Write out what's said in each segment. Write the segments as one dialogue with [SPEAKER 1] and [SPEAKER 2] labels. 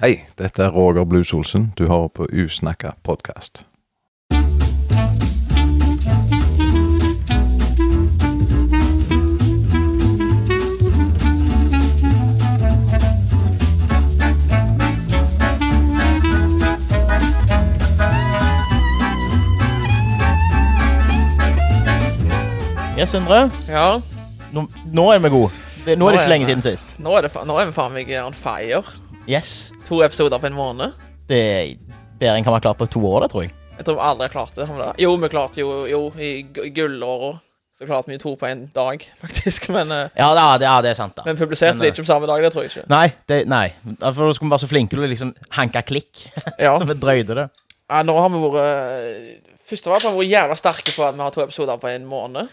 [SPEAKER 1] Hei, dette er Roger Blues Olsen. Du hører på Usnakka podkast.
[SPEAKER 2] Ja, Sindre.
[SPEAKER 3] Ja,
[SPEAKER 2] Nå, nå er vi gode. Det, nå er det ikke lenge siden sist.
[SPEAKER 3] nå er, det, fa- nå er vi faen meg on fire.
[SPEAKER 2] Yes.
[SPEAKER 3] To episoder på en måned.
[SPEAKER 2] Det er bedre enn kan være klart på to år, det tror jeg.
[SPEAKER 3] Jeg tror vi aldri har klart det. har vi det? Jo, vi klarte jo, jo i gu- gullåra. Så klarte vi to på en dag, faktisk. Men eh,
[SPEAKER 2] Ja, det, ja, det, ja, det er sant, da.
[SPEAKER 3] men publiserte
[SPEAKER 2] Men, eh,
[SPEAKER 3] det ikke på samme dag, det tror jeg ikke.
[SPEAKER 2] Nei, det, nei. Ja, For da skulle vi være så flinke til å liksom hanke klikk.
[SPEAKER 3] Ja.
[SPEAKER 2] Så vi drøyde det.
[SPEAKER 3] Ja, nå har vi vært eh, Først av alt har vi vært jævla sterke på at vi har to episoder på en måned.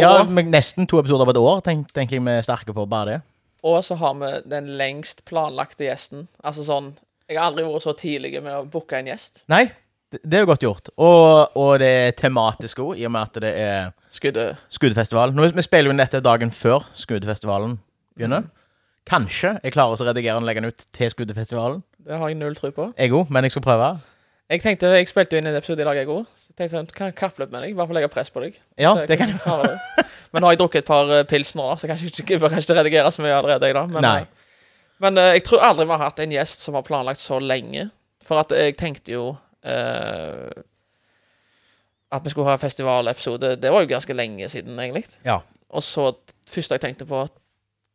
[SPEAKER 2] Ja,
[SPEAKER 3] Og-
[SPEAKER 2] men Nesten to episoder på et år tenk, tenker jeg vi er sterke på bare det.
[SPEAKER 3] Og så har vi den lengst planlagte gjesten. Altså sånn Jeg har aldri vært så tidlig med å booke en gjest.
[SPEAKER 2] Nei, det, det er jo godt gjort. Og, og det er tematisk òg, i og med at det er
[SPEAKER 3] Skuddet
[SPEAKER 2] skuddfestival. Nå, vi spiller jo inn dette dagen før skuddfestivalen begynner. Kanskje jeg klarer å redigere den og legge den ut til skuddfestivalen.
[SPEAKER 3] Det har jeg null tro på.
[SPEAKER 2] Jeg òg, men jeg skal prøve.
[SPEAKER 3] Jeg tenkte, jeg spilte jo inn en episode i dag, jeg òg. Så tenkte jeg sånn, kan jeg kappløp med deg? I hvert fall legge press på deg.
[SPEAKER 2] Ja,
[SPEAKER 3] Så jeg
[SPEAKER 2] det kan
[SPEAKER 3] kan klare det. Men nå har jeg drukket et par eh, pils nå, da, så jeg kan ikke, jeg bør kanskje ikke redigere så mye allerede. Jeg, da. Men,
[SPEAKER 2] Nei.
[SPEAKER 3] eh, men eh, jeg tror aldri vi har hatt en gjest som har planlagt så lenge. For at jeg tenkte jo eh, at vi skulle ha festivalepisode. Det var jo ganske lenge siden, egentlig.
[SPEAKER 2] Ja.
[SPEAKER 3] Og så t- første jeg tenkte på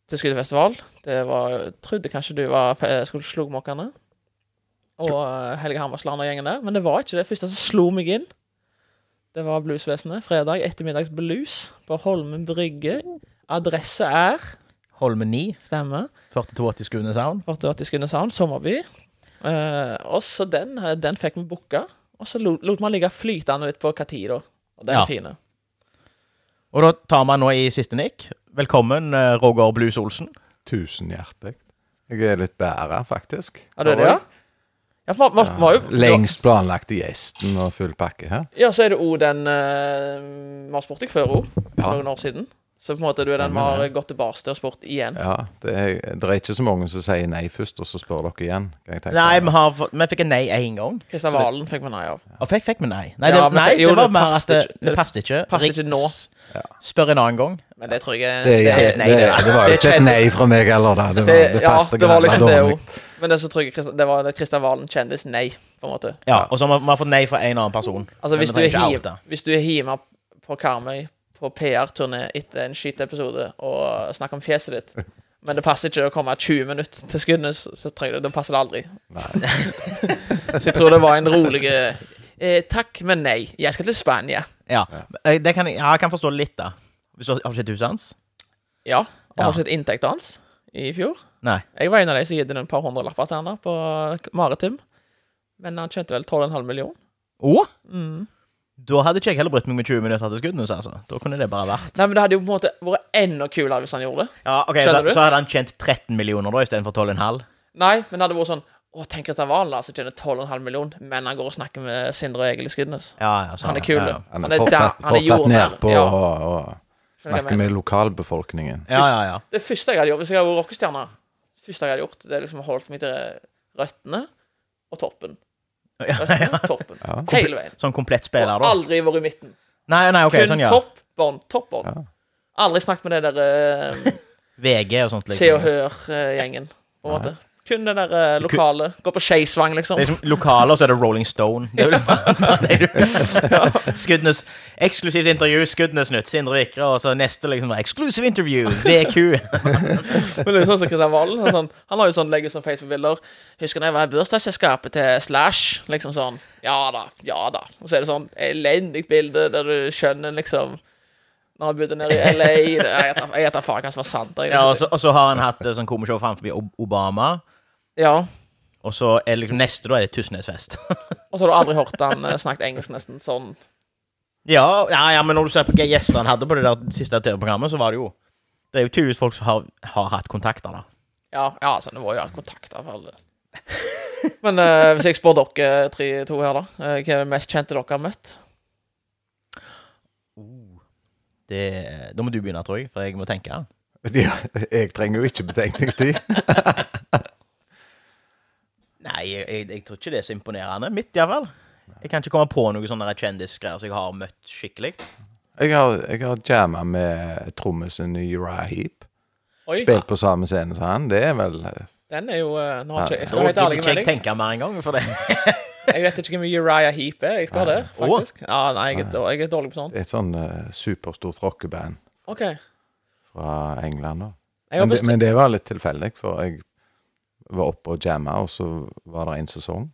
[SPEAKER 3] til Skudd festival, det var Trodde kanskje du var fe- skulle Slogmokkene. Og eh, Helge Hammersland og gjengen der. Men det var ikke det første som slo meg inn. Det var Bluesvesenet. Fredag ettermiddags blues på Holmen brygge. Adresse er
[SPEAKER 2] Holmen 9,
[SPEAKER 3] Stemmer.
[SPEAKER 2] 4280 Skune Sound.
[SPEAKER 3] 48 Skudeneshavn, Sommerby. Eh, og så den, eh, den fikk vi booka. Og så lot, lot man ligge flytende litt på hva tid, da. Og den
[SPEAKER 2] Ja.
[SPEAKER 3] er fine.
[SPEAKER 2] Og da tar vi nå i siste nikk. Velkommen, eh, Roger Blues Olsen.
[SPEAKER 1] Tusen hjertelig. Jeg er litt bæra, faktisk.
[SPEAKER 3] Ja, det er det, ja? Ja, for man, man, man, var jo,
[SPEAKER 1] Lengst planlagt i gjesten og full pakke her.
[SPEAKER 3] Ja, så er det òg den eh, Vi har spurt deg før òg, for
[SPEAKER 1] Ja.
[SPEAKER 3] noen år siden. Så på en måte du er den vi har gått tilbake til og spurt igjen.
[SPEAKER 1] Ja, det er, det er ikke så mange som sier nei først, og så spør dere igjen. Kan jeg tenke
[SPEAKER 2] Nei,
[SPEAKER 1] meg.
[SPEAKER 2] vi, har, fått- vi fikk en nei én gang.
[SPEAKER 3] Kristian Valen fikk vi nei av.
[SPEAKER 2] Og fikk, fikk vi nei. Nei, det,
[SPEAKER 3] Ja, men
[SPEAKER 2] nei,
[SPEAKER 3] det- jo,
[SPEAKER 2] det var
[SPEAKER 3] det
[SPEAKER 2] mer at
[SPEAKER 3] passet
[SPEAKER 2] det,
[SPEAKER 3] ikke.
[SPEAKER 2] det passet ikke.
[SPEAKER 3] passet ikke
[SPEAKER 2] Riks-
[SPEAKER 3] nå.
[SPEAKER 1] Ja.
[SPEAKER 2] Spør en annen gang.
[SPEAKER 3] Men det tror jeg
[SPEAKER 1] det, er,
[SPEAKER 2] det er-
[SPEAKER 1] det, det, det var jo ikke et nei fra meg heller, da. Det,
[SPEAKER 3] Det,
[SPEAKER 1] var, det
[SPEAKER 3] ja,
[SPEAKER 1] passet
[SPEAKER 3] det var
[SPEAKER 1] greit
[SPEAKER 3] liksom det
[SPEAKER 1] dårlig.
[SPEAKER 3] òg. Men det så tror jeg Kristian- det var det Kristian Valen kjendis nei, på en måte.
[SPEAKER 2] Ja, Og så har vi, vi har fått nei fra en annen person.
[SPEAKER 3] Altså
[SPEAKER 2] Men
[SPEAKER 3] hvis
[SPEAKER 2] vi
[SPEAKER 3] du, er
[SPEAKER 2] trenger ikke
[SPEAKER 3] hjem,
[SPEAKER 2] oute.
[SPEAKER 3] hvis du er hjemme på Karmøy på PR-turné etter en skyteepisode og snakker om fjeset ditt, men det passer ikke å komme 20 minutter til Skudenes, så trenger du, da passer det aldri.
[SPEAKER 1] Nei.
[SPEAKER 3] Så jeg tror det var en rolig eh, Takk, men nei. Jeg skal til Spania.
[SPEAKER 2] Ja, Eh, det kan jeg, ja, jeg kan forstå litt, da. Hvis du har, har du sett huset hans?
[SPEAKER 3] Ja.
[SPEAKER 2] Ja.
[SPEAKER 3] Han har sett inntekten hans i fjor.
[SPEAKER 2] Nei.
[SPEAKER 3] Jeg var en av de som gitt inn et par hundrelapper til han da, på Maritim. Men han tjente vel 12,5 millioner.
[SPEAKER 2] Å?
[SPEAKER 3] Mm.
[SPEAKER 2] Da hadde ikke jeg heller brutt meg med 20 minutter til skuddene. Altså. Da kunne det bare vært.
[SPEAKER 3] Nei, men det hadde jo på en måte vært enda kulere hvis han gjorde det.
[SPEAKER 2] Ja, ok,
[SPEAKER 3] Skjønner
[SPEAKER 2] så,
[SPEAKER 3] du?
[SPEAKER 2] så hadde han tjent 13 millioner da, istedenfor 12,5.
[SPEAKER 3] Nei, men det hadde vært sånn Å, tenk at han var en som tjener 12,5 millioner, men han går og snakker med Sindre og Egil i Skudenes.
[SPEAKER 2] Ja, ja, så-
[SPEAKER 3] Han er kul,
[SPEAKER 2] ja,
[SPEAKER 3] du.
[SPEAKER 2] ja.
[SPEAKER 1] Han
[SPEAKER 3] Han
[SPEAKER 1] er
[SPEAKER 3] er
[SPEAKER 1] fortsatt,
[SPEAKER 3] da- han er
[SPEAKER 1] fortsatt
[SPEAKER 3] jordnær.
[SPEAKER 1] nedpå
[SPEAKER 3] Ja.
[SPEAKER 1] og, og
[SPEAKER 3] Skjønner du hva jeg
[SPEAKER 1] snakker med lokalbefolkningen.
[SPEAKER 2] Ja, ja, ja.
[SPEAKER 3] Det første jeg hadde gjort hvis jeg hadde vært rockestjerne, det første jeg hadde gjort, det er liksom holdt meg til røttene og toppen.
[SPEAKER 2] ja,
[SPEAKER 3] Røttene,
[SPEAKER 2] ja.
[SPEAKER 3] toppen.
[SPEAKER 1] Ja.
[SPEAKER 3] Hele veien.
[SPEAKER 2] Sånn komplett spiller,
[SPEAKER 3] Og
[SPEAKER 2] da?
[SPEAKER 3] aldri vært i midten.
[SPEAKER 2] Nei, nei, ok,
[SPEAKER 3] Kun
[SPEAKER 2] sånn, ja.
[SPEAKER 3] topp, bånd, topp, bånd.
[SPEAKER 1] Ja.
[SPEAKER 3] Aldri snakket med det der eh,
[SPEAKER 2] VG og sånt.
[SPEAKER 3] Se og
[SPEAKER 2] Liksom.
[SPEAKER 3] Hør-gjengen, på en måte. Kun det der eh, lokale. Gå på Skeisvang, liksom.
[SPEAKER 2] Det er som lokaler, så er det Rolling Stone. Det er vel bare det du Skudenes Eksklusivt intervju, Skudenes Nytt, Sindre Vikre, og så neste liksom Exclusive interview, VQ.
[SPEAKER 3] Men det er sånn som Kristian Valen. Han, er sånn, han har jo sånn, legger ut sånn Facebook-bilder. 'Husker da jeg var i bursdagsselskapet til Slash?' Liksom sånn. Ja da, ja da. Og så er det sånn elendig bilde der du skjønner liksom Når han bodde nede i LA det- Jeg vet da- jeg vet da faen hva som var sant der.
[SPEAKER 2] Ja, og, så, og så har han hatt eh, sånn komishow framfor Ob- Obama,
[SPEAKER 3] ja.
[SPEAKER 2] og så er det liksom neste da er det Tysnesfest.
[SPEAKER 3] Og så har du aldri hørt han eh, snakket engelsk nesten sånn.
[SPEAKER 2] Ja, ja, ja, men når du ser på hva gjester han hadde på det der siste TV-programmet, så var det jo Det er jo tydeligvis folk som har, har hatt kontakter, da.
[SPEAKER 3] Ja, ja altså, det var jo alt kontakt av alle. Men eh, hvis jeg spør dere tre to her, da. eh, hva er det mest kjente dere har møtt?
[SPEAKER 2] Det, da må du begynne, tror jeg, for jeg må tenke.
[SPEAKER 1] Ja, jeg trenger jo ikke betenkningstid.
[SPEAKER 2] Nei, jeg, jeg, jeg tror ikke det er så imponerende. Mitt, iallfall. Jeg kan ikke komme på noen sånne kjendisgreier som jeg har møtt skikkelig.
[SPEAKER 1] Jeg har, jeg har jamma med trommisen Uriah Heap.
[SPEAKER 3] Oi,
[SPEAKER 1] Spilt på samme scene som han. Det er vel eh,
[SPEAKER 3] den er jo eh, Nå har ikke, jeg
[SPEAKER 2] Da
[SPEAKER 3] skal være helt
[SPEAKER 2] gidder
[SPEAKER 3] ærlig
[SPEAKER 2] ikke
[SPEAKER 3] med
[SPEAKER 2] jeg
[SPEAKER 3] deg.
[SPEAKER 2] tenke mer engang. For det.
[SPEAKER 3] Jeg vet ikke hvem Uriah Heap er. Jeg skal der,
[SPEAKER 2] Åh.
[SPEAKER 3] faktisk. Ja, nei, jeg er, dår- jeg er dårlig på sånt.
[SPEAKER 1] et sånn eh, superstort rockeband
[SPEAKER 3] OK. Jeg
[SPEAKER 1] fra England. da.
[SPEAKER 3] har
[SPEAKER 1] Men, det-
[SPEAKER 3] bestilt
[SPEAKER 1] men det var litt tilfeldig, for jeg var oppe og jamma, og så var det en sesong.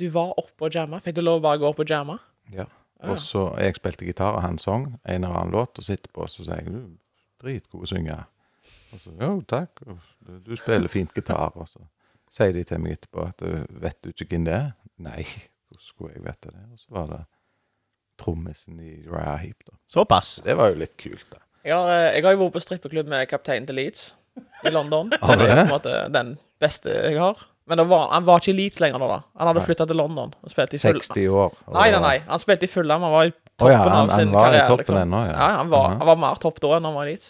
[SPEAKER 3] Du var oppe og jamma. Fikk du lov å bare gå opp og jamme?
[SPEAKER 1] Ja.
[SPEAKER 3] Ah.
[SPEAKER 1] Og så Jeg spilte gitar, og han sang en eller annen låt, og så etterpå så sa jeg du, dritgod synger. Og så jo, takk, og du, du spiller fint gitar. Og så sier de til meg etterpå at «Du, vet du ikke hvem det er? Nei, hvordan skulle jeg vite det? Og så var det trommisen i Raya Heap, da.
[SPEAKER 2] Såpass.
[SPEAKER 1] Det var jo litt kult, da.
[SPEAKER 3] Jeg har, eh, jeg har jo vært på strippeklubb med kapteinen til Leeds i London.
[SPEAKER 1] Har du
[SPEAKER 3] det er
[SPEAKER 1] det?
[SPEAKER 3] på en måte den beste jeg har. Men det var, han var ikke i Leeds lenger da. da. Han hadde
[SPEAKER 1] Nei.
[SPEAKER 3] flytta til London og spilte i Fulham.
[SPEAKER 1] 60 år. og-
[SPEAKER 3] Nei, nei, nei. Han spilte i Fulham. Han var i toppen
[SPEAKER 1] Å ja, han,
[SPEAKER 3] av sin
[SPEAKER 1] han var i
[SPEAKER 3] karriere.
[SPEAKER 1] toppen
[SPEAKER 3] liksom.
[SPEAKER 1] ennå,
[SPEAKER 3] ja.
[SPEAKER 1] ja. Mhm.
[SPEAKER 3] han, var,
[SPEAKER 1] Aha,
[SPEAKER 3] han var mer topp da enn han var i Leeds.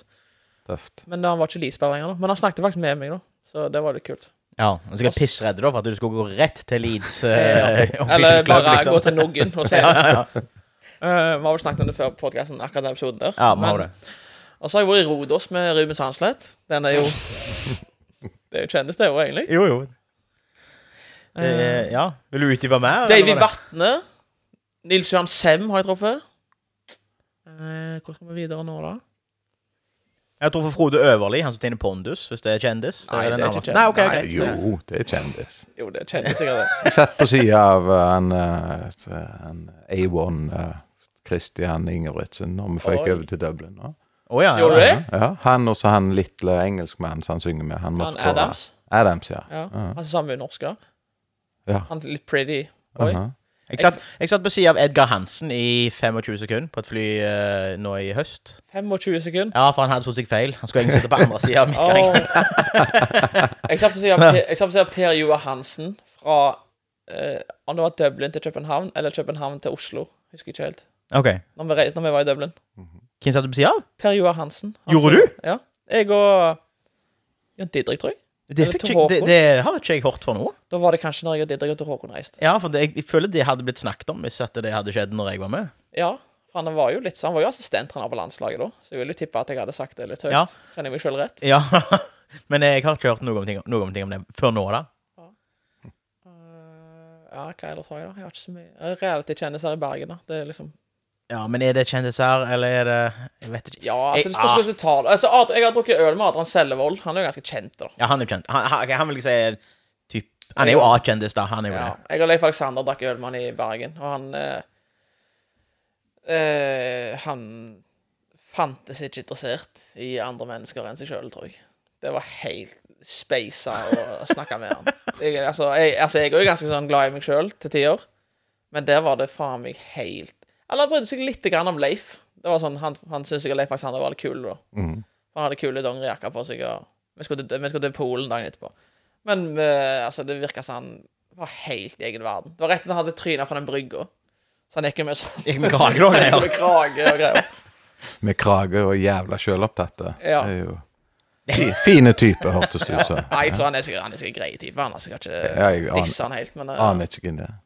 [SPEAKER 1] Tøft.
[SPEAKER 3] Men han var ikke Leeds-spiller lenger. da. Men han snakket faktisk med meg, da. Så det var litt kult.
[SPEAKER 2] Ja, og så er jeg pissredd da for at du skulle gå rett til Leeds. eh, official
[SPEAKER 3] Eller
[SPEAKER 2] club,
[SPEAKER 3] bare
[SPEAKER 2] liksom.
[SPEAKER 3] gå til Noggen og se.
[SPEAKER 2] ja, ja, ja.
[SPEAKER 3] Eh, vi har vel snakket om det før på podkasten, akkurat den episoden der.
[SPEAKER 2] ja, vi har
[SPEAKER 3] Men-
[SPEAKER 2] det.
[SPEAKER 3] Og så har jeg vært i Rodos med Ruben Sandslet. Den er jo Det er jo kjendis, det òg, egentlig.
[SPEAKER 2] Jo, jo. Eh, ja. Vil du utdype mer? eller
[SPEAKER 3] Davy
[SPEAKER 2] var det-
[SPEAKER 3] Vatne. Nils Johan Sem har jeg truffet. Eh, Hvor skal vi videre nå, da?
[SPEAKER 2] Jeg tror for Frode Øverli, han som tjener Pondus, hvis det er kjendis.
[SPEAKER 3] Nei,
[SPEAKER 2] den
[SPEAKER 3] det er
[SPEAKER 2] nærmeste.
[SPEAKER 3] ikke kjendis.
[SPEAKER 2] Nei, ok,
[SPEAKER 3] Nei.
[SPEAKER 2] greit.
[SPEAKER 1] Jo,
[SPEAKER 3] eh.
[SPEAKER 1] det er kjendis.
[SPEAKER 3] Jo, det kjennes sikkert det.
[SPEAKER 1] Jeg satt på sida av eh, han, eh, t- han A1 eh, Christian Ingebrigtsen når vi
[SPEAKER 3] Oi.
[SPEAKER 1] føyk over til Dublin. nå.
[SPEAKER 2] Å, ja, ja,
[SPEAKER 3] Gjorde du
[SPEAKER 2] ja.
[SPEAKER 3] det?
[SPEAKER 1] Ja, han og så han lille engelskmannen som han synger med. Han,
[SPEAKER 3] Han
[SPEAKER 1] måtte på-
[SPEAKER 3] Adams.
[SPEAKER 1] Adams, ja.
[SPEAKER 3] Ja. Altså,
[SPEAKER 1] Ja.
[SPEAKER 3] Han sammen med norske.
[SPEAKER 1] Ja.
[SPEAKER 3] Han litt pretty. Oi.
[SPEAKER 1] Aha.
[SPEAKER 2] Jeg satt, jeg satt på siden av Edgar Hansen i 25 sekunder på et fly eh, nå i høst.
[SPEAKER 3] 25 sekunder.
[SPEAKER 2] Ja, for han hadde tatt seg feil. Han skulle egentlig sitte på andre sida av midtgangen.
[SPEAKER 3] Åh. jeg satt på siden av Per- jeg satt på siden av Per Joar Hansen fra eh, Om det var Dublin til København, eller København til Oslo. Husker ikke helt.
[SPEAKER 2] Ok.
[SPEAKER 3] Når vi, rei- når vi var i Dublin.
[SPEAKER 2] Hvem satt du på sida av?
[SPEAKER 3] Per Joar Hansen. Han
[SPEAKER 2] Gjorde
[SPEAKER 3] som- Ja. Jeg og Jon Didrik, tror jeg.
[SPEAKER 2] Det,
[SPEAKER 3] Eller
[SPEAKER 2] fikk
[SPEAKER 3] Tor
[SPEAKER 2] ikke, det,
[SPEAKER 3] Håkon.
[SPEAKER 2] det har ikke jeg hørt for noe.
[SPEAKER 3] Da var det kanskje når jeg og Didrik og Tor Håkon reiste.
[SPEAKER 2] Ja, for det, jeg, jeg føler det hadde blitt snakket om hvis at det hadde skjedd når jeg var med.
[SPEAKER 3] Ja, for han var jo litt sånn- Han var jo assistenttrener på landslaget da, så jeg vil jo tippe at jeg hadde sagt det litt høyt.
[SPEAKER 2] Ja.
[SPEAKER 3] Kjenner jeg meg sjøl rett?
[SPEAKER 2] Ja, Men jeg har ikke hørt noe om ting, noe om, ting om det før nå, da.
[SPEAKER 3] Eh, ja, hva ellers har jeg, da? Jeg har ikke så mye Eh, Reality-kjendiser i Bergen, da. Det er liksom
[SPEAKER 2] Ja, Men er det kjendiser, eller er det Jeg vet ikke.
[SPEAKER 3] Ja, altså,
[SPEAKER 2] Jeg-
[SPEAKER 3] det spørs
[SPEAKER 2] ah.
[SPEAKER 3] hva du tar det. altså, Ad- Jeg har drukket øl med Adrian Sellevold. Han er jo ganske kjent, da.
[SPEAKER 2] Ja, han er jo kjent. Han, han, ok, han vil jeg si typ, Han er jo A-kjendis, da. Han er jo
[SPEAKER 3] Ja.
[SPEAKER 2] det.
[SPEAKER 3] Jeg og Leif Alexander drakk øl med han i Bergen, og han eh, eh, Han fantes ikke interessert i andre mennesker enn seg sjøl, tror jeg. Det var helt speisa å snakke med han. Jeg, altså, jeg, altså, jeg er jo ganske sånn glad i meg sjøl til tider, men der var det faen meg helt Eller han brydde seg litt grann om Leif. Det var sånn, Han, han syntes jeg og Leif Alexander var litt kule, da.
[SPEAKER 1] Mhm.
[SPEAKER 3] Han hadde kule dongerijakker på seg, og vi skulle, til, vi skulle til Polen dagen etterpå. Men eh, altså, det virka som han var helt i egen verden. Det var rett at han hadde tryna fra den brygga. Så han gikk jo med sånn
[SPEAKER 2] Gikk med krage, da.
[SPEAKER 3] han gikk
[SPEAKER 2] greier.
[SPEAKER 3] med krage og greier.
[SPEAKER 1] Med krage og jævla sjølopptatte.
[SPEAKER 3] Ja.
[SPEAKER 1] Det er jo fi- fine typer, hørtes det ut som.
[SPEAKER 3] Nei, jeg tror han er sikkert han er sikkert grei type. Han er sikkert ikke
[SPEAKER 1] Ja, jeg an-
[SPEAKER 3] disse han helt, men eh,
[SPEAKER 1] aner ikke hvem det er.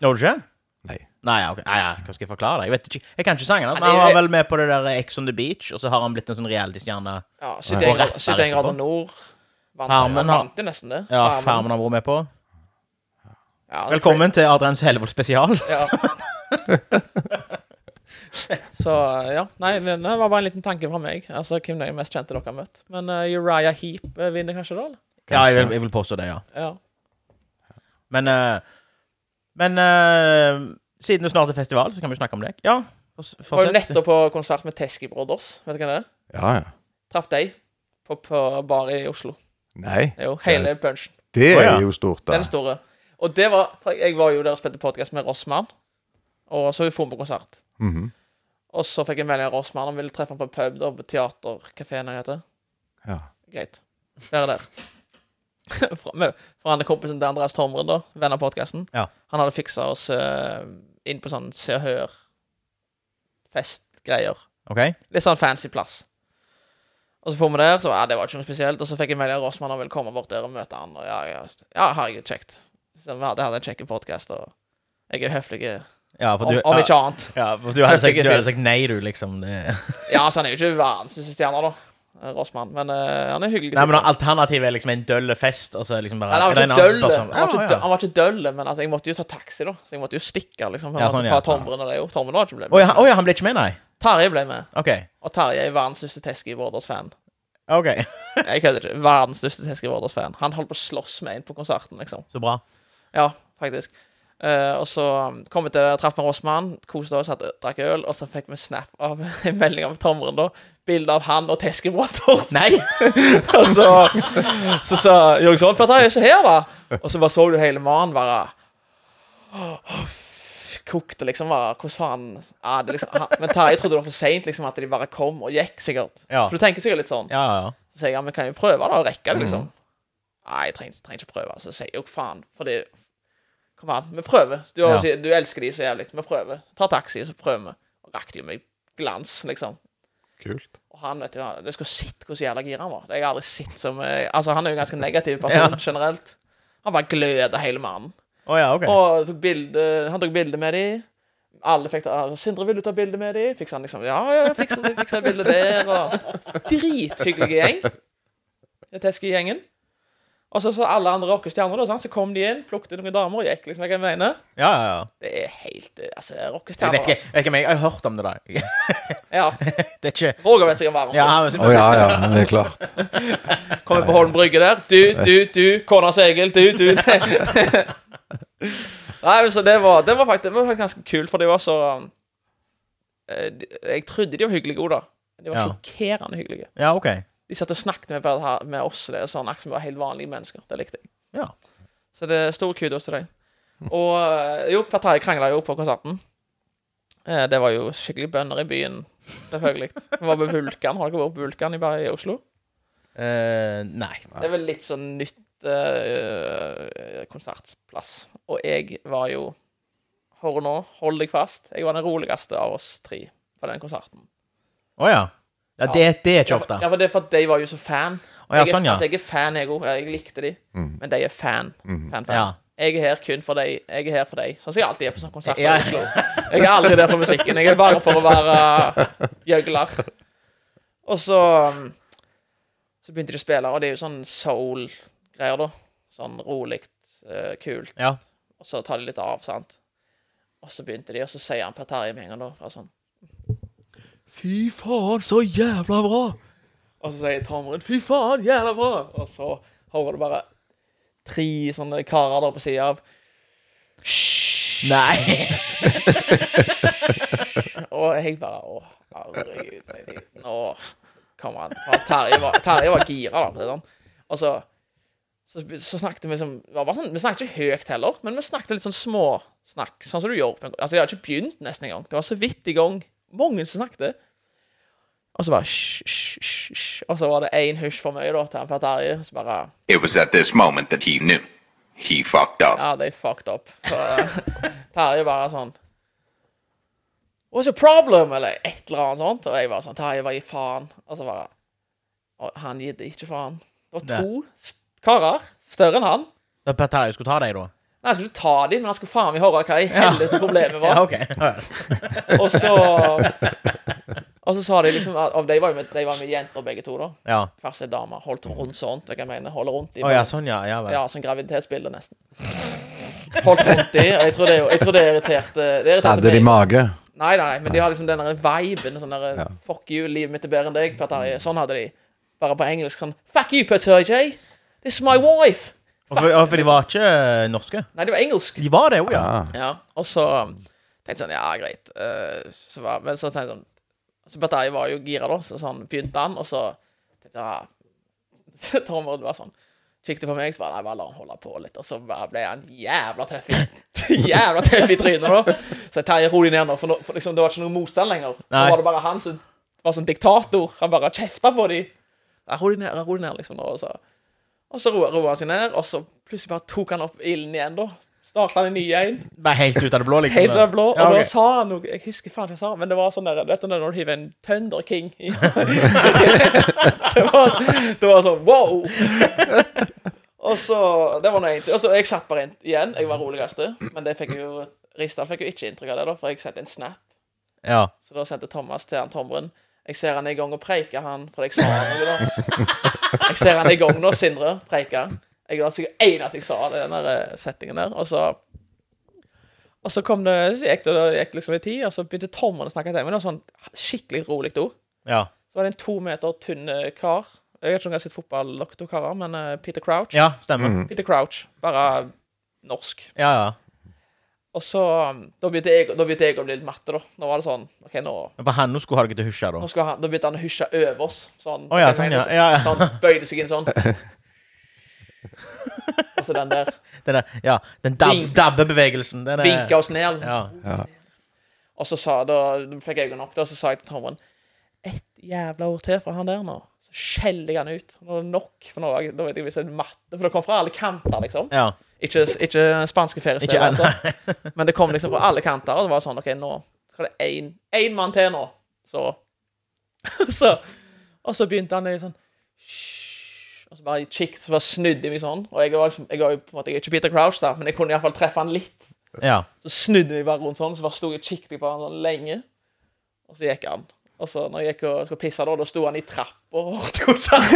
[SPEAKER 2] Gjorde du ikke?
[SPEAKER 1] Nei.
[SPEAKER 2] Nei, ok. Nei, ja, hva skal jeg forklare det? Jeg vet ikke. Jeg kan ikke sangen hans,
[SPEAKER 3] Nei,
[SPEAKER 2] men han var
[SPEAKER 3] jeg-
[SPEAKER 2] vel med på det der Ex on the Beach, og så har han blitt en sånn reality-stjerne.
[SPEAKER 3] ja,
[SPEAKER 2] Og rett der
[SPEAKER 3] 71
[SPEAKER 2] etterpå.
[SPEAKER 3] grader nord. Vant,
[SPEAKER 2] Farmen
[SPEAKER 3] han
[SPEAKER 2] har-
[SPEAKER 3] vant jo nesten det.
[SPEAKER 2] Ja, Farmen har vært med på.
[SPEAKER 3] Ja, det-
[SPEAKER 2] Velkommen til Adrian Hellevold spesial.
[SPEAKER 3] Ja. Så ja. Nei, det det var bare en liten tanke fra meg. Altså, Hvem er den mest kjente dere har møtt? Men eh, Uriah Heap eh, vinner kanskje, da? eller?
[SPEAKER 2] Ja, jeg vil, jeg vil påstå det, ja.
[SPEAKER 3] Ja.
[SPEAKER 2] Men eh, Men eh, siden det snart er festival, så kan vi snakke om deg. Ja, forts-
[SPEAKER 3] Jeg var jo
[SPEAKER 2] fortsett.
[SPEAKER 3] nettopp på konsert med Teski Brothers. Vet du hva det er?
[SPEAKER 1] Ja, ja.
[SPEAKER 3] Traff deg på, på bar i Oslo.
[SPEAKER 1] Nei,
[SPEAKER 3] Det er Jo, hele punchen.
[SPEAKER 1] det
[SPEAKER 2] Å, ja.
[SPEAKER 1] er jo stort, da.
[SPEAKER 3] Den store. Og det var for Jeg var jo der og spilte podkast med Rossmann, og så dro vi på konsert.
[SPEAKER 1] Mhm.
[SPEAKER 3] Og så fikk jeg melding av Rossmann. Han ville treffe ham på en pub, da, på teaterkafeen han heter.
[SPEAKER 1] Ja.
[SPEAKER 3] Greit. Være der. Fra, med, fra han er kompisen til Andreas Tormren, da, venn av podkasten.
[SPEAKER 2] Ja.
[SPEAKER 3] Han hadde fiksa oss eh, inn på sånn Se og Hør-festgreier.
[SPEAKER 2] OK?
[SPEAKER 3] Litt sånn fancy plass. Og så får vi der, så ja, det var ikke noe spesielt. Og så fikk jeg melding av Rossmann og ville komme bort der og møte han. Og ja, ja, ja herregud, kjekt. Så vi hadde hatt en kjekk podkast, og jeg er høflig eh,
[SPEAKER 2] Ja, for
[SPEAKER 3] om,
[SPEAKER 2] du,
[SPEAKER 3] om ikke annet.
[SPEAKER 2] ja, for du hadde sagt,
[SPEAKER 3] Høflige
[SPEAKER 2] du hadde
[SPEAKER 3] fyr.
[SPEAKER 2] sagt nei, du, liksom. Det.
[SPEAKER 3] Ja, altså, han er jo ikke verdens største stjerne, da. eh, Rossmann. Men eh, han er hyggelig.
[SPEAKER 2] Nei, men
[SPEAKER 3] type.
[SPEAKER 2] alternativet er liksom en døll fest, og så er liksom bare
[SPEAKER 3] Nei, han,
[SPEAKER 2] er det en
[SPEAKER 3] var
[SPEAKER 2] annen
[SPEAKER 3] ikke dølle.
[SPEAKER 2] spørsmål?
[SPEAKER 3] han var
[SPEAKER 2] Ja,
[SPEAKER 3] ikke dølle.
[SPEAKER 2] ja.
[SPEAKER 3] Han var ikke dølle, men altså, jeg måtte jo ta taxi, da. Så jeg måtte jo stikke, liksom.
[SPEAKER 2] Ja,
[SPEAKER 3] Ja,
[SPEAKER 2] sånn,
[SPEAKER 3] fra
[SPEAKER 2] ja.
[SPEAKER 3] Tombren og det jo. Tombren var ikke ble med.
[SPEAKER 2] Å ja, å ja, han ble ikke med, nei?
[SPEAKER 3] Tarjei ble med.
[SPEAKER 2] OK.
[SPEAKER 3] Og Tarjei er verdens største Teskey-Vårders-fan.
[SPEAKER 2] ok
[SPEAKER 3] Jeg kødder ikke. Verdens største Teskey-Vårders-fan. Han holdt på å slåss med en på konserten, liksom.
[SPEAKER 2] Så bra.
[SPEAKER 3] Ja, faktisk. Eh, og så um, kom vi til det, traff vi Rossmann, koste oss, hadde- drakk øl, og så fikk vi snap av en melding av Tomren, da. Bilde av han og Teskey-Vårders.
[SPEAKER 2] Nei!
[SPEAKER 3] Og så Så sa Jørgen Solfjord Han er ikke her da Og så bare så du hele mannen bare «Åh, f- Kokte liksom bare Hvordan faen ja, det liksom, han, Men Terje trodde det var for sent liksom At de bare kom og gikk sikkert
[SPEAKER 2] Ja.
[SPEAKER 3] For du tenker sikkert litt sånn
[SPEAKER 2] Ja, ja, ja.
[SPEAKER 3] Så sier jeg Ja, men kan vi prøve da Og rekke det
[SPEAKER 2] Mm.
[SPEAKER 3] liksom Nei, jeg trenger, trenger ikke prøve Så sier jeg jo faen Fordi Kom an, vi prøver du, har,
[SPEAKER 2] Ja.
[SPEAKER 3] du elsker de så jævlig Vi prøver Ta taxi, så prøver vi Og rakk de jo meg glans liksom
[SPEAKER 1] Kult.
[SPEAKER 3] og han, vet du, han, du skulle sett hvor så jævla gira han var. Det har jeg aldri sett som eh, Altså, han er jo en ganske negativ person
[SPEAKER 2] Ja.
[SPEAKER 3] generelt. Han bare gløder hele mannen.
[SPEAKER 2] Å ja, OK.
[SPEAKER 3] Og tok bilde, han tok bilde med de. Alle fikk ta, ah, Sindre, vil du ta bilde med de? Fiksa han liksom Ja, ja, fiksa, fiksa bilde der, og Drithyggelig gjeng. Det Teske-gjengen. Og så så alle andre rockestjerner, da, sant? så kom de inn, plukket noen damer og gikk, liksom, jeg mener.
[SPEAKER 2] Ja, ja, ja.
[SPEAKER 3] Det er helt eh, Altså,
[SPEAKER 2] Jeg
[SPEAKER 3] rockestjerner.
[SPEAKER 2] vet ikke, vet ikke men jeg har hørt om det der.
[SPEAKER 3] altså. Ja.
[SPEAKER 2] Det er ikke
[SPEAKER 3] Roger vet sikkert hva han
[SPEAKER 2] Ja, men så,
[SPEAKER 1] Å ja, ja, men det er klart.
[SPEAKER 3] Kommer på Holm Brygge der. Du, du, du. Kona Segil, du, du. Nei, men så det var, det var, faktisk, det var faktisk ganske kult, for de var så um, eh, de- Jeg trodde de var hyggelige òg, da. De var
[SPEAKER 2] Ja.
[SPEAKER 3] sjokkerende hyggelige.
[SPEAKER 2] ja, OK.
[SPEAKER 3] De satt og snakket med, hver- med oss det, er sånn, akkurat som vi var helt vanlige mennesker. Det likte jeg.
[SPEAKER 2] Ja.
[SPEAKER 3] Så det er stor kudos til deg. Og eh, jo, Per Terje krangla jo på konserten. Eh, Det var jo skikkelig bønder i byen, selvfølgelig. Vi var på Vulkan. Har dere vært på Vulkan i, Berg- i Oslo?
[SPEAKER 2] Eh, nei.
[SPEAKER 3] Det er vel litt sånn nytt eh, konsertplass. Og jeg var jo Hør nå, hold deg fast. Jeg var den roligste av oss tre på den konserten.
[SPEAKER 2] Å ja. ja. Det, det er ikke ofte.
[SPEAKER 3] Ja, for det er for at de var jo så fan.
[SPEAKER 2] Å ja,
[SPEAKER 3] jeg, er-
[SPEAKER 2] sånn, ja.
[SPEAKER 3] altså, jeg er fan, jeg òg. Jeg likte de.
[SPEAKER 1] Mm.
[SPEAKER 3] Men de er fan.
[SPEAKER 1] Mm.
[SPEAKER 3] fan, fan.
[SPEAKER 2] Ja.
[SPEAKER 3] Jeg er her kun for deg. Jeg er her for deg. Sånn som jeg alltid er på sånn konsert.
[SPEAKER 2] Ja.
[SPEAKER 3] i Oslo. Jeg er aldri der for musikken. Jeg er bare for å være gjøgler. Og så um, Så begynte de å spille, og det er jo sånn soul-greier, da. Sånn rolig, eh, kult.
[SPEAKER 2] Ja.
[SPEAKER 3] Og så tar de litt av, sant. Og så begynte de, og så sier han Per Terje med en gang, da. Bare sånn Fy faen, så jævla bra! Og så sier Tomren Fy faen, jævla bra! Og så hører du bare tre sånne karer der på sida av.
[SPEAKER 2] Nei.
[SPEAKER 3] Og jeg bare Å, herregud. jeg- Nå kommer han. Og Terje var, Terje var gira, da. for å si det sånn. Og så, så, så snakket vi liksom det var bare sånn, Vi snakket ikke høyt heller, men vi snakket litt sånn småsnakk. Sånn som du gjør. på en- Altså, Jeg hadde ikke begynt nesten engang. Det var så vidt i gang. Mange som snakket. Og så bare hysj, hysj, hysj, hysj. Og så var det én hysj for mye da, til han fra Terje. Så bare
[SPEAKER 4] It was at this moment that he knew. He fucked up.
[SPEAKER 3] Ja, they fucked up. Så, eh, Terje bare sånn What's your problem? Eller et eller annet sånt. Og jeg bare sånn Terje, hva gir faen? Og så bare og Han gitt ikke faen. Det var to st- karer større enn han.
[SPEAKER 2] Da Per Terje skulle ta deg, da?
[SPEAKER 3] Nei, jeg skulle ta dem, men han skulle faen meg høre hva i helvete problemet var.
[SPEAKER 2] Ja, OK. Ja, ja.
[SPEAKER 3] Og så Og så sa de liksom at, og de, var jo med, de var med jenter begge to, da.
[SPEAKER 2] ja.
[SPEAKER 3] Først ei dame. Holdt rundt sånt. Hva jeg mener. Holde rundt i
[SPEAKER 2] Å ja, sånn, ja. Ja vel.
[SPEAKER 3] Ja, som graviditetsbilde, nesten. Holdt rundt i. og Jeg tror det, jeg tror det irriterte det irriterte
[SPEAKER 1] Hadde de
[SPEAKER 3] meg.
[SPEAKER 1] mage?
[SPEAKER 3] Nei, nei, men de har liksom den der viben. Sånn der,
[SPEAKER 1] Ja.
[SPEAKER 3] Fuck you, livet mitt er bedre enn deg. Per Terje. Sånn hadde de. Bare på engelsk. sånn Fuck you, Per Terje. This is my wife.
[SPEAKER 2] Og for, og for de var ikke eh, norske?
[SPEAKER 3] Nei, det var engelsk.
[SPEAKER 2] De var det, jo, ja.
[SPEAKER 1] Ja.
[SPEAKER 3] Ja, og så tenkte jeg sånn Ja, greit. Eh, så var, men så tenkte jeg sånn Så Per Terje var jo gira, da, så sånn begynte han, og så tenkte jeg ah. Så Tom Odd var sånn Kikket på meg, så bare Nei, bare la han holde på litt. Og så bare ble han jævla tøff i Jævla tøff i trynet, da. Så jeg, Terje, ro deg ned nå, for, nå, for liksom, det var ikke noe motstand lenger. Nå
[SPEAKER 2] Nei.
[SPEAKER 3] var det bare han som var sånn diktator. Han bare kjefta på de. Nei, ro deg ned, ro deg ned, liksom. nå, Og så, og så roa roa han seg ned, og så plutselig bare tok han opp ilden igjen, da. Starta han en ny en.
[SPEAKER 2] Bare helt ut av det blå, liksom?
[SPEAKER 3] Helt av det blå. Og
[SPEAKER 2] Ja, ok.
[SPEAKER 3] da sa han noe Jeg husker faen hva han sa, men det var sånn der Vet du når du hiver en Thunder King i det, var, det var sånn wow! Og så Det var nå egentlig Og så jeg satt bare inn igjen. Jeg var roligste. Men det fikk jeg jo Risdal fikk jo ikke inntrykk av det, da, for jeg sendte en snap.
[SPEAKER 2] Ja.
[SPEAKER 3] Så da sendte Thomas til han Tomren. Jeg ser han er i gang og preiker, han, for jeg sa noe, da. Jeg ser han er i gang nå, Sindre. Preiker. Jeg var sikkert eneste jeg sa det, i den der eh, settingen der. Og så Og så kom det Så gikk det, det gikk liksom en tid, og så begynte Tomren å snakke til meg. Det var sånn skikkelig rolig ord.
[SPEAKER 2] Ja.
[SPEAKER 3] Så var det en to meter tynn eh, kar. Jeg vet ikke om jeg har sett fotball, dere to karer, men eh, Peter Crouch.
[SPEAKER 2] ja, stemmer.
[SPEAKER 3] Peter Crouch, bare norsk.
[SPEAKER 2] Ja, ja.
[SPEAKER 3] Og så um, Da begynte jeg, da begynte jeg å bli litt matt, da. Nå var det sånn OK, nå,
[SPEAKER 2] Men På han nå skulle ha dere til husja, da.
[SPEAKER 3] nå skal han Da begynte han å hysje over oss. Sånn.
[SPEAKER 2] Å ja, sånn, ja. ja, ja.
[SPEAKER 3] Så han bøyde seg inn sånn. Og så den der.
[SPEAKER 2] Den, der, ja, den dab,
[SPEAKER 3] Vink.
[SPEAKER 2] dabbebevegelsen. Den er,
[SPEAKER 3] Vinka oss ned.
[SPEAKER 2] Ja.
[SPEAKER 3] Og så sa, da fikk jeg øynene opp, da, og så sa jeg til Trondheim Ett jævla ord til fra han der nå. Så skjeller jeg han ut. Nå er det nok. For nå er jeg, da vet jeg hvis det er matte For det kom fra alle kanter, liksom.
[SPEAKER 2] ja.
[SPEAKER 3] Ikke, ikke spanske
[SPEAKER 2] Ikke
[SPEAKER 3] feriesteder,
[SPEAKER 2] alle.
[SPEAKER 3] altså. Men det kom liksom fra alle kanter, og det var sånn OK, nå skal det én én mann til nå. Så så, og så begynte han litt sånn «Hysj», Og så bare kikket, så bare snudde jeg meg sånn. Og jeg var liksom, jeg var jo på en måte, jeg er ikke Peter Crouch, da, men jeg kunne iallfall treffe han litt.
[SPEAKER 2] ja.
[SPEAKER 3] Så snudde vi bare rundt sånn, så bare sto jeg og kikket på han sånn lenge. Og så gikk han. Og så når jeg gikk og skulle pisse, da, da sto han i trappa og tok seg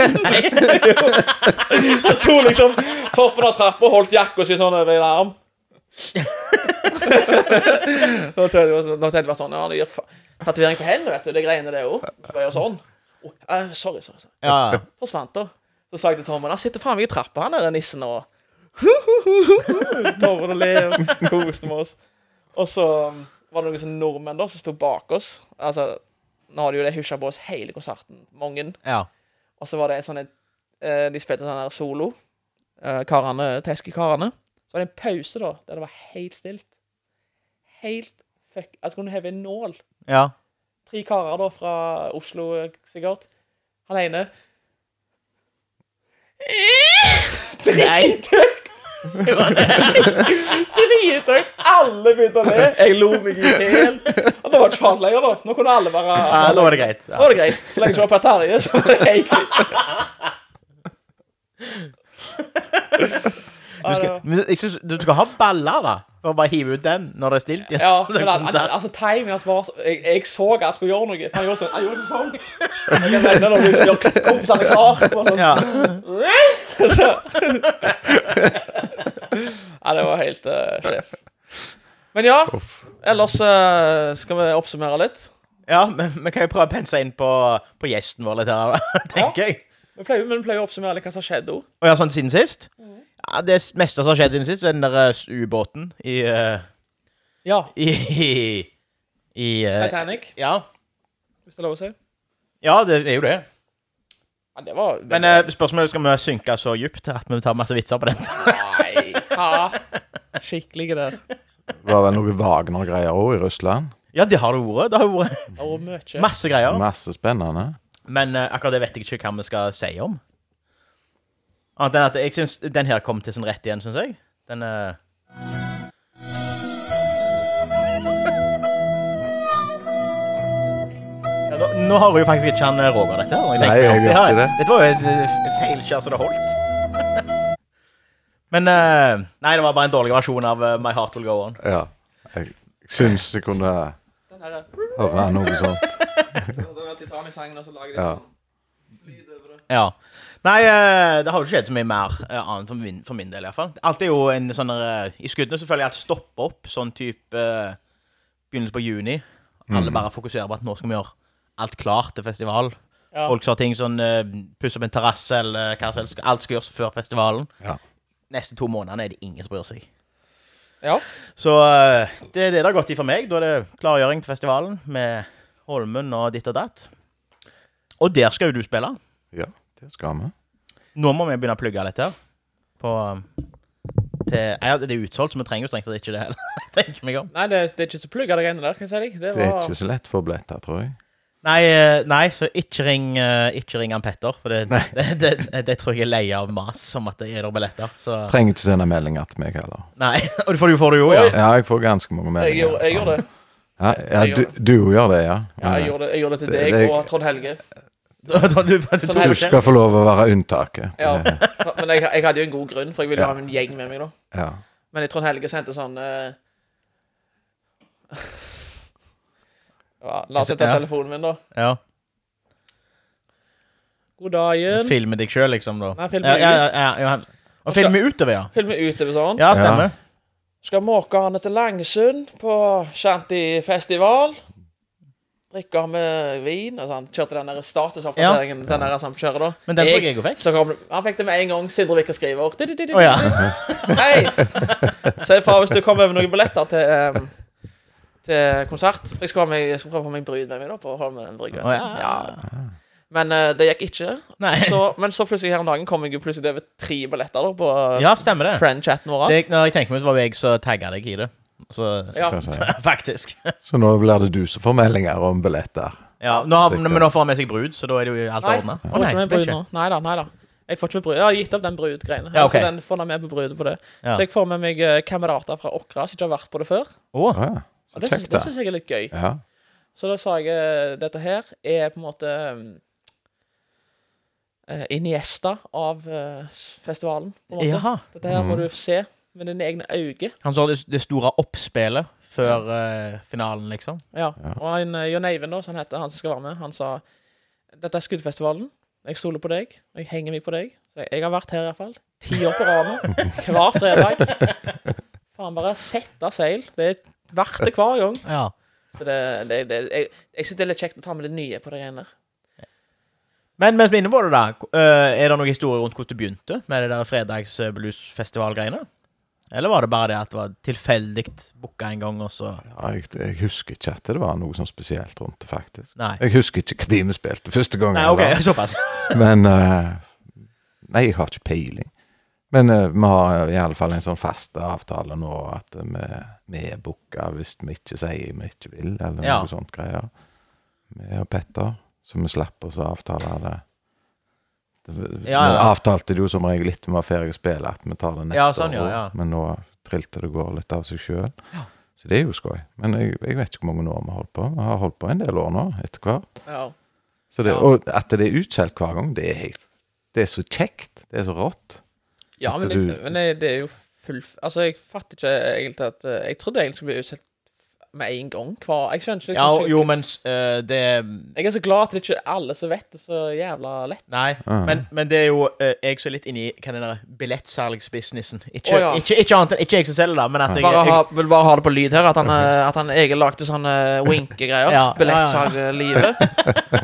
[SPEAKER 3] Han sto liksom toppen av trappa og holdt jakka si sånn over en arm. Nå tenkte jeg nå tenkte jeg bare sånn Ja, det gir fa- tatovering på hendene, vet du. Det greiene, det òg. Så bare gjør sånn. Å, eh, sorry, sorry. sorry
[SPEAKER 2] ja. ja.
[SPEAKER 3] forsvant da. Så sa jeg til Tormod, han sitter faen meg i trappa, han der nissen og Tormod og Leo koste med oss. Og så um, var det noen sånne nordmenn da som sto bak oss. Altså, nå har de jo det husja på oss hele konserten, mange.
[SPEAKER 2] ja.
[SPEAKER 3] Og så var det en sånn en eh, De spilte sånn her solo, eh, karene, Teske-karene. Så var det en pause da, der det var helt stilt. Helt fuck Jeg skulle heve en nål
[SPEAKER 2] ja.
[SPEAKER 3] tre karer da fra Oslo, eh, sikkert. Han ene Drithøyt! Drithøyt! Alle begynte å le. Jeg lo meg i hjel. Og det var ikke farlig lenger, da. Nå kunne alle bare
[SPEAKER 2] ja. Da var det greit.
[SPEAKER 3] Nå
[SPEAKER 2] Ja.
[SPEAKER 3] var det greit. Så lenge det ikke var Per Terje, så var det egentlig
[SPEAKER 2] Du skal, men jeg synes, du skal ha baller, da. For å bare hive ut den når det er stilt. igjen.
[SPEAKER 3] Ja, men han, han, altså timingen hans var så jeg, jeg så at han skulle gjøre noe. For han gjorde sånn. Han gjorde sånn. Jeg kan nevne det når du gjør kompisene klar. Bare sånn.
[SPEAKER 2] Ja.
[SPEAKER 3] Så. Nei, det var helt uh, sjef. Men ja,
[SPEAKER 1] Uff.
[SPEAKER 3] ellers eh, skal vi oppsummere litt.
[SPEAKER 2] ja, men vi kan jo prøve å pense inn på, på gjesten vår litt her, da, tenker jeg.
[SPEAKER 3] Vi pleier, men vi pleier å oppsummere litt hva som skjedde. også.
[SPEAKER 2] Og ja, sånn siden sist? Ja, Det meste som har skjedd siden sist, er den der eh, ubåten i eh,
[SPEAKER 3] Ja.
[SPEAKER 2] I, i, i eh,
[SPEAKER 3] Titanic,
[SPEAKER 2] ja.
[SPEAKER 3] hvis det er lov å si.
[SPEAKER 2] ja, det er jo det.
[SPEAKER 3] Ja, det var
[SPEAKER 2] Men eh, spørsmålet er skal vi synke så dypt at vi tar masse vitser på den.
[SPEAKER 3] Nei. Ja. Skikkelig det.
[SPEAKER 1] Det var vel noe Wagner-greier òg i Russland.
[SPEAKER 2] ja, det har det vært. Det har jo vært
[SPEAKER 3] Det var mye.
[SPEAKER 2] masse greier.
[SPEAKER 1] Masse spennende.
[SPEAKER 2] Men eh, akkurat det vet jeg ikke hva vi skal si om. Annet enn at jeg syns den her kom til sin rett igjen, syns jeg. Den eh, ja, da, Nå har jo faktisk ikke han eh, Roger dette. her, og
[SPEAKER 1] Nei,
[SPEAKER 2] tenker
[SPEAKER 1] jeg
[SPEAKER 2] at
[SPEAKER 1] gjør
[SPEAKER 2] det
[SPEAKER 1] ikke
[SPEAKER 2] her-
[SPEAKER 1] det.
[SPEAKER 2] Dette var jo et eh, feilskjær så det holdt. Men eh, Nei, det var bare en dårlig versjon av eh, My Heart Will Go On.
[SPEAKER 1] Ja. Jeg syns jeg kunne
[SPEAKER 3] Den her,
[SPEAKER 1] høre noe sånt.
[SPEAKER 3] den her Titanic-sangen, og så lager de
[SPEAKER 1] Ja.
[SPEAKER 3] sånn lyd over det.
[SPEAKER 2] Ja. Nei, eh, det har jo ikke skjedd så mye mer eh, annet for min, for min del, iallfall. Alt er jo en sånn eh, I skuddene så føler jeg at stopper opp sånn type eh, begynnelse på juni. Alle bare fokuserer på at nå skal vi gjøre alt klart til festival.
[SPEAKER 3] Ja.
[SPEAKER 2] Folk sa ting sånn eh, pusse opp en terrasse eller hva som helst. Alt skal gjøres før festivalen.
[SPEAKER 1] Ja.
[SPEAKER 2] Neste to månedene er det ingen som bryr seg.
[SPEAKER 3] Ja.
[SPEAKER 2] Så eh, det er det det har gått i for meg. Da er det klargjøring til festivalen med Holmen og ditt og datt. Og der skal jo du spille.
[SPEAKER 1] Ja, det skal vi.
[SPEAKER 2] Nå må vi begynne å plugge litt her. På um, til, ja, Det er utsolgt, så vi trenger jo strengt tatt ikke det heller. Tenker meg om.
[SPEAKER 3] Nei, det, det er ikke så plugga, det greiene der. Kan jeg si deg. Det
[SPEAKER 1] Det er
[SPEAKER 3] var
[SPEAKER 1] ikke så lett for billetter, tror jeg.
[SPEAKER 2] Nei, eh, nei så ikke ring, eh, ikke ring han Petter. For det, det, det, det, tror jeg er lei av mas om at det er der billetter. Så
[SPEAKER 1] Trenger ikke sende meldinger til meg heller.
[SPEAKER 2] Nei. Og det får du, får du jo, ja.
[SPEAKER 1] Ja, jeg får ganske mange
[SPEAKER 3] jeg,
[SPEAKER 1] meldinger.
[SPEAKER 3] gjorde, jeg gjorde det.
[SPEAKER 1] Ja, ja du, du gjør det, ja.
[SPEAKER 3] Ja, jeg gjorde det, jeg gjorde det til
[SPEAKER 1] Det-
[SPEAKER 3] deg
[SPEAKER 1] det-
[SPEAKER 3] og Trond Helge.
[SPEAKER 2] Da- da- du- du-
[SPEAKER 3] Sånn
[SPEAKER 2] du-
[SPEAKER 1] Du skal få lov å være unntaket.
[SPEAKER 3] Ja.
[SPEAKER 1] Det-
[SPEAKER 3] Men jeg, jeg hadde jo en god grunn, for jeg ville
[SPEAKER 1] Ja.
[SPEAKER 3] ha en gjeng med meg, da.
[SPEAKER 1] ja.
[SPEAKER 3] Men jeg tror Helge sendte sånn eh, ja, La oss ta
[SPEAKER 2] Ja.
[SPEAKER 3] telefonen min, da.
[SPEAKER 2] Ja.
[SPEAKER 3] God dagen.
[SPEAKER 2] Filme deg sjøl, liksom, da.
[SPEAKER 3] Nei, filme
[SPEAKER 2] ja, ja,
[SPEAKER 3] ut.
[SPEAKER 2] ja, ja. Og filme utover, ja.
[SPEAKER 3] Filme utover sånn.
[SPEAKER 2] Ja, stemmer.
[SPEAKER 3] Skal måke han til Langesund på shantyfestival. Drikke med vin. Og sånn. Kjørte den der statusoppdateringen til den der samkjøret, da.
[SPEAKER 2] Men den tror jeg jeg fikk.
[SPEAKER 3] Så kom, han fikk det med en gang. Sindre Vikke skriver. Du, du, du, du.
[SPEAKER 2] Å ja.
[SPEAKER 3] Hei! Si ifra hvis du kommer over noen billetter til, em, til konsert. Jeg skal, ha meg, jeg skal prøve å få meg brud med meg da, på Holmen brygge. vet du.
[SPEAKER 2] Å, ja.
[SPEAKER 3] Ja. Men eh, det gikk ikke.
[SPEAKER 2] Nei.
[SPEAKER 3] Så, men så plutselig her om dagen kom jeg jo plutselig over tre billetter da, på eh,
[SPEAKER 2] ja, stemmer det.
[SPEAKER 3] friend-chatten vår.
[SPEAKER 2] det. Når jeg tenker meg ut, var det jeg som tagga deg i det. Så
[SPEAKER 3] Ja.
[SPEAKER 1] Hva sier jeg?
[SPEAKER 2] Faktisk.
[SPEAKER 1] Så nå blir det du som får meldinger om billetter.
[SPEAKER 2] Ja, nå har, men nå får han med seg brud, så da er det jo alt
[SPEAKER 3] Nei,
[SPEAKER 2] ordna.
[SPEAKER 3] jeg får ikke med brud nå. Nei da, nei da. Jeg får ikke med brud. Jeg har gitt opp den brud-greiene.
[SPEAKER 2] Ja, ok.
[SPEAKER 3] altså, den får jeg med på brudet på det.
[SPEAKER 2] Ja.
[SPEAKER 3] Så jeg får med meg eh, kamerater fra Åkra som ikke har vært på det før.
[SPEAKER 2] Å,
[SPEAKER 1] Å ja. Så
[SPEAKER 3] Og Ah. det
[SPEAKER 1] kjekt,
[SPEAKER 3] syns det
[SPEAKER 1] da.
[SPEAKER 3] syns jeg er litt gøy.
[SPEAKER 1] Ja.
[SPEAKER 3] Så da sa jeg eh, dette her er på en måte eh, Iniesta av eh, festivalen. På en måte.
[SPEAKER 2] Jaha.
[SPEAKER 3] Dette her må du se med dine egne øyne.
[SPEAKER 2] Han så det, det store oppspillet før eh, finalen, liksom.
[SPEAKER 3] Ja. Og han, eh, Jon Eivind, da, som han heter, han som skal være med, han sa dette er skuddfestivalen. Jeg stoler på deg. Jeg henger meg på deg. Så jeg, jeg har vært her i hvert fall. Ti år på rad nå. Hver fredag. Faen, bare sette seil. Det er verdt det hver gang.
[SPEAKER 2] Ja.
[SPEAKER 3] Så det, det, det, jeg jeg syns det er litt kjekt å ta med det nye på det greiene der.
[SPEAKER 2] Men mens vi er inne på det, da, k- eh, er det noen historie rundt hvordan det begynte med det der fredagsbluesfestivalgreiene? Eller var det bare det at det var tilfeldig booka en gang, og så
[SPEAKER 1] Ja, jeg, jeg husker ikke at det var noe sånn spesielt rundt det, faktisk.
[SPEAKER 2] Nei.
[SPEAKER 1] Jeg husker ikke når vi spilte første gangen.
[SPEAKER 2] Nei, OK,
[SPEAKER 1] da.
[SPEAKER 2] såpass.
[SPEAKER 1] Men eh, Nei, jeg har ikke peiling. Men eh, vi har i alle fall en sånn fast avtale nå at eh, vi- vi er booka hvis vi ikke sier vi ikke vil, eller
[SPEAKER 2] Ja.
[SPEAKER 1] noe sånt greier. Vi og Petter, så vi slapp oss å avtale det. det
[SPEAKER 2] Ja,
[SPEAKER 1] Vi
[SPEAKER 2] ja.
[SPEAKER 1] avtalte det jo som regel litt vi var ferdig å spille, at vi tar det neste
[SPEAKER 2] Ja, sånn, ja,
[SPEAKER 1] år.
[SPEAKER 2] ja.
[SPEAKER 1] Men nå trilte det går litt av seg sjøl. Så det er jo skøy. Men jeg, jeg vet ikke hvor mange år vi har holdt på. Vi har holdt på en del år nå, etter hvert.
[SPEAKER 3] Ja.
[SPEAKER 1] Så det,
[SPEAKER 3] Ja.
[SPEAKER 1] Og at det er utsolgt hver gang, det er helt Det er så kjekt. Det er så rått.
[SPEAKER 3] Ja,
[SPEAKER 1] At
[SPEAKER 3] men,
[SPEAKER 1] du-
[SPEAKER 3] det, men det, det er jo full Altså, jeg fatter ikke egentlig at eh, Jeg trodde egentlig skulle bli utsatt med en gang hver Jeg skjønner ikke
[SPEAKER 2] Ja,
[SPEAKER 3] liksom, ikke-
[SPEAKER 2] jo, men eh, det
[SPEAKER 3] Jeg er så glad at det ikke er alle som vet det så jævla lett.
[SPEAKER 2] Nei,
[SPEAKER 1] Ja.
[SPEAKER 2] men, men det er jo eh, jeg som er litt inni hva den der billettsalgsbusinessen. Ikke,
[SPEAKER 3] Å, ja.
[SPEAKER 2] ikke, ikke annet enn ikke jeg som selger, da, men at jeg,
[SPEAKER 3] Bare
[SPEAKER 2] jeg
[SPEAKER 3] ha, vil bare ha det på lyd her, at han, eh, at han Egil lagde sånne eh, winkegreier.
[SPEAKER 2] Ja, ja, ja.
[SPEAKER 3] Billettsalglivet.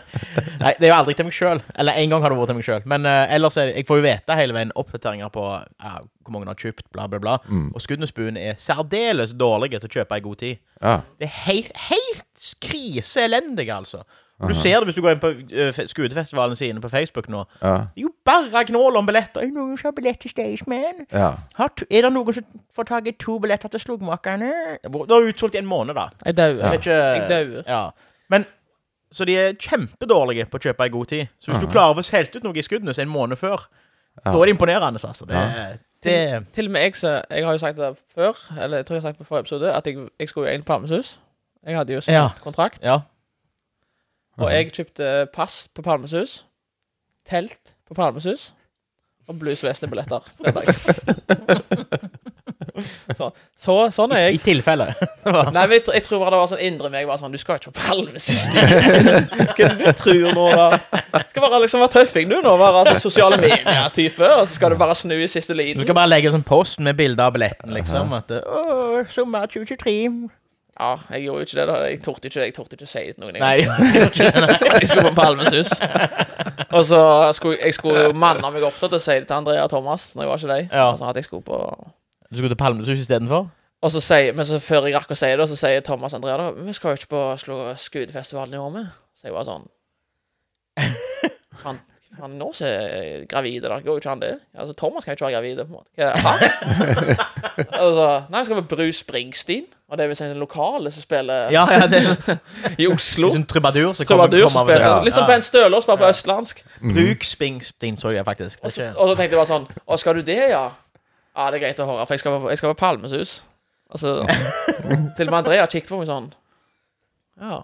[SPEAKER 2] Nei, det er jo aldri til meg sjøl. Eller en gang har det vært til meg sjøl. Men eh, ellers er det, jeg får jo vite hele veien oppdateringer på ja, hvor mange har kjøpt, bla, bla, bla. Og Skuddnesbuen er særdeles dårlige til å kjøpe i god tid.
[SPEAKER 1] Ja.
[SPEAKER 2] Det er helt, helt kriseelendige, altså. Og Du ser det hvis du går inn på uh, Skudefestivalen sine på Facebook nå.
[SPEAKER 1] Ja.
[SPEAKER 2] Det er jo bare gnål om billetter. Er det noen som har billett til Staysman?
[SPEAKER 1] ja.
[SPEAKER 2] Har to, er det noen som får tak i to billetter til Slogmakerne? Det har utsolgt i en måned, da.
[SPEAKER 3] Jeg dauer.
[SPEAKER 2] Jeg vet ikke
[SPEAKER 3] Jeg dauer.
[SPEAKER 2] Ja. Men Så de er kjempedårlige på å kjøpe i god tid. Så hvis du klarer å få solgt ut noe i Skudenes en måned før, da er det imponerende, altså. Det, det,
[SPEAKER 3] Til og med jeg som Jeg har jo sagt det før, eller jeg tror jeg har sagt det på forrige episode, at jeg, jeg skulle jo inn på Palmesus. Jeg hadde jo signert
[SPEAKER 2] Ja.
[SPEAKER 3] kontrakt.
[SPEAKER 2] ja.
[SPEAKER 3] Og
[SPEAKER 2] Mhm.
[SPEAKER 3] jeg kjøpte pass på Palmesus, telt på Palmesus og bluesvestebilletter fredag. så, så, sånn er
[SPEAKER 2] I
[SPEAKER 3] jeg.
[SPEAKER 2] tilfelle.
[SPEAKER 3] Nei, men jeg, tr- jeg tror bare det var sånn indre meg var sånn Du skal ikke på Palmesus, du. Hva er det du tror nå, da? Skal bare liksom være tøffing, du, nå. Være sånn sosiale medier-type. Og så skal du bare snu i siste
[SPEAKER 2] Du
[SPEAKER 3] liten.
[SPEAKER 2] skal bare legge en sånn post med bilde av billetten, liksom. At Å, sommer 2023.
[SPEAKER 3] Ja, jeg gjorde jo ikke det, da. Jeg torde ikke, jeg torde ikke si det til noen. jeg.
[SPEAKER 2] Nei.
[SPEAKER 3] Jeg skulle på Palmesus. Og så skulle jeg skulle jo manne meg opp til å si det til Andrea og Thomas når jeg var ikke deg.
[SPEAKER 2] Ja.
[SPEAKER 3] Altså, at jeg skulle på og
[SPEAKER 2] Du skulle til Palmesus istedenfor?
[SPEAKER 3] så sier, Men så før jeg rakk å si det, så sier Thomas og Andrea da «Men Vi skal jo ikke på Slo- Skudefestivalen i år, med. Så jeg var sånn Faen, faen, nå så er jeg gravide, da. Går jo ikke han det? Altså, Thomas kan jo ikke være gravid. på en måte. Hva- Hæ? altså, nei, vi skal på Bruce Springsteen. Og det vil si den lokale som spiller
[SPEAKER 2] Ja, ja, det er en
[SPEAKER 3] i Oslo.
[SPEAKER 2] sånn trubadur som sånn- kommer-
[SPEAKER 3] Trubadur som
[SPEAKER 2] kommer over
[SPEAKER 3] spiller.
[SPEAKER 2] der.
[SPEAKER 3] Litt som
[SPEAKER 2] Ja.
[SPEAKER 3] Ben Stølås, bare på østlandsk. Mm.
[SPEAKER 2] Bruk Spingsteen, så jeg faktisk.
[SPEAKER 3] Og så,
[SPEAKER 2] Det er ikke-
[SPEAKER 3] og så tenkte jeg bare sånn Å, skal du det, ja? Ja, det er greit å høre, for jeg skal på, jeg skal på Palmesus. Altså, til og med Andrea kikket på meg sånn Ja.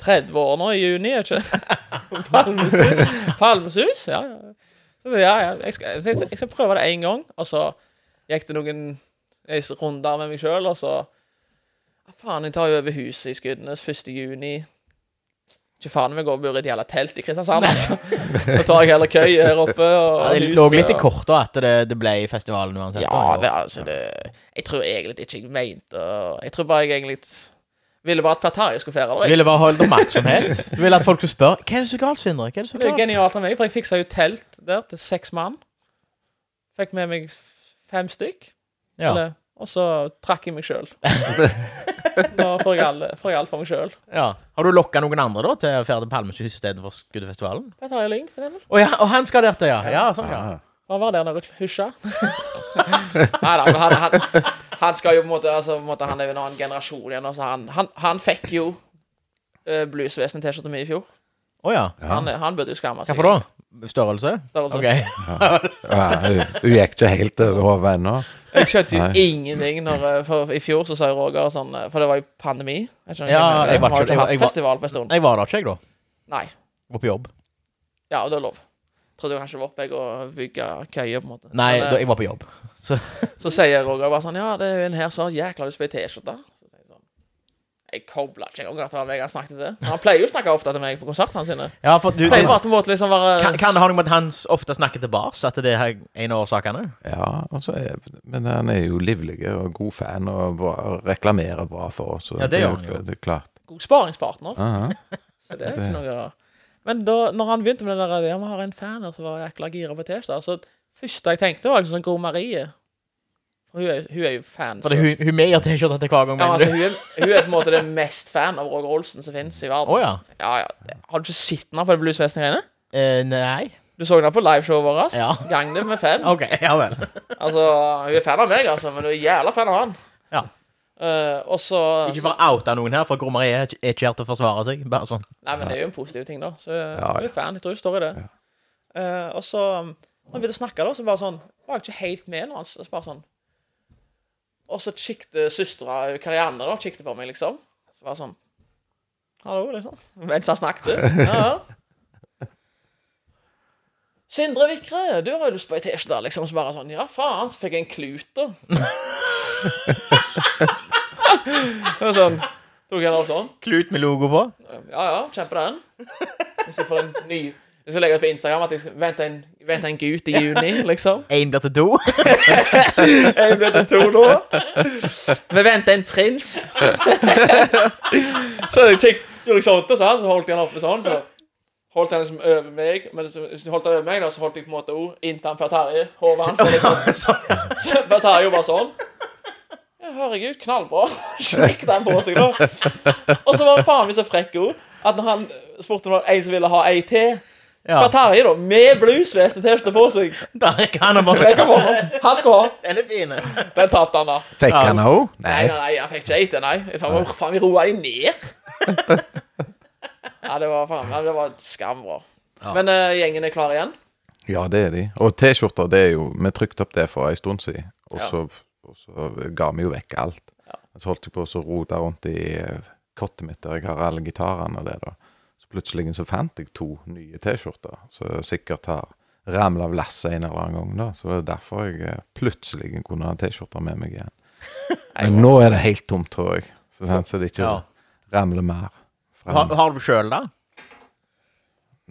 [SPEAKER 3] 30 år nå i juni, er ikke det? Palmesus. Palmesus, ja. ja. Så, ja, ja. Jeg, skal, jeg, skal- jeg skal prøve det én gang, og så gikk det noen runder med meg sjøl, og så ja, Faen, jeg tar jo over huset i Skudenes 1. juni. Ikke faen om jeg går og bor i et jævla telt i Kristiansand, altså. Da tar jeg heller køy her oppe. Og
[SPEAKER 2] Ja, det
[SPEAKER 3] huset,
[SPEAKER 2] lå litt i
[SPEAKER 3] og-
[SPEAKER 2] kortet at det, det ble i festivalen uansett.
[SPEAKER 3] ja,
[SPEAKER 2] da, i
[SPEAKER 3] det,
[SPEAKER 2] år.
[SPEAKER 3] altså, det, jeg tror egentlig ikke jeg mente Jeg tror bare jeg egentlig ville bare at Per Terje skulle feire
[SPEAKER 2] Du
[SPEAKER 3] det.
[SPEAKER 2] ville bare holde oppmerksomhet. Du ville at folk skulle spørre Hva er det så galt, Sindre? Hva er det så
[SPEAKER 3] Det er
[SPEAKER 2] galt?
[SPEAKER 3] genialt av meg, for jeg fiksa jo telt der til seks mann. Fikk med meg f- fem stykk.
[SPEAKER 2] Ja.
[SPEAKER 3] Eller, og så trakk jeg meg sjøl. da får jeg alle- får jeg alt for meg sjøl.
[SPEAKER 2] Ja. Har du lokka noen andre da til å ferde Palmesus istedenfor Skuddefestivalen?
[SPEAKER 3] Per Terje Lyng, for eksempel.
[SPEAKER 2] Å ja, og han skal der til, ja. ja, sånn, ja.
[SPEAKER 1] Ah,
[SPEAKER 3] Han var der nede og husja. Nei da, men han, han, han skal jo på en måte altså, på en måte, Han er jo en annen generasjon igjen. Altså, han, han, han fikk jo uh, Bluesvesen-T-skjorta mi i fjor.
[SPEAKER 2] Å ja.
[SPEAKER 1] ja.
[SPEAKER 3] Han, han burde jo skamme seg.
[SPEAKER 2] Hvorfor da? Størrelse?
[SPEAKER 3] Størrelse.
[SPEAKER 2] Ok.
[SPEAKER 1] ja, hun, hun gikk ikke helt over hodet ennå.
[SPEAKER 3] Jeg skjønte jo
[SPEAKER 1] Nei.
[SPEAKER 3] ingenting når, eh, for i fjor, så sa jo Roger sånn eh, For det var jo pandemi. Jeg skjønner
[SPEAKER 2] Ja,
[SPEAKER 3] ikke, men
[SPEAKER 2] jeg var
[SPEAKER 3] vi har jo
[SPEAKER 2] ikke- jeg
[SPEAKER 3] ikke
[SPEAKER 2] var-
[SPEAKER 3] hatt
[SPEAKER 2] jeg var-
[SPEAKER 3] festival på en stund.
[SPEAKER 2] Jeg var der ikke, jeg, da.
[SPEAKER 3] Nei.
[SPEAKER 2] Var på jobb.
[SPEAKER 3] Ja, og det er lov. Trodde jo kanskje det var oppe jeg og bygge køye, på en måte.
[SPEAKER 2] Nei,
[SPEAKER 3] Men, eh,
[SPEAKER 2] da, jeg var på jobb.
[SPEAKER 3] Så sier Roger bare sånn Ja, det er jo en her som har jækla lyst på ei T-skjorte. Så sier jeg sånn Jeg kobla ikke engang at det var meg han snakket til. Men Han pleier jo å snakke ofte til meg på konsertene sine.
[SPEAKER 2] Ja, for du,
[SPEAKER 3] Pleier bare til en måte liksom være
[SPEAKER 2] kan, kan det ha noe med at han s- ofte snakker til bars? At det er en av årsakene?
[SPEAKER 1] Ja, altså, jeg- men han er jo livlig og god fan og, bra, og reklamerer bra for oss. og
[SPEAKER 2] Ja, det
[SPEAKER 1] er
[SPEAKER 2] gjør han jo.
[SPEAKER 1] Det er klart.
[SPEAKER 3] god sparingspartner?
[SPEAKER 1] Aha.
[SPEAKER 3] Så det er ikke noe Men da når han begynte med det der Ja, vi har en fan her som var jækla gira på T-skjorte, så første jeg tenkte, var liksom sånn God Marie. For hun er, hun er jo fan.
[SPEAKER 2] For det,
[SPEAKER 3] så-
[SPEAKER 2] hun, hun med gir T-skjorte til hver gang.
[SPEAKER 3] ja,
[SPEAKER 2] mener
[SPEAKER 3] altså,
[SPEAKER 2] du?
[SPEAKER 3] hun, er, hun er på en måte den mest fan av Roger Olsen som finnes i verden.
[SPEAKER 2] Å ja.
[SPEAKER 3] Ja, ja. Har du ikke sett henne på det bluesfesten-greiene?
[SPEAKER 2] Eh, nei.
[SPEAKER 3] Du så henne på liveshowet vårt.
[SPEAKER 2] Ja.
[SPEAKER 3] Gangnam med fan.
[SPEAKER 2] OK, ja vel.
[SPEAKER 3] Altså, hun er fan av meg, altså, men hun er jævla fan av han.
[SPEAKER 2] Ja.
[SPEAKER 3] Eh, og så
[SPEAKER 2] Ikke for å oute noen her, for Gro Marie er ikke- er ikke her til å forsvare seg. Bare sånn.
[SPEAKER 3] Nei, men det er jo en positiv ting, da. Så
[SPEAKER 1] ja.
[SPEAKER 3] hun er fan. Jeg tror hun står i det. Eh, og så um, Når vi begynte å snakke, da, så bare sånn Var jeg ikke helt med når han s- bare sånn Og så kikket søstera hun Karianne da, kikket på meg, liksom. Så bare sånn Hallo, liksom. Mens han snakket. Ja, ja. Sindre Vikre, du har jo lyst på ei T-skjorte, liksom. Så bare sånn Ja, faen, så fikk jeg en klut, da. Det var sånn Tok jeg den sånn.
[SPEAKER 2] Klut med logo på.
[SPEAKER 3] Ja, ja, kjempe den. Hvis jeg får en ny Hvis jeg legger ut på Instagram at jeg skal vente en, vente en gutt i juni, liksom.
[SPEAKER 2] Én blir til to.
[SPEAKER 3] Jeg ble til to nå. Vi venter en prins. Så jeg kikk, gjorde jeg sånn, og så, her, så holdt jeg han oppe sånn. Så holdt jeg han liksom over meg. Men så- hvis jeg holdt han over meg, da, så holdt jeg på en måte òg inntil han Per Terje. Hodet hans. og Liksom.
[SPEAKER 2] sånn, ja.
[SPEAKER 3] Så Per Terje jo bare sånn. Ja, herregud, knallbra. Smekket han på seg, da. Og så var han faen meg så frekk òg. At når han spurte om det var en som ville ha ei til
[SPEAKER 2] ja.
[SPEAKER 3] Per Terje, da, med bluesveste T-skjorte på seg
[SPEAKER 2] Der kan han bare
[SPEAKER 3] Rekker på hånden. Han skal ha.
[SPEAKER 2] Den er fin.
[SPEAKER 3] Den tapte han, da.
[SPEAKER 1] Fikk
[SPEAKER 2] Ja.
[SPEAKER 1] han òg?
[SPEAKER 3] Nei,
[SPEAKER 1] Nei.
[SPEAKER 3] nei, nei, jeg fikk ikke ate, nei. Jeg faen, hvor faen, vi roa de ned. ja, det var faen meg Det var skambra.
[SPEAKER 2] Ja.
[SPEAKER 3] Men eh, gjengen er klar igjen?
[SPEAKER 1] Ja, det er de. Og T-skjorter, det er jo Vi trykte opp det for en stund siden, og
[SPEAKER 3] Ja.
[SPEAKER 1] så, og så ga vi jo vekk alt.
[SPEAKER 3] Ja.
[SPEAKER 1] Så holdt jeg på å så rote rundt i eh, kottet mitt der jeg har alle gitarene og det, da. Så plutselig så fant jeg to nye T-skjorter, som sikkert har ramla av lasset en eller annen gang, da. Så det er derfor jeg eh, plutselig kunne ha T-skjorter med meg igjen. Men nå er det helt tomt, tror jeg. Så, sant, så det ikke
[SPEAKER 2] Ja.
[SPEAKER 1] ramler mer. frem.
[SPEAKER 2] Har, har du sjøl, da?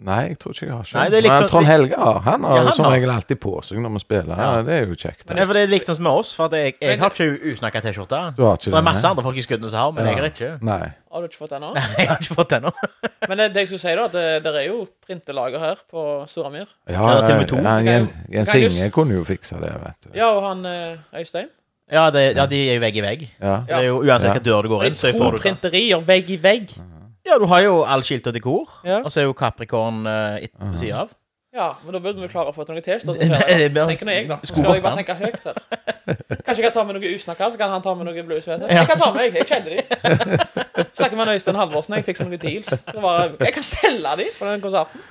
[SPEAKER 1] Nei, jeg tror ikke jeg har
[SPEAKER 2] Nei,
[SPEAKER 1] skjønt.
[SPEAKER 2] det er litt
[SPEAKER 1] Men
[SPEAKER 2] sånn-
[SPEAKER 1] Trond Helge har han har
[SPEAKER 2] Ja, han
[SPEAKER 1] som
[SPEAKER 2] har.
[SPEAKER 1] regel alltid på seg når vi spiller. Ja.
[SPEAKER 2] Ja.
[SPEAKER 1] det er jo kjekt.
[SPEAKER 2] Men det er for det er liksom som med oss, for at jeg, jeg
[SPEAKER 3] Men-
[SPEAKER 2] har ikke usnakka T-skjorte.
[SPEAKER 1] Du har ikke
[SPEAKER 2] Det er
[SPEAKER 1] det,
[SPEAKER 2] masse
[SPEAKER 1] nei?
[SPEAKER 2] andre folk i skuddene som har, men
[SPEAKER 1] Ja.
[SPEAKER 2] jeg har ikke.
[SPEAKER 1] Nei.
[SPEAKER 3] Har du ikke fått den nå?
[SPEAKER 2] Nei, jeg har ikke fått den nå.
[SPEAKER 3] Men eh, det, det jeg skulle si, da, at det, der er jo printelager her på Soramyr.
[SPEAKER 1] Ja,
[SPEAKER 2] Ja, til og med to.
[SPEAKER 1] ja, Jens, Jens
[SPEAKER 3] Kan jeg
[SPEAKER 1] Inge
[SPEAKER 3] just-
[SPEAKER 1] kunne jo fiksa det, vet du.
[SPEAKER 3] Ja, og han eh, Øystein.
[SPEAKER 2] Ja, det, ja, de er jo vegg i vegg.
[SPEAKER 1] Ja.
[SPEAKER 2] Så det er jo Uansett hvilken dør du går
[SPEAKER 3] Det
[SPEAKER 2] inn, så
[SPEAKER 3] er to
[SPEAKER 2] får du det.
[SPEAKER 3] printerier vegg i vegg.
[SPEAKER 2] Ja, du har jo all skilt og dekor,
[SPEAKER 3] Ja.
[SPEAKER 2] og så er jo Capricorn eh, et- på sida av.
[SPEAKER 3] Ja, men da burde vi klare å få til noen T-skjorter.
[SPEAKER 2] Nei,
[SPEAKER 3] til
[SPEAKER 2] det blir-
[SPEAKER 3] fredag. Tenker nå jeg, da. Skal
[SPEAKER 2] Skulle
[SPEAKER 3] jeg bare
[SPEAKER 2] gått
[SPEAKER 3] tenke høyt her. Kanskje jeg kan ta med noe usnakka, så kan han ta med noe bluesvete.
[SPEAKER 2] Ja.
[SPEAKER 3] Jeg kan ta med, jeg. Jeg kjenner de. Snakker med han Øystein Halvorsen, jeg fikser noen deals. Så bare, jeg kan selge de på den konserten.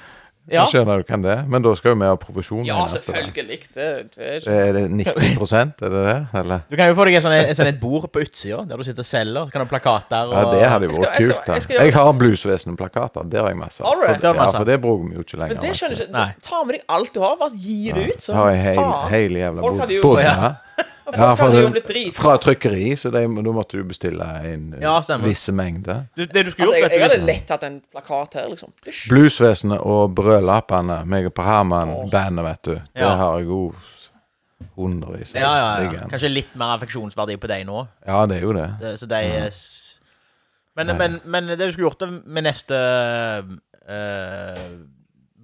[SPEAKER 2] Ja.
[SPEAKER 1] Jeg skjønner jo hvem det er, men da skal jo vi ha provisjon.
[SPEAKER 3] Ja,
[SPEAKER 1] igjen etter det.
[SPEAKER 3] selvfølgelig. Det, det er ikke
[SPEAKER 1] Er det 19 er det det? Eller?
[SPEAKER 2] Du kan jo få deg et, sånn- et, sånn et bord på utsida, der du sitter og selger. Så kan du ha plakater og
[SPEAKER 1] Ja, det hadde jo
[SPEAKER 3] Jeg skal-
[SPEAKER 1] vært
[SPEAKER 3] jeg skal-
[SPEAKER 1] kult. da.
[SPEAKER 3] jeg skal gjøre-
[SPEAKER 1] Jeg har Bluesvesenet-plakater. Det har jeg masse av. For-
[SPEAKER 3] Alright.
[SPEAKER 2] Det har du
[SPEAKER 1] Ja,
[SPEAKER 2] masse av.
[SPEAKER 1] for det bruker vi jo ikke lenger.
[SPEAKER 3] Men det skjønner
[SPEAKER 1] vet du.
[SPEAKER 3] jeg ikke. Ta med deg alt du har, bare gi det ut. Så.
[SPEAKER 1] Har jeg hel,
[SPEAKER 3] faen.
[SPEAKER 1] hel jævla
[SPEAKER 3] Folk
[SPEAKER 1] bod-
[SPEAKER 3] hadde jo-
[SPEAKER 1] bod-
[SPEAKER 2] Ja.
[SPEAKER 1] ja.
[SPEAKER 3] Folk
[SPEAKER 1] Ja, for
[SPEAKER 3] hadde jo
[SPEAKER 1] det-
[SPEAKER 3] blitt drit.
[SPEAKER 1] Fra trykkeri, så de, da måtte du bestille en eh,
[SPEAKER 2] Ja, stemmer.
[SPEAKER 1] visse mengde.
[SPEAKER 2] du, Det du skulle
[SPEAKER 3] Altså,
[SPEAKER 2] gjort,
[SPEAKER 3] jeg, jeg
[SPEAKER 2] vet du liksom-
[SPEAKER 3] hadde lett hatt en plakat her, liksom. Hysj.
[SPEAKER 1] Bluesvesenet og Brødlappene, meg og Per Herman-bandet, vet du. Det
[SPEAKER 2] Ja.
[SPEAKER 1] har jeg jo hundrevis av.
[SPEAKER 2] ja, ja, ja.
[SPEAKER 1] liggende.
[SPEAKER 2] Kanskje litt mer affeksjonsverdi på deg nå.
[SPEAKER 1] ja, det er jo det.
[SPEAKER 2] Det, så de s- men, men, men det du skulle gjort det med neste uh,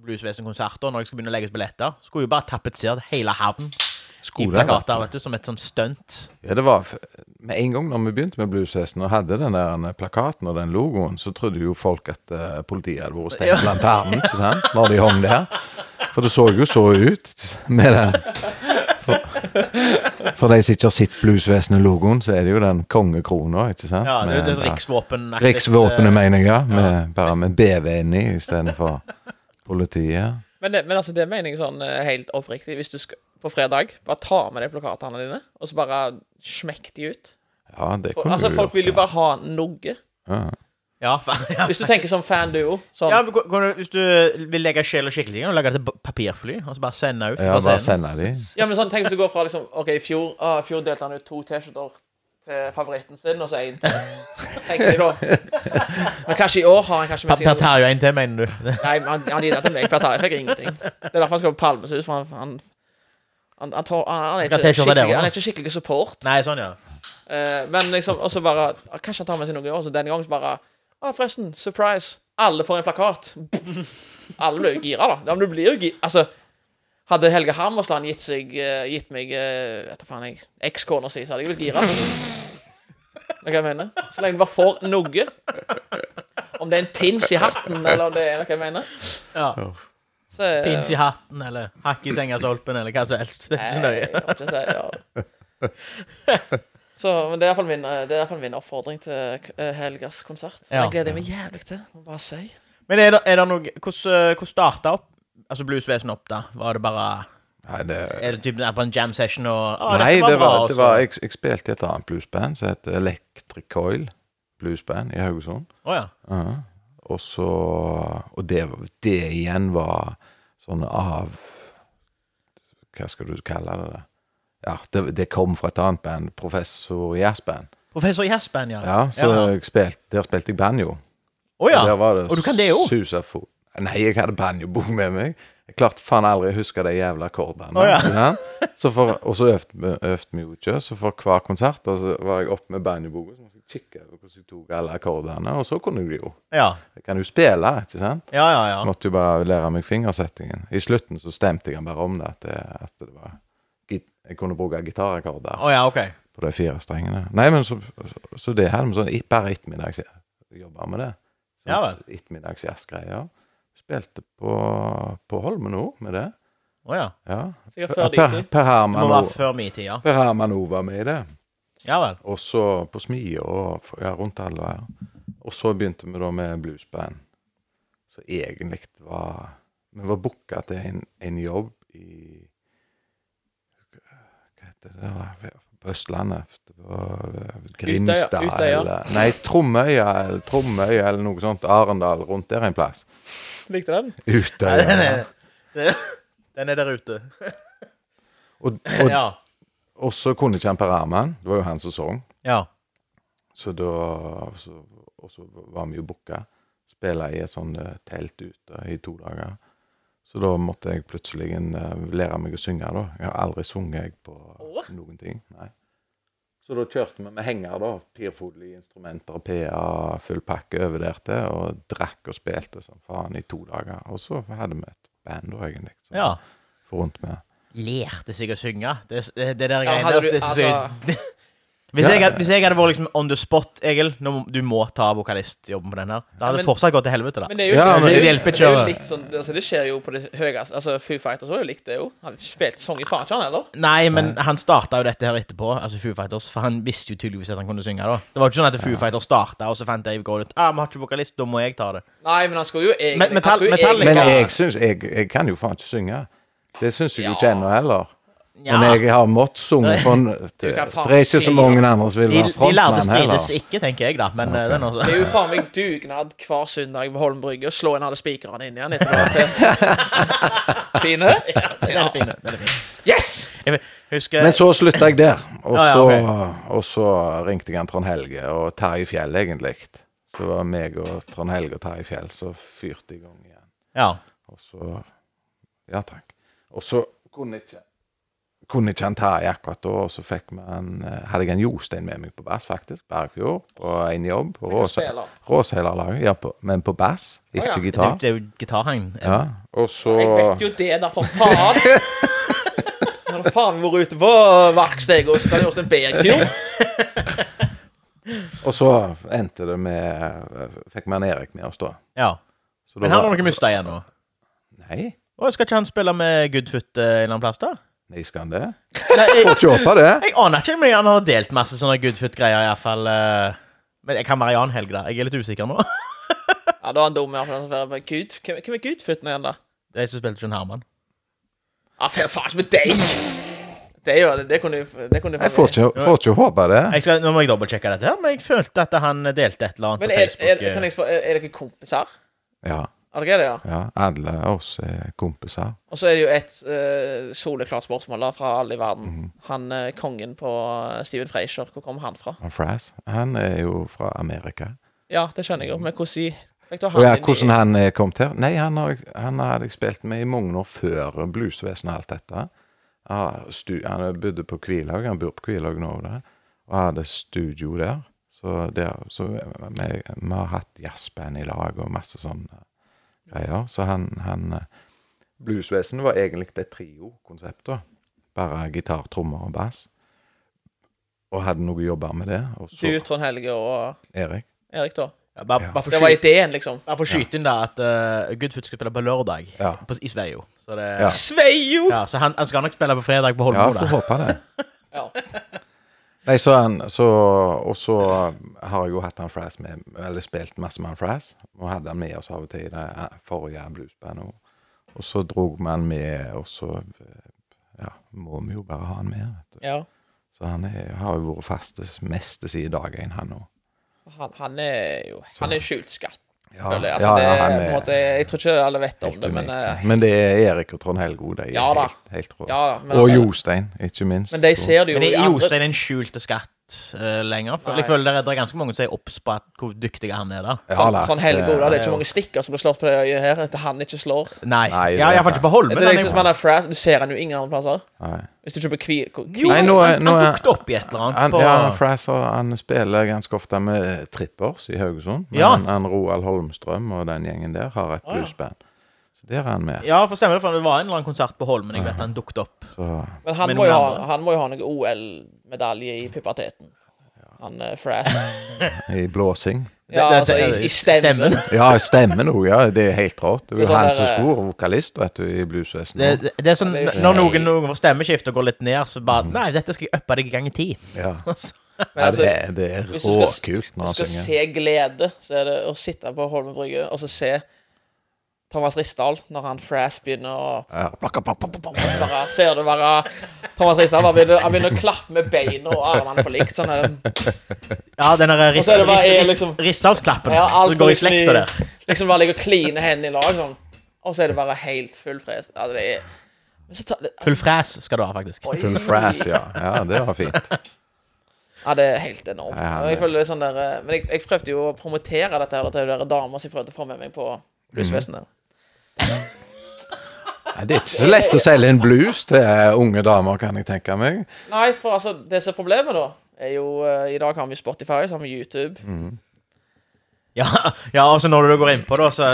[SPEAKER 2] Bluesvesen-konsert, da, når jeg skal begynne å legge ut billetter, skulle jo bare tapetsert hele havnen i
[SPEAKER 1] Skolen,
[SPEAKER 2] plakater,
[SPEAKER 1] vet
[SPEAKER 2] vet du, som et sånt stunt.
[SPEAKER 1] Ja, det var f- Med en gang når vi begynte med Blueshesten og hadde den der eh, plakaten og den logoen, så trodde jo folk at eh, politiet hadde vært stengt blant armen, ikke sant? Når de hang der. For det så jo så ut med den. For, for de som ikke har sett Bluesvesenet-logoen, så er det jo den kongekrona, ikke sant?
[SPEAKER 2] Ja, det,
[SPEAKER 1] Med-
[SPEAKER 2] det er riksvåpen
[SPEAKER 1] Riksvåpenet, mener jeg, ja. Med, bare med BV inni istedenfor politiet.
[SPEAKER 3] Men, det, men altså, det mener jeg sånn eh, helt oppriktig. Hvis du skal på fredag, bare ta med deg plakatene dine, og så bare smekk de ut.
[SPEAKER 1] Ja, det
[SPEAKER 3] For,
[SPEAKER 1] kunne
[SPEAKER 3] altså,
[SPEAKER 1] du
[SPEAKER 3] folk
[SPEAKER 1] gjort,
[SPEAKER 3] vil jo
[SPEAKER 1] ja.
[SPEAKER 3] bare ha noe.
[SPEAKER 1] Ja.
[SPEAKER 2] Ja, faen, ja.
[SPEAKER 3] Hvis du tenker som fanduo sånn,
[SPEAKER 2] Ja, men kan- kan du, Hvis du vil legge sjel og skikkelig, kan du legge det til papirfly og så bare sende ut.
[SPEAKER 1] Ja,
[SPEAKER 2] fra
[SPEAKER 1] bare
[SPEAKER 2] scenen.
[SPEAKER 1] sende de.
[SPEAKER 3] Ja, men sånn, tenk hvis du går fra liksom OK, i fjor, ah, i fjor delte han ut to T-skjorter til favoritten sin, og så én til. Tenker de da. Men kanskje i år har han kanskje
[SPEAKER 2] Per
[SPEAKER 3] med
[SPEAKER 2] Per
[SPEAKER 3] sine
[SPEAKER 2] Terje en til, mener du?
[SPEAKER 3] Nei, men han, han gir det til meg, for jeg, tar, jeg fikk ingenting. Det er derfor han skal på Palmesus, for han han, han, han, tar, han, han, er
[SPEAKER 2] Skal T-skjorta
[SPEAKER 3] ikke
[SPEAKER 2] der
[SPEAKER 3] skikkelig-
[SPEAKER 2] også?
[SPEAKER 3] han er ikke skikkelig support.
[SPEAKER 2] Nei, sånn, ja.
[SPEAKER 3] Eh, men liksom, og så bare ah, Kanskje han tar med seg noe i år, så denne gangen så bare ah, Forresten, surprise. Alle får en plakat. Alle blir jo gira, da. Ja, men du blir jo gira. Altså, hadde Helge Hammersland gitt, seg, eh, gitt meg eh, vet du faen jeg, ekskona si, så hadde jeg blitt gira. Vet du hva jeg mener? Så lenge du bare får noe. Om det er en pins i hatten, eller om det er vet du hva jeg mener.
[SPEAKER 2] ja.
[SPEAKER 3] Så, eh,
[SPEAKER 2] Pins i hatten, eller hakk i sengestolpen, eller hva som helst. Det er ikke så nøye.
[SPEAKER 3] Nei, jeg håper ikke jeg sier ja. Så, men det er iallfall min, det er i hvert fall min oppfordring til eh, helgas konsert.
[SPEAKER 2] Ja.
[SPEAKER 3] Jeg gleder jeg meg jævlig til. Må bare si.
[SPEAKER 2] Men er det, er det noe Hvordan, eh, hvordan starta opp Altså bluesvesenet opp, da? Var det bare
[SPEAKER 1] Nei, det
[SPEAKER 2] Er det typ der på en jam session og å,
[SPEAKER 1] Nei,
[SPEAKER 2] Ah, dette var
[SPEAKER 1] det
[SPEAKER 2] bra,
[SPEAKER 1] var,
[SPEAKER 2] altså? og
[SPEAKER 1] det
[SPEAKER 2] så-
[SPEAKER 1] var jeg, jeg spilte i et annet bluesband som het Electric Coil Bluesband i Haugesund.
[SPEAKER 2] Å ja.
[SPEAKER 1] Ja. Og så Og det, det igjen var sånn av Hva skal du kalle det? da? Ja, det, det kom fra et annet band, Professor Jazzband.
[SPEAKER 2] Professor Jaspen, ja.
[SPEAKER 1] Ja, så
[SPEAKER 2] Ja.
[SPEAKER 1] Jeg spilte, der spilte jeg banjo.
[SPEAKER 2] Å ja.
[SPEAKER 1] Og der var det
[SPEAKER 2] Og du kan det jo.
[SPEAKER 1] susafo- Nei, jeg hadde banjobok med meg. Jeg klarte faen aldri å huske de jævla akkordene.
[SPEAKER 2] Å, ja.
[SPEAKER 1] ikke sant? Så for, og så øvde vi- øvde vi jo ikke, så for hver konsert da, så var jeg oppe med banjoboka så måtte jeg kikke over hvordan jeg tok alle akkordene, og så kunne jeg det jo.
[SPEAKER 2] Ja,
[SPEAKER 1] Jeg kan jo spille, ikke sant?
[SPEAKER 2] ja, ja. ja.
[SPEAKER 1] Måtte jo bare lære meg fingersettingen. I slutten så stemte jeg bare om det, at det, at det var git- jeg kunne bruke gitarakkorder
[SPEAKER 2] Å ja, OK.
[SPEAKER 1] på de fire strengene. Nei, men så, så, så det hadde vi sånn i- bare ettermiddags jobba med det. Så
[SPEAKER 2] Ja vel.
[SPEAKER 1] Ettermiddagsjazzgreier. Spilte på, på Holmen òg med det.
[SPEAKER 2] Å ja.
[SPEAKER 1] Ja.
[SPEAKER 3] Sikkert før det
[SPEAKER 1] Per,
[SPEAKER 3] gikk ut.
[SPEAKER 1] per
[SPEAKER 2] Det må
[SPEAKER 1] Herman
[SPEAKER 2] være
[SPEAKER 1] òg
[SPEAKER 2] før min tid, ja.
[SPEAKER 1] Per Herman òg var med i det.
[SPEAKER 2] Ja vel.
[SPEAKER 1] Og så på Smie og ja, rundt alle her. Og så begynte vi da med bluesband. Så egentlig var Vi var booka til en, en jobb i Hva heter det der? På Østlandet. Det var eh, Grimstad
[SPEAKER 3] Utøya, Utøya.
[SPEAKER 1] eller Nei, Tromøya eller Tromøya eller noe sånt. Arendal, rundt der en plass.
[SPEAKER 3] Likte den?
[SPEAKER 2] Nei, den,
[SPEAKER 1] Utøya.
[SPEAKER 2] er, den er der ute.
[SPEAKER 1] Og, og,
[SPEAKER 2] Ja.
[SPEAKER 1] og så kunne ikke han Per Arman. Det var jo han som sang.
[SPEAKER 2] ja.
[SPEAKER 1] Så da så, Og så var vi jo booka. Spille i et sånt eh, telt ute i to dager. Så da måtte jeg plutselig en, eh, lære meg å synge, da. Jeg har aldri sunget jeg på
[SPEAKER 3] Åh.
[SPEAKER 1] noen ting. Nei. Så da kjørte vi med henger, da. Pirfodel i instrumenter, PA, full pakke over der til. Og drakk og spilte som faen i to dager. Og så hadde vi et band, da, egentlig. Som
[SPEAKER 2] ja.
[SPEAKER 1] for rundt med.
[SPEAKER 2] Lærte seg å synge. Det, det, det der
[SPEAKER 3] Ja,
[SPEAKER 2] greiene
[SPEAKER 3] hadde
[SPEAKER 2] der,
[SPEAKER 3] du,
[SPEAKER 2] det synes jeg-
[SPEAKER 3] altså,
[SPEAKER 2] Hvis,
[SPEAKER 1] Ja.
[SPEAKER 2] jeg, hadde- hvis jeg hadde vært liksom on the spot, Egil nå må- Du må ta vokalistjobben på den her. Da hadde
[SPEAKER 3] Ja, men-
[SPEAKER 2] det fortsatt gått til helvete, da.
[SPEAKER 3] Men det er jo,
[SPEAKER 1] Ja, men-
[SPEAKER 3] det, er jo-
[SPEAKER 2] Det hjelper ikke,
[SPEAKER 3] det er jo
[SPEAKER 2] da.
[SPEAKER 3] likt sånn altså, Det skjer jo på det høyeste Altså, Foo Fighters var jo likt, det jo. Han spilte sang i faen ikke, han heller.
[SPEAKER 2] Nei, men han starta jo dette her etterpå, altså Foo Fighters, for han visste jo tydeligvis at han kunne synge. da Det var jo ikke sånn at Foo Fighters starta, og så fant Dave Grohl ut ah, vi har ikke vokalist, da må jeg ta det.
[SPEAKER 3] Nei, men han skulle jo egentlig
[SPEAKER 2] Men- Metall-
[SPEAKER 3] han skulle jo
[SPEAKER 2] Metallica-
[SPEAKER 1] Men
[SPEAKER 3] egentlig-
[SPEAKER 1] jeg, syns, jeg, jeg kan jo faen ikke synge. Det syns jeg jo ikke ennå heller.
[SPEAKER 2] Ja,
[SPEAKER 1] Men jeg har måttet synge for en- Det
[SPEAKER 3] kan faen
[SPEAKER 1] er ikke så
[SPEAKER 3] si-
[SPEAKER 1] mange andre som vil
[SPEAKER 2] de,
[SPEAKER 1] være
[SPEAKER 2] de lærde
[SPEAKER 1] frontmann heller.
[SPEAKER 2] strides ikke, tenker jeg, da. Men eh, den også.
[SPEAKER 3] Det er jo faen meg dugnad hver søndag på Holm Brygge. og Slå en av alle spikerne inn igjen etter hvert. Fine?
[SPEAKER 2] Den er fin. Den er fin.
[SPEAKER 3] Yes!
[SPEAKER 2] Jeg husker
[SPEAKER 1] Men så slutta jeg der. Og
[SPEAKER 2] Ja, ja,
[SPEAKER 1] så,
[SPEAKER 2] ok.
[SPEAKER 1] og så ringte jeg han Trond Helge og Terje Fjell, egentlig. Så det var meg og Trond Helge og Terje Fjell som fyrte i gang igjen.
[SPEAKER 2] Ja.
[SPEAKER 1] Og så Ja takk. Og så kunne ikke kunne ikke han Terje akkurat da, og så fikk vi han, eh, hadde jeg en Jostein med meg på bass, faktisk. Bergfjord. På en jobb. På
[SPEAKER 3] kan
[SPEAKER 1] Råse-
[SPEAKER 3] spille.
[SPEAKER 1] Råseilerlaget. Ja, på- men på bass, ikke
[SPEAKER 3] ja.
[SPEAKER 2] Det, er jo-
[SPEAKER 1] gitar.
[SPEAKER 2] det er jo gitarhang.
[SPEAKER 1] Ja. Og
[SPEAKER 3] Jeg
[SPEAKER 1] så
[SPEAKER 3] vet jo det, da, for faen! Jeg hadde faen meg vært ute på verkstedet og sånn sittet hos en Bergfjord.
[SPEAKER 1] Og så endte det med eh, Fikk vi han Erik med oss, da.
[SPEAKER 2] Ja.
[SPEAKER 1] Så da
[SPEAKER 2] Men han har
[SPEAKER 1] var-
[SPEAKER 2] dere mista igjen nå.
[SPEAKER 1] Nei.
[SPEAKER 2] Å, skal ikke han spille med Goodfoot eh, en eller annen plass, da?
[SPEAKER 1] Nei, skal han det?
[SPEAKER 2] Nei, jeg,
[SPEAKER 1] Får ikke håpe det.
[SPEAKER 2] jeg aner ikke, men han har delt masse sånne Goodfoot-greier, iallfall. eh. Men jeg kan være Jan Helg, da. Jeg er litt usikker nå.
[SPEAKER 3] Ja, da er han dum, iallfall. Hvem hvem er gudføttene igjen, da?
[SPEAKER 2] Det er jeg som spilte John Herman.
[SPEAKER 3] Ja, faen faen ikke med deg! Det, er jo- det kunne du det kunne du
[SPEAKER 1] Jeg får ikke, får ikke håpe det.
[SPEAKER 2] Jeg skal, nå må jeg dobbeltsjekke dette, her, men jeg følte at han delte et eller annet
[SPEAKER 3] Men
[SPEAKER 2] på
[SPEAKER 3] er,
[SPEAKER 2] Facebook.
[SPEAKER 1] eh.
[SPEAKER 3] er, kan jeg spørre, er, er dere kompiser?
[SPEAKER 1] Ja,
[SPEAKER 3] Er dere det, ja?
[SPEAKER 1] ja. Alle oss er kompiser.
[SPEAKER 3] Og så er det jo et eh, soleklart spørsmål da, fra alle i verden.
[SPEAKER 1] Mhm.
[SPEAKER 3] Han eh, kongen på eh, Steven Frazier, hvor kom han fra?
[SPEAKER 1] Han Frass, han er jo fra Amerika.
[SPEAKER 3] Ja, det skjønner jeg jo, men hvordan i- fikk du han
[SPEAKER 1] Og ja,
[SPEAKER 3] inn i-
[SPEAKER 1] hvordan han eh, kom til? Nei, han, har, jeg- han hadde jeg spilt med i mange år før eh, bluesvesenet og alt dette. Ja, stu, han bodde på Kvilhaug, han bor på Kvilhaug nå, da. og hadde studio der. Så, der, så vi, vi vi har hatt jazzband i lag og masse sånne greier. Så han, han eh, Bluesvesenet var egentlig et trio-konsept, da. Bare gitar, trommer og bass. Og hadde noe jobber med det. Og så
[SPEAKER 3] Du, Trond Helge og
[SPEAKER 1] Erik.
[SPEAKER 3] Erik, da.
[SPEAKER 2] Ja, eh, bare, bare for
[SPEAKER 3] Det var
[SPEAKER 2] skyt-
[SPEAKER 3] ideen, liksom.
[SPEAKER 2] bare for å skyte inn da at uh, Goodfoot skal spille på lørdag
[SPEAKER 1] Ja.
[SPEAKER 2] på, i Sveio. Så, det,
[SPEAKER 1] Ja.
[SPEAKER 2] ja.
[SPEAKER 3] Sveio! Ja.
[SPEAKER 2] så han, han skal nok spille på fredag på
[SPEAKER 1] Ja,
[SPEAKER 2] Holmboe,
[SPEAKER 1] får
[SPEAKER 2] da.
[SPEAKER 1] håpe det. Nei, så han, så, og så har jeg jo hatt han Frass med, eller spilt masse med han Frass, og hadde han med oss av og til i det eh, forrige bluesbandet. Og, og så drog vi han med, og så eh, ja, må vi jo bare ha han med. Vet du.
[SPEAKER 3] ja.
[SPEAKER 1] Så han er, har jo vært fastest meste siden dag én, han nå.
[SPEAKER 3] Han, han er jo Han er en skjult skatt.
[SPEAKER 1] Ja,
[SPEAKER 3] føler jeg.
[SPEAKER 1] ja,
[SPEAKER 3] Altså, det,
[SPEAKER 1] ja, han
[SPEAKER 3] på en
[SPEAKER 1] er
[SPEAKER 3] måte, jeg tror ikke alle vet om
[SPEAKER 1] helt
[SPEAKER 3] det, men,
[SPEAKER 1] unik.
[SPEAKER 3] eh,
[SPEAKER 1] Men det er Erik og Trond Helgo, de er
[SPEAKER 3] Ja da.
[SPEAKER 1] helt, helt rå.
[SPEAKER 3] ja, da, men
[SPEAKER 1] og Jostein, ikke minst.
[SPEAKER 3] Men de ser det jo
[SPEAKER 2] Men
[SPEAKER 3] i
[SPEAKER 2] er
[SPEAKER 3] andre
[SPEAKER 2] Jostein en skjult skatt eh, lenger? For,
[SPEAKER 3] Nei.
[SPEAKER 2] jeg føler det er- det er ganske mange som er obs på at, hvor dyktig han er, da.
[SPEAKER 1] Ja da,
[SPEAKER 3] Sånn Helge,
[SPEAKER 1] det-
[SPEAKER 3] da. Det er ikke mange stikker som blir slått på det øyet her, etter han ikke slår.
[SPEAKER 2] Nei,
[SPEAKER 1] Nei, det
[SPEAKER 2] ja,
[SPEAKER 1] er
[SPEAKER 2] iallfall
[SPEAKER 1] sant.
[SPEAKER 2] ikke på Holmen.
[SPEAKER 3] Det er
[SPEAKER 2] han
[SPEAKER 3] det jeg
[SPEAKER 2] er-
[SPEAKER 3] synes med den Frass, Du ser han jo ingen andre plasser.
[SPEAKER 1] Nei.
[SPEAKER 3] Hvis du kjøper kvi... kvi-
[SPEAKER 2] Jo,
[SPEAKER 1] Nei, nå er-
[SPEAKER 2] han,
[SPEAKER 1] nå
[SPEAKER 2] han
[SPEAKER 1] er-
[SPEAKER 2] dukket opp i et eller annet
[SPEAKER 1] Han,
[SPEAKER 2] på
[SPEAKER 1] ja, Fraser han spiller ganske ofte med Trippers i Haugesund. Men
[SPEAKER 2] Ja.
[SPEAKER 1] han, han Roald Holmstrøm og den gjengen der har et bluesband. Så der er han med.
[SPEAKER 2] Ja, for stemmer det, for det var en eller annen konsert på Holmen. Jeg vet han dukket opp.
[SPEAKER 1] Så,
[SPEAKER 3] Men han,
[SPEAKER 2] Men
[SPEAKER 3] må jo
[SPEAKER 2] noen
[SPEAKER 3] ha,
[SPEAKER 2] andre?
[SPEAKER 3] han må jo ha noe OL-medalje i puberteten. Han uh, Frass.
[SPEAKER 1] I blåsing.
[SPEAKER 3] Ja,
[SPEAKER 2] det-
[SPEAKER 3] altså,
[SPEAKER 2] det-
[SPEAKER 3] i, i stemmen.
[SPEAKER 1] Ja, stemmen òg, ja. Det er helt rått. Det er
[SPEAKER 3] Det er
[SPEAKER 1] jo
[SPEAKER 3] sånn
[SPEAKER 1] han
[SPEAKER 3] der,
[SPEAKER 1] som
[SPEAKER 3] eh,
[SPEAKER 1] skulle være vokalist, vet du, i
[SPEAKER 2] Det,
[SPEAKER 1] bluesvesenet.
[SPEAKER 2] det, det er sånn,
[SPEAKER 3] Ja, det er jo-
[SPEAKER 2] Når noen, noen får stemmeskift og går litt ned, så bare Nei, dette skal jeg uppe deg i gang i ti.
[SPEAKER 1] Ja.
[SPEAKER 2] Altså.
[SPEAKER 3] Men
[SPEAKER 1] Ja,
[SPEAKER 3] altså,
[SPEAKER 1] det, er- det er
[SPEAKER 3] hvis du skal-
[SPEAKER 1] råkult når
[SPEAKER 3] du
[SPEAKER 1] han
[SPEAKER 3] skal
[SPEAKER 1] synger.
[SPEAKER 3] se glede, så er det å sitte på Holmen Brygge og så se Thomas Ristdal når han Frass begynner å
[SPEAKER 1] Ja.
[SPEAKER 3] bare, Ser du bare Thomas Ristdal bare begynner, han begynner å klappe med beina og armene på likt. Sånn eh,
[SPEAKER 2] Ja, den der
[SPEAKER 3] Og
[SPEAKER 2] rist,
[SPEAKER 3] så er det bare-
[SPEAKER 2] rist,
[SPEAKER 3] er
[SPEAKER 2] rist,
[SPEAKER 3] liksom-
[SPEAKER 2] Ristdalsklappen
[SPEAKER 3] Ja, alt
[SPEAKER 2] som går i
[SPEAKER 3] liksom
[SPEAKER 2] slekta der.
[SPEAKER 3] Liksom bare ligger og kliner hendene i lag sånn. Og så er det bare helt full fres. Altså, det er Men så tar det altså,
[SPEAKER 2] Full fræs skal du ha, faktisk.
[SPEAKER 3] oi.
[SPEAKER 1] Full Frass, ja. ja. Det var fint.
[SPEAKER 3] Ja, det er helt enormt.
[SPEAKER 1] Ja,
[SPEAKER 3] Og jeg
[SPEAKER 1] det-
[SPEAKER 3] føler det er sånn der eh, Men jeg, jeg prøvde jo å promotere dette her da, til dere damer som jeg prøvde å få med meg på
[SPEAKER 1] Mhm.
[SPEAKER 3] bluesvesenet.
[SPEAKER 1] Ja, Det er ikke så lett å selge en blues til unge damer, kan jeg tenke meg.
[SPEAKER 3] Nei, for altså, det som er problemet, da, er jo eh, I dag har vi Spotify, så har vi YouTube. Eh,
[SPEAKER 2] Ja, ja, og så når du går innpå, da, så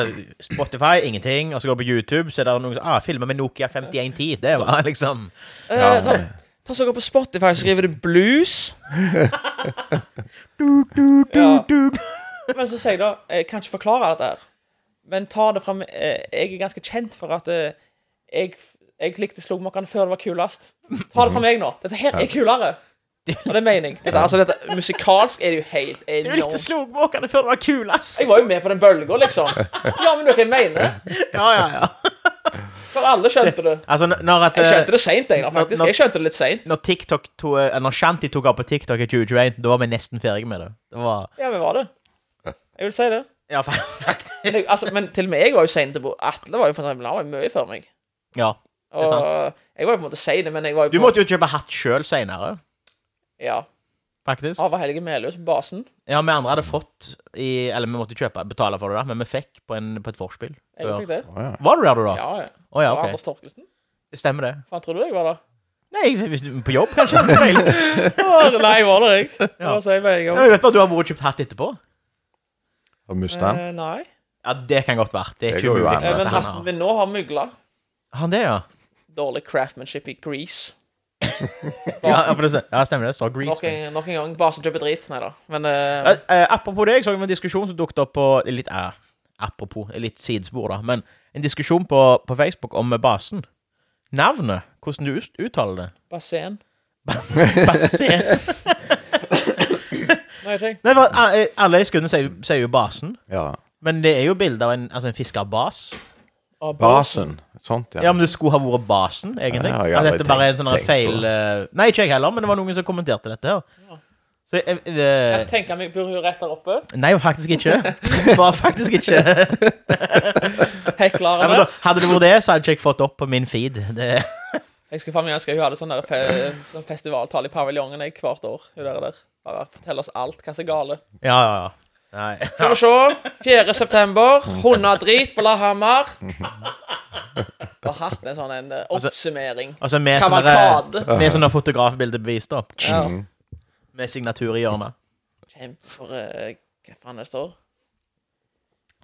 [SPEAKER 2] Spotify, ingenting. Og så går du på YouTube, så er det noen som ah, filmer med Nokia 5110. Det var liksom
[SPEAKER 3] Eh, ta, ta så Gå på Spotify, så skriver du blues. Ja. Men så sier jeg da Jeg kan ikke forklare dette her. Men ta det fram eh, Jeg er ganske kjent for at eh, jeg, jeg likte slogmokkene før det var kulest. Ta det fra meg nå. Dette her er kulere. Og det mener jeg. Dette, altså, dette, musikalsk er det jo helt
[SPEAKER 2] Du likte
[SPEAKER 3] enormt.
[SPEAKER 2] slogmåkene før det var kulest.
[SPEAKER 3] Jeg var jo med på den bølga, liksom. Ja, men dere mener.
[SPEAKER 2] Ja, ja, ja.
[SPEAKER 3] For alle skjønte det.
[SPEAKER 2] Altså, n- når, at,
[SPEAKER 3] Jeg
[SPEAKER 2] eh,
[SPEAKER 3] skjønte det seint, jeg, da, faktisk. Jeg skjønte det litt seint.
[SPEAKER 2] når TikTok to, eh, Når Shanti tok av på TikTok i 2021, da var vi nesten ferdige med det. Det var
[SPEAKER 3] Ja, vi var det. Jeg vil si det.
[SPEAKER 2] Ja, fa- faktisk.
[SPEAKER 3] Men, jeg, altså, men til og med jeg var jo sein til bordet. Atle var jo for eksempel, han var jo mye før meg.
[SPEAKER 2] Ja. Det er
[SPEAKER 3] Og
[SPEAKER 2] sant.
[SPEAKER 3] jeg var jo på en måte sein, men jeg var jo
[SPEAKER 2] Du
[SPEAKER 3] på
[SPEAKER 2] måtte jo kjøpe hatt sjøl seinere,
[SPEAKER 3] Ja.
[SPEAKER 2] faktisk.
[SPEAKER 3] Ava Helge Meløs, basen.
[SPEAKER 2] Ja, vi andre hadde fått i Eller vi måtte kjøpe, betale for det, da, men vi fikk på, en, på et vorspiel.
[SPEAKER 3] Jeg
[SPEAKER 2] før.
[SPEAKER 3] fikk det.
[SPEAKER 1] Å, ja.
[SPEAKER 2] Var du der, du, da?
[SPEAKER 3] Ja, ja. altså.
[SPEAKER 2] Å ja,
[SPEAKER 3] Og
[SPEAKER 2] ok.
[SPEAKER 3] Anders Torkelsen.
[SPEAKER 2] Stemmer det.
[SPEAKER 3] Faen, tror du jeg var der?
[SPEAKER 2] Nei, hvis du, på jobb, kanskje? Jeg
[SPEAKER 3] Å, Nei, jeg var der, jeg. Det
[SPEAKER 2] Ja.
[SPEAKER 3] var så jeg med en gang.
[SPEAKER 2] vet bare du har vært og kjøpt hatt etterpå.
[SPEAKER 1] Og Mustang.
[SPEAKER 3] Eh, Nei.
[SPEAKER 2] Ja, det kan godt være. Det er
[SPEAKER 1] Det
[SPEAKER 2] ikke
[SPEAKER 1] går jo
[SPEAKER 2] umulig.
[SPEAKER 1] an,
[SPEAKER 2] at
[SPEAKER 3] Eh, Men
[SPEAKER 2] han
[SPEAKER 3] hatten
[SPEAKER 2] har-
[SPEAKER 3] min nå har mygla.
[SPEAKER 2] Han det, ja.
[SPEAKER 3] Dårlig craftmanship i Grease.
[SPEAKER 2] Ja, ja, for det, ja stemmer det. Står Grease.
[SPEAKER 3] Nok en, nok en gang. Basen kjøper drit. Nei da. Men eh,
[SPEAKER 2] Eh, eh, apropos det, jeg så en diskusjon som dukket opp på litt, eh, Apropos, litt sidespor, da. Men en diskusjon på, på Facebook om basen. Navnet. Hvordan du ut- uttaler det.
[SPEAKER 3] basen
[SPEAKER 2] Basen.
[SPEAKER 3] Nei, ikke jeg.
[SPEAKER 2] Nei, for, eh, alle i skuddene sier, sier jo basen.
[SPEAKER 1] Ja.
[SPEAKER 2] Men det er jo bilde av en, altså en fiskerbas.
[SPEAKER 3] Å,
[SPEAKER 1] Basen. Sånt, ja.
[SPEAKER 2] Ja, men det skulle ha vært basen, egentlig.
[SPEAKER 1] Ja, jeg har
[SPEAKER 2] At
[SPEAKER 1] aldri
[SPEAKER 2] dette bare er en
[SPEAKER 1] tenkt-
[SPEAKER 2] sånn
[SPEAKER 1] tenkt på
[SPEAKER 2] feil eh, Nei, ikke jeg heller, men det var noen som kommenterte dette. her. Så jeg,
[SPEAKER 3] Jeg
[SPEAKER 2] eh,
[SPEAKER 3] tenker meg burde jo rett der oppe.
[SPEAKER 2] Nei, faktisk ikke. Det var faktisk ikke. Nei, men
[SPEAKER 3] Heklerne.
[SPEAKER 2] da, hadde det vært det, så hadde ikke jeg fått opp på min feed. Det,
[SPEAKER 3] Jeg skulle faen meg ønske hun hadde sånn der fe sånn festivaltale i paviljongen jeg hvert år. Hun der, der. Bare fortell oss alt hva som er gale.
[SPEAKER 2] ja, ja, ja. Nei.
[SPEAKER 3] Skal vi se. 4. september. Hundedrit på Lahammer. Du har hatt en sånn en eh, oppsummering.
[SPEAKER 2] Altså, med sånne,
[SPEAKER 3] Kavalkade.
[SPEAKER 2] med sånne fotografbildebevis, da.
[SPEAKER 3] Ja.
[SPEAKER 2] Med signatur i hjørnet.
[SPEAKER 3] Kjempe for eh, Hva faen det står?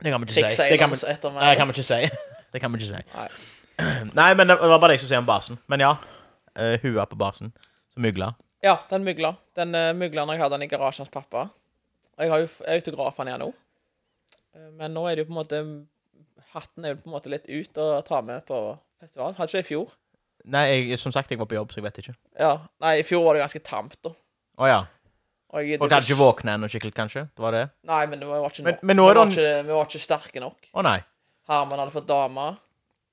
[SPEAKER 2] Det kan vi ikke si. Det kan vi,
[SPEAKER 3] Krigsseilers etter
[SPEAKER 2] nei, det
[SPEAKER 3] meg.
[SPEAKER 2] kan vi ikke si. Det kan vi ikke si.
[SPEAKER 3] Nei.
[SPEAKER 2] Nei, men det var bare det jeg skulle si om basen. Men ja. Uh, Hua på basen. Som mygla.
[SPEAKER 3] Ja, den mygla. Den uh, mygla når jeg hadde den i garasjen hans pappa. Og jeg har jo f- autografen igjen nå. Eh, Men nå er det jo på en måte Hatten er jo på en måte litt ut å ta med på festival. Hadde ikke det i fjor.
[SPEAKER 2] Nei, jeg, som sagt, jeg var på jobb, så jeg vet ikke.
[SPEAKER 3] Ja. Nei, i fjor var det ganske tamt, da.
[SPEAKER 2] Å ja.
[SPEAKER 3] Og jeg,
[SPEAKER 2] Folk hadde ikke våkna ennå skikkelig, kanskje? Det var det?
[SPEAKER 3] Nei, men det var ikke
[SPEAKER 2] Men-
[SPEAKER 3] nok.
[SPEAKER 2] men nå er
[SPEAKER 3] vi, var
[SPEAKER 2] det
[SPEAKER 3] ikke, vi var ikke sterke nok.
[SPEAKER 2] Å nei.
[SPEAKER 3] Herman hadde fått dame.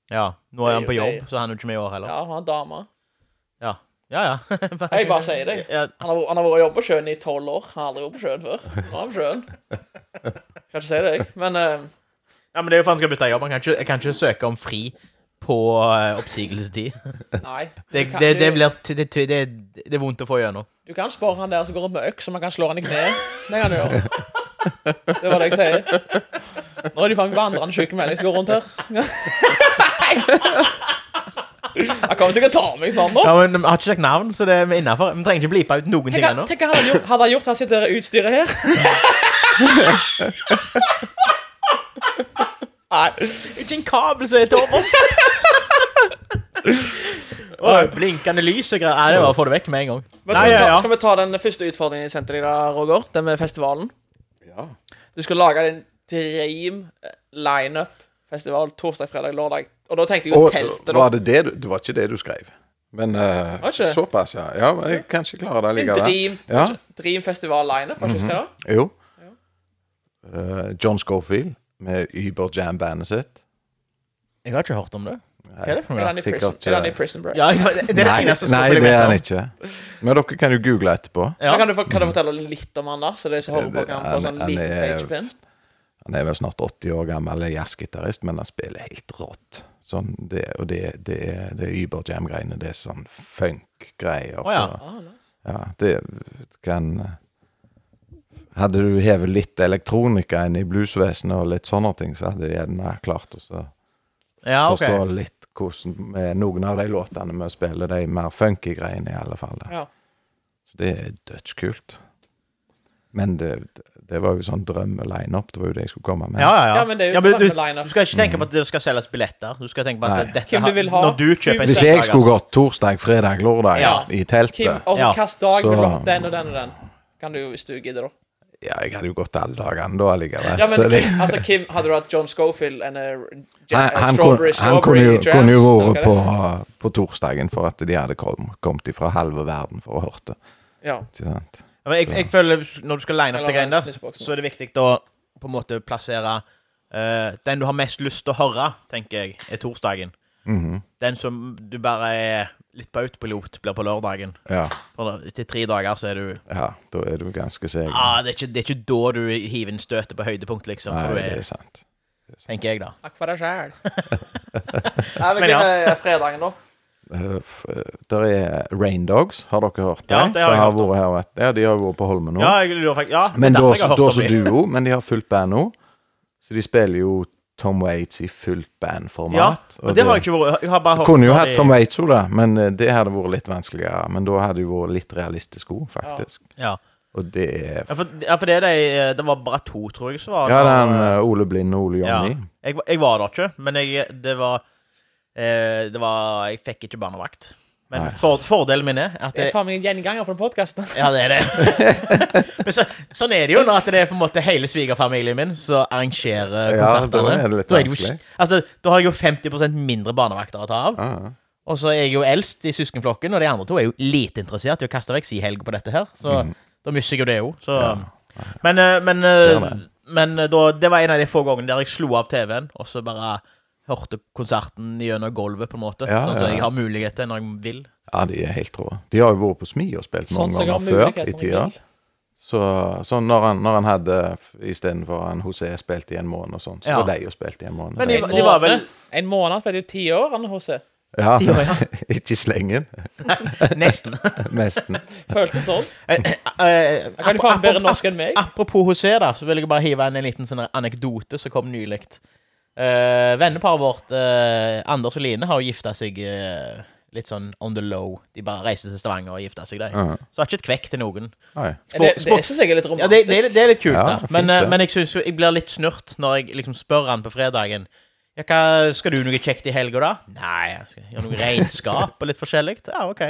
[SPEAKER 2] Ja. Nå er
[SPEAKER 3] Det
[SPEAKER 2] han
[SPEAKER 3] er
[SPEAKER 2] på
[SPEAKER 3] jo-
[SPEAKER 2] jobb, så han er jo ikke med i år heller.
[SPEAKER 3] Ja, han har dame.
[SPEAKER 2] Ja, ja. ja.
[SPEAKER 3] Jeg bare sier det.
[SPEAKER 2] Ja,
[SPEAKER 3] Han har, han har vært og jobbet på sjøen i tolv år. Han har aldri vært på sjøen før. Nå er han på sjøen. Skal ikke si det, jeg. Men eh,
[SPEAKER 2] ja, men det er jo for han skal bytte jobb. Han kan ikke, jeg kan ikke søke om fri på eh, oppsigelsestid.
[SPEAKER 3] nei.
[SPEAKER 2] Det,
[SPEAKER 3] Du kan-
[SPEAKER 2] det, det,
[SPEAKER 3] du-
[SPEAKER 2] blir, det, det, det, det er vondt å få gjennom.
[SPEAKER 3] Du kan spørre han der som går rundt med øks, om han kan slå han i kneet. Det kan du gjøre. Det var det jeg sier. Nå er det jo faen meg vandrende sykemelding som går rundt her. Han kommer sikkert til å ta meg snart nå.
[SPEAKER 2] Ja, men Vi har ikke sagt navn, så det er vi innafor. Vi trenger ikke blipe ut noen ting
[SPEAKER 3] Tenk,
[SPEAKER 2] ennå.
[SPEAKER 3] tenk hva han hadde gjort, hadde han gjort han sitter i utstyret her. Nei.
[SPEAKER 2] Ikke en kabel som er til overs! Oi, Blinkende lys og greier. Nei, det er bare å få det vekk med en gang.
[SPEAKER 3] Men skal,
[SPEAKER 2] Nei,
[SPEAKER 3] vi
[SPEAKER 2] ja,
[SPEAKER 3] ta,
[SPEAKER 2] ja.
[SPEAKER 3] skal vi ta den første utfordringen jeg sendte deg, da, Roger? Den med festivalen.
[SPEAKER 1] Ja.
[SPEAKER 3] Du skal lage din dream lineup festival torsdag, fredag, lørdag. Og da tenkte jeg jo
[SPEAKER 1] Og
[SPEAKER 3] teltet, da.
[SPEAKER 1] var det det du Det var ikke det du skrev. Men eh,
[SPEAKER 3] Var ikke det?
[SPEAKER 1] såpass, ja. Ja, men Jeg kan ikke klare det
[SPEAKER 3] Din
[SPEAKER 1] likevel.
[SPEAKER 3] dream,
[SPEAKER 1] Ja. Mhm.
[SPEAKER 3] dream festival lineup, var ikke det?
[SPEAKER 1] Jo. Eh, John Schofield med Uber Jam-bandet sitt.
[SPEAKER 2] Jeg har ikke hørt om det. Hva er det for
[SPEAKER 3] Er
[SPEAKER 2] noe?
[SPEAKER 3] han i
[SPEAKER 1] Sikkert eh,
[SPEAKER 3] prison,
[SPEAKER 1] ikke.
[SPEAKER 3] er han i prison break?
[SPEAKER 2] Ja, det det er det
[SPEAKER 1] Nei,
[SPEAKER 2] eneste
[SPEAKER 1] nei,
[SPEAKER 2] jeg
[SPEAKER 1] det
[SPEAKER 2] vet
[SPEAKER 1] er
[SPEAKER 2] om.
[SPEAKER 1] han ikke. Men dere kan jo google etterpå.
[SPEAKER 2] Ja.
[SPEAKER 3] Men Kan, du, for- kan du fortelle litt om han der? Så de som hører på kan få
[SPEAKER 1] Han-
[SPEAKER 3] sånn
[SPEAKER 1] han
[SPEAKER 3] liten
[SPEAKER 1] er-
[SPEAKER 3] pagepin?
[SPEAKER 1] Han er vel snart 80 år gammel jazzgitarist, men han spiller helt rått. Sånn, det, og det, det, er- det er Uber Jam-greiene. Det er sånn funk-greier.
[SPEAKER 2] Å, ja.
[SPEAKER 1] så-
[SPEAKER 3] Ah, nice.
[SPEAKER 1] Ja, det kan Hadde du hevet litt elektronika inn i bluesvesenet og litt sånne ting, så hadde de gjerne klart å så
[SPEAKER 2] Ja,
[SPEAKER 3] Ah,
[SPEAKER 2] ok.
[SPEAKER 1] forstå litt hvordan med noen av de låtene vi spiller, de mer funky greiene, i alle fall.
[SPEAKER 3] Ja.
[SPEAKER 1] Så det er dødskult. Men det, det var jo sånn drømme-lineup. Det var jo det jeg skulle komme med.
[SPEAKER 2] Ja, ja, ja.
[SPEAKER 3] Ja, men det er jo
[SPEAKER 2] du, du,
[SPEAKER 3] drømmelineup.
[SPEAKER 2] du skal ikke tenke på at det skal selges billetter. Du skal tenke på at
[SPEAKER 1] Nei.
[SPEAKER 2] dette
[SPEAKER 3] Hvem du
[SPEAKER 2] har-
[SPEAKER 3] vil ha.
[SPEAKER 2] Når du kjøper
[SPEAKER 3] Du-
[SPEAKER 1] Hvis jeg skulle gått torsdag, fredag, lørdag
[SPEAKER 2] Ja.
[SPEAKER 1] i
[SPEAKER 3] Kim, altså,
[SPEAKER 1] teltet
[SPEAKER 3] og
[SPEAKER 2] Ja.
[SPEAKER 3] hvilken dag
[SPEAKER 1] Så-
[SPEAKER 3] vil du ha den og den og den? Kan du, hvis du gidder, da.
[SPEAKER 1] Ja, jeg hadde jo gått alle dagene da allikevel.
[SPEAKER 3] Ja, men
[SPEAKER 1] så det,
[SPEAKER 3] Kim, altså, Kim, hadde du hatt John Scofield and a ja,
[SPEAKER 1] han, han, kunne,
[SPEAKER 3] uh, strawberry,
[SPEAKER 1] han
[SPEAKER 3] strawberry
[SPEAKER 1] kunne jo,
[SPEAKER 3] jams,
[SPEAKER 1] kunne jo vært
[SPEAKER 3] noe
[SPEAKER 1] på,
[SPEAKER 3] av det?
[SPEAKER 1] på torsdagen for at de hadde kom, kommet ifra halve verden for å høre det.
[SPEAKER 3] Ja.
[SPEAKER 1] Ikke sant?
[SPEAKER 2] Ja, men Jeg, jeg føler hvis- Når du skal line opp
[SPEAKER 3] Eller
[SPEAKER 2] de greiene der,
[SPEAKER 3] snusboksen.
[SPEAKER 2] så er det viktig å på en måte plassere eh, Den du har mest lyst til å høre, tenker jeg, er torsdagen.
[SPEAKER 1] Mhm,
[SPEAKER 2] Den som du bare er litt på autopilot, blir på lørdagen.
[SPEAKER 1] ja,
[SPEAKER 2] For da- Etter tre dager så er du
[SPEAKER 1] ja, da er du ganske seig.
[SPEAKER 2] ah, det, er ikke, det er ikke da du hiver inn støtet på høydepunkt, liksom.
[SPEAKER 1] Nei,
[SPEAKER 2] for du
[SPEAKER 1] det
[SPEAKER 2] er,
[SPEAKER 1] er sant.
[SPEAKER 2] tenker jeg, da.
[SPEAKER 3] Takk for deg sjæl. Nei, men
[SPEAKER 2] Men
[SPEAKER 3] Kim,
[SPEAKER 2] ja.
[SPEAKER 3] er fredagen, da?
[SPEAKER 1] Eh, f- eh, Der er Rain Dogs, har dere hørt det?
[SPEAKER 2] Ja, det har jeg hørt om.
[SPEAKER 1] vært her, vet, ja, de har vært på Holmen nå.
[SPEAKER 2] Ja, jeg lurer faktisk Ja, det er
[SPEAKER 1] men da
[SPEAKER 2] derfor jeg har hørt om
[SPEAKER 1] som
[SPEAKER 2] de.
[SPEAKER 1] duo, men de har fullt band nå. Så de spiller jo Tom Waits i fullt
[SPEAKER 2] Ja,
[SPEAKER 1] bandformat.
[SPEAKER 2] men det har jeg ikke vært Jeg har bare hørt
[SPEAKER 1] kunne jo
[SPEAKER 2] om
[SPEAKER 1] hatt
[SPEAKER 2] de-
[SPEAKER 1] Tom Waits òg, da, men eh, det hadde vært litt vanskeligere. Men da hadde det jo vært litt realistisk òg, faktisk.
[SPEAKER 2] Ja.
[SPEAKER 1] Og det er
[SPEAKER 2] Ja, for, ja, for det, er de, eh, det var bare to, tror jeg, som var
[SPEAKER 1] Ja,
[SPEAKER 2] der.
[SPEAKER 1] den eh, Ole Blind og Ole
[SPEAKER 2] Ja.
[SPEAKER 1] Jonny.
[SPEAKER 2] Jeg, var- jeg var der ikke, men jeg, det var eh, Det var Jeg fikk ikke barnevakt. Men
[SPEAKER 1] Nei.
[SPEAKER 2] for, fordelen min er at
[SPEAKER 3] Det
[SPEAKER 2] jeg,
[SPEAKER 3] er faen meg en gjenganger på den podkasten.
[SPEAKER 2] Ja, det er det. men så, sånn er det jo når at det er på en måte hele svigerfamilien min som arrangerer
[SPEAKER 1] Ja, da
[SPEAKER 2] konsertene.
[SPEAKER 1] er det litt
[SPEAKER 2] jo
[SPEAKER 1] vanskelig. Ah,
[SPEAKER 2] ikke- altså, da har jeg jo 50 mindre barnevakter å ta av.
[SPEAKER 1] Ja, ja.
[SPEAKER 2] Og så er jeg jo eldst i søskenflokken, og de andre to er jo lite interessert i å kaste vekk si helg på dette her. Så
[SPEAKER 1] Mm.
[SPEAKER 2] da mister jeg jo det òg. Så Men, eh, men, eh,
[SPEAKER 1] Ser det.
[SPEAKER 2] men eh, da, det var en av de få gangene der jeg slo av TV-en, og så bare hørte konserten gjennom gulvet, på en måte.
[SPEAKER 1] Ja,
[SPEAKER 2] sånn
[SPEAKER 1] ja,
[SPEAKER 2] som
[SPEAKER 1] ja.
[SPEAKER 2] jeg har mulighet til når jeg vil.
[SPEAKER 1] ja, de er helt rå. De har jo vært på Smi og spilt
[SPEAKER 3] Sånn
[SPEAKER 1] noen
[SPEAKER 3] som jeg har
[SPEAKER 1] ganger før
[SPEAKER 3] mulighet
[SPEAKER 1] i
[SPEAKER 3] når jeg
[SPEAKER 1] tida.
[SPEAKER 3] vil.
[SPEAKER 1] Så, så når, han, når han hadde istedenfor han José spilte i en måned og sånn, så
[SPEAKER 2] Ja.
[SPEAKER 1] var de jo spilt i en måned.
[SPEAKER 2] Men de,
[SPEAKER 3] En
[SPEAKER 2] de var vel
[SPEAKER 3] måned. En måned ble det jo ti år, Anne H.C.
[SPEAKER 1] ja,
[SPEAKER 2] de var, ja.
[SPEAKER 1] ikke i slengen.
[SPEAKER 2] Nesten.
[SPEAKER 1] Nesten.
[SPEAKER 3] Føltes sånn.
[SPEAKER 2] Eh, eh,
[SPEAKER 3] Jeg kan jo
[SPEAKER 2] apro-
[SPEAKER 3] faen bedre
[SPEAKER 2] apro-
[SPEAKER 3] norsk enn meg.
[SPEAKER 2] Apropos José, da, så vil jeg bare hive inn en liten sånn anekdote som kom nylig. Eh, venneparet vårt, eh, Anders og Line, har jo gifta seg eh, litt sånn on the low. De bare reiste til Stavanger og gifta seg, de.
[SPEAKER 1] Ja.
[SPEAKER 2] Så har ikke et kvekk til noen.
[SPEAKER 1] Nei.
[SPEAKER 3] Det, det
[SPEAKER 2] sport-
[SPEAKER 3] syns jeg er litt
[SPEAKER 2] Ja, det, det, er,
[SPEAKER 3] romantisk.
[SPEAKER 2] det er litt kult,
[SPEAKER 1] Ja,
[SPEAKER 2] da.
[SPEAKER 1] fint,
[SPEAKER 2] Men, eh,
[SPEAKER 1] det.
[SPEAKER 2] men jeg syns jo jeg blir litt snurt når jeg liksom spør han på fredagen ja, hva, Skal du noe kjekt i helga, da? Nei, jeg skal gjøre noe regnskap og litt forskjellig. Ja, OK.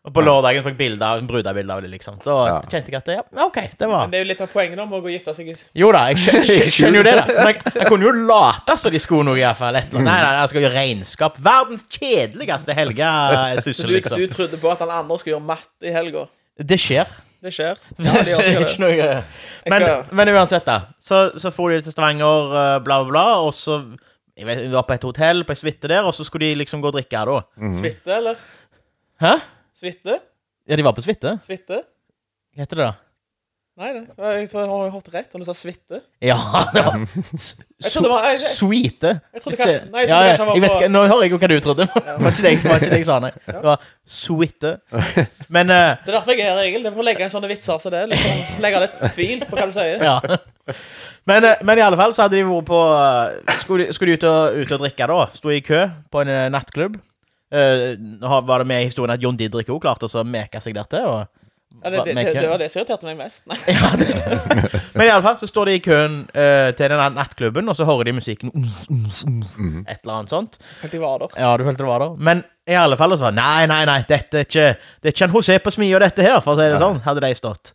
[SPEAKER 2] Og på lørdagen fikk bilder, brudebilder av det, liksom. Så
[SPEAKER 1] Ja.
[SPEAKER 2] kjente jeg at det, ja, OK, det var
[SPEAKER 3] Men det er jo litt av poenget da, med å gå og gifte seg.
[SPEAKER 2] jo da, jeg skjø- skjø- skjønner jo det. da Men jeg, jeg kunne jo late som de skulle noe, iallfall. Nei, nei, nei, jeg skal gjøre regnskap. Verdens kjedeligste
[SPEAKER 3] Så
[SPEAKER 2] helgesyssel,
[SPEAKER 3] du,
[SPEAKER 2] liksom.
[SPEAKER 3] du trodde på at alle andre skulle gjøre matte i helga.
[SPEAKER 2] Det skjer.
[SPEAKER 3] Det skjer. Ja,
[SPEAKER 2] Det
[SPEAKER 3] de
[SPEAKER 2] er
[SPEAKER 3] orker det.
[SPEAKER 2] ikke noe men, men uansett, da. Så, så for de til Stavanger, eh, bla, bla, bla, og så jeg vet, Vi var på et hotell, på ei suite der, og så skulle de liksom gå og drikke, da.
[SPEAKER 1] Mhm.
[SPEAKER 3] Suite, eller?
[SPEAKER 2] Hæ?
[SPEAKER 3] Suite?
[SPEAKER 2] Ja, de var på suite?
[SPEAKER 3] Suite?
[SPEAKER 2] Hva heter det, da?
[SPEAKER 3] Nei, det. jeg tror jeg har hørt rett når du sa suite.
[SPEAKER 2] Ja, det var s-
[SPEAKER 3] Jeg trodde det var- jeg- jeg-
[SPEAKER 2] Suite.
[SPEAKER 3] Jeg trodde
[SPEAKER 2] Hvis det-
[SPEAKER 3] kanskje- nei, jeg
[SPEAKER 2] ja, ja,
[SPEAKER 3] trodde kanskje han var
[SPEAKER 2] jeg vet
[SPEAKER 3] på-
[SPEAKER 2] ikke, Nå hører jeg jo hva du trodde. Det var ikke det jeg, var ikke det jeg sa, nei. Det var suite. Men eh,
[SPEAKER 3] Det er derfor jeg er her, Egil. Det er for å legge en sånn sånne vitser som det. Liksom, legge litt tvil på hva du sier.
[SPEAKER 2] ja. men, eh, men i alle fall så hadde de vært på eh, Skulle de, skulle de ut, og, ut og drikke, da? Sto i kø på en eh, nattklubb. Eh, har- var det med i historien at John Didrik òg klarte å meke seg der til? Og,
[SPEAKER 3] Ja, det, det, det, det var det som irriterte meg mest. Nei.
[SPEAKER 2] Ja, det. Men i alle fall så står de i køen eh, til den nattklubben, og så hører de musikken Et eller annet sånt.
[SPEAKER 3] Helt i var der.
[SPEAKER 2] Ja, du følte det var der. Men i alle fall så var det, Nei, nei, nei, dette er ikke Det er ikke en José på smia, dette her, for å si det sånn, hadde de stått.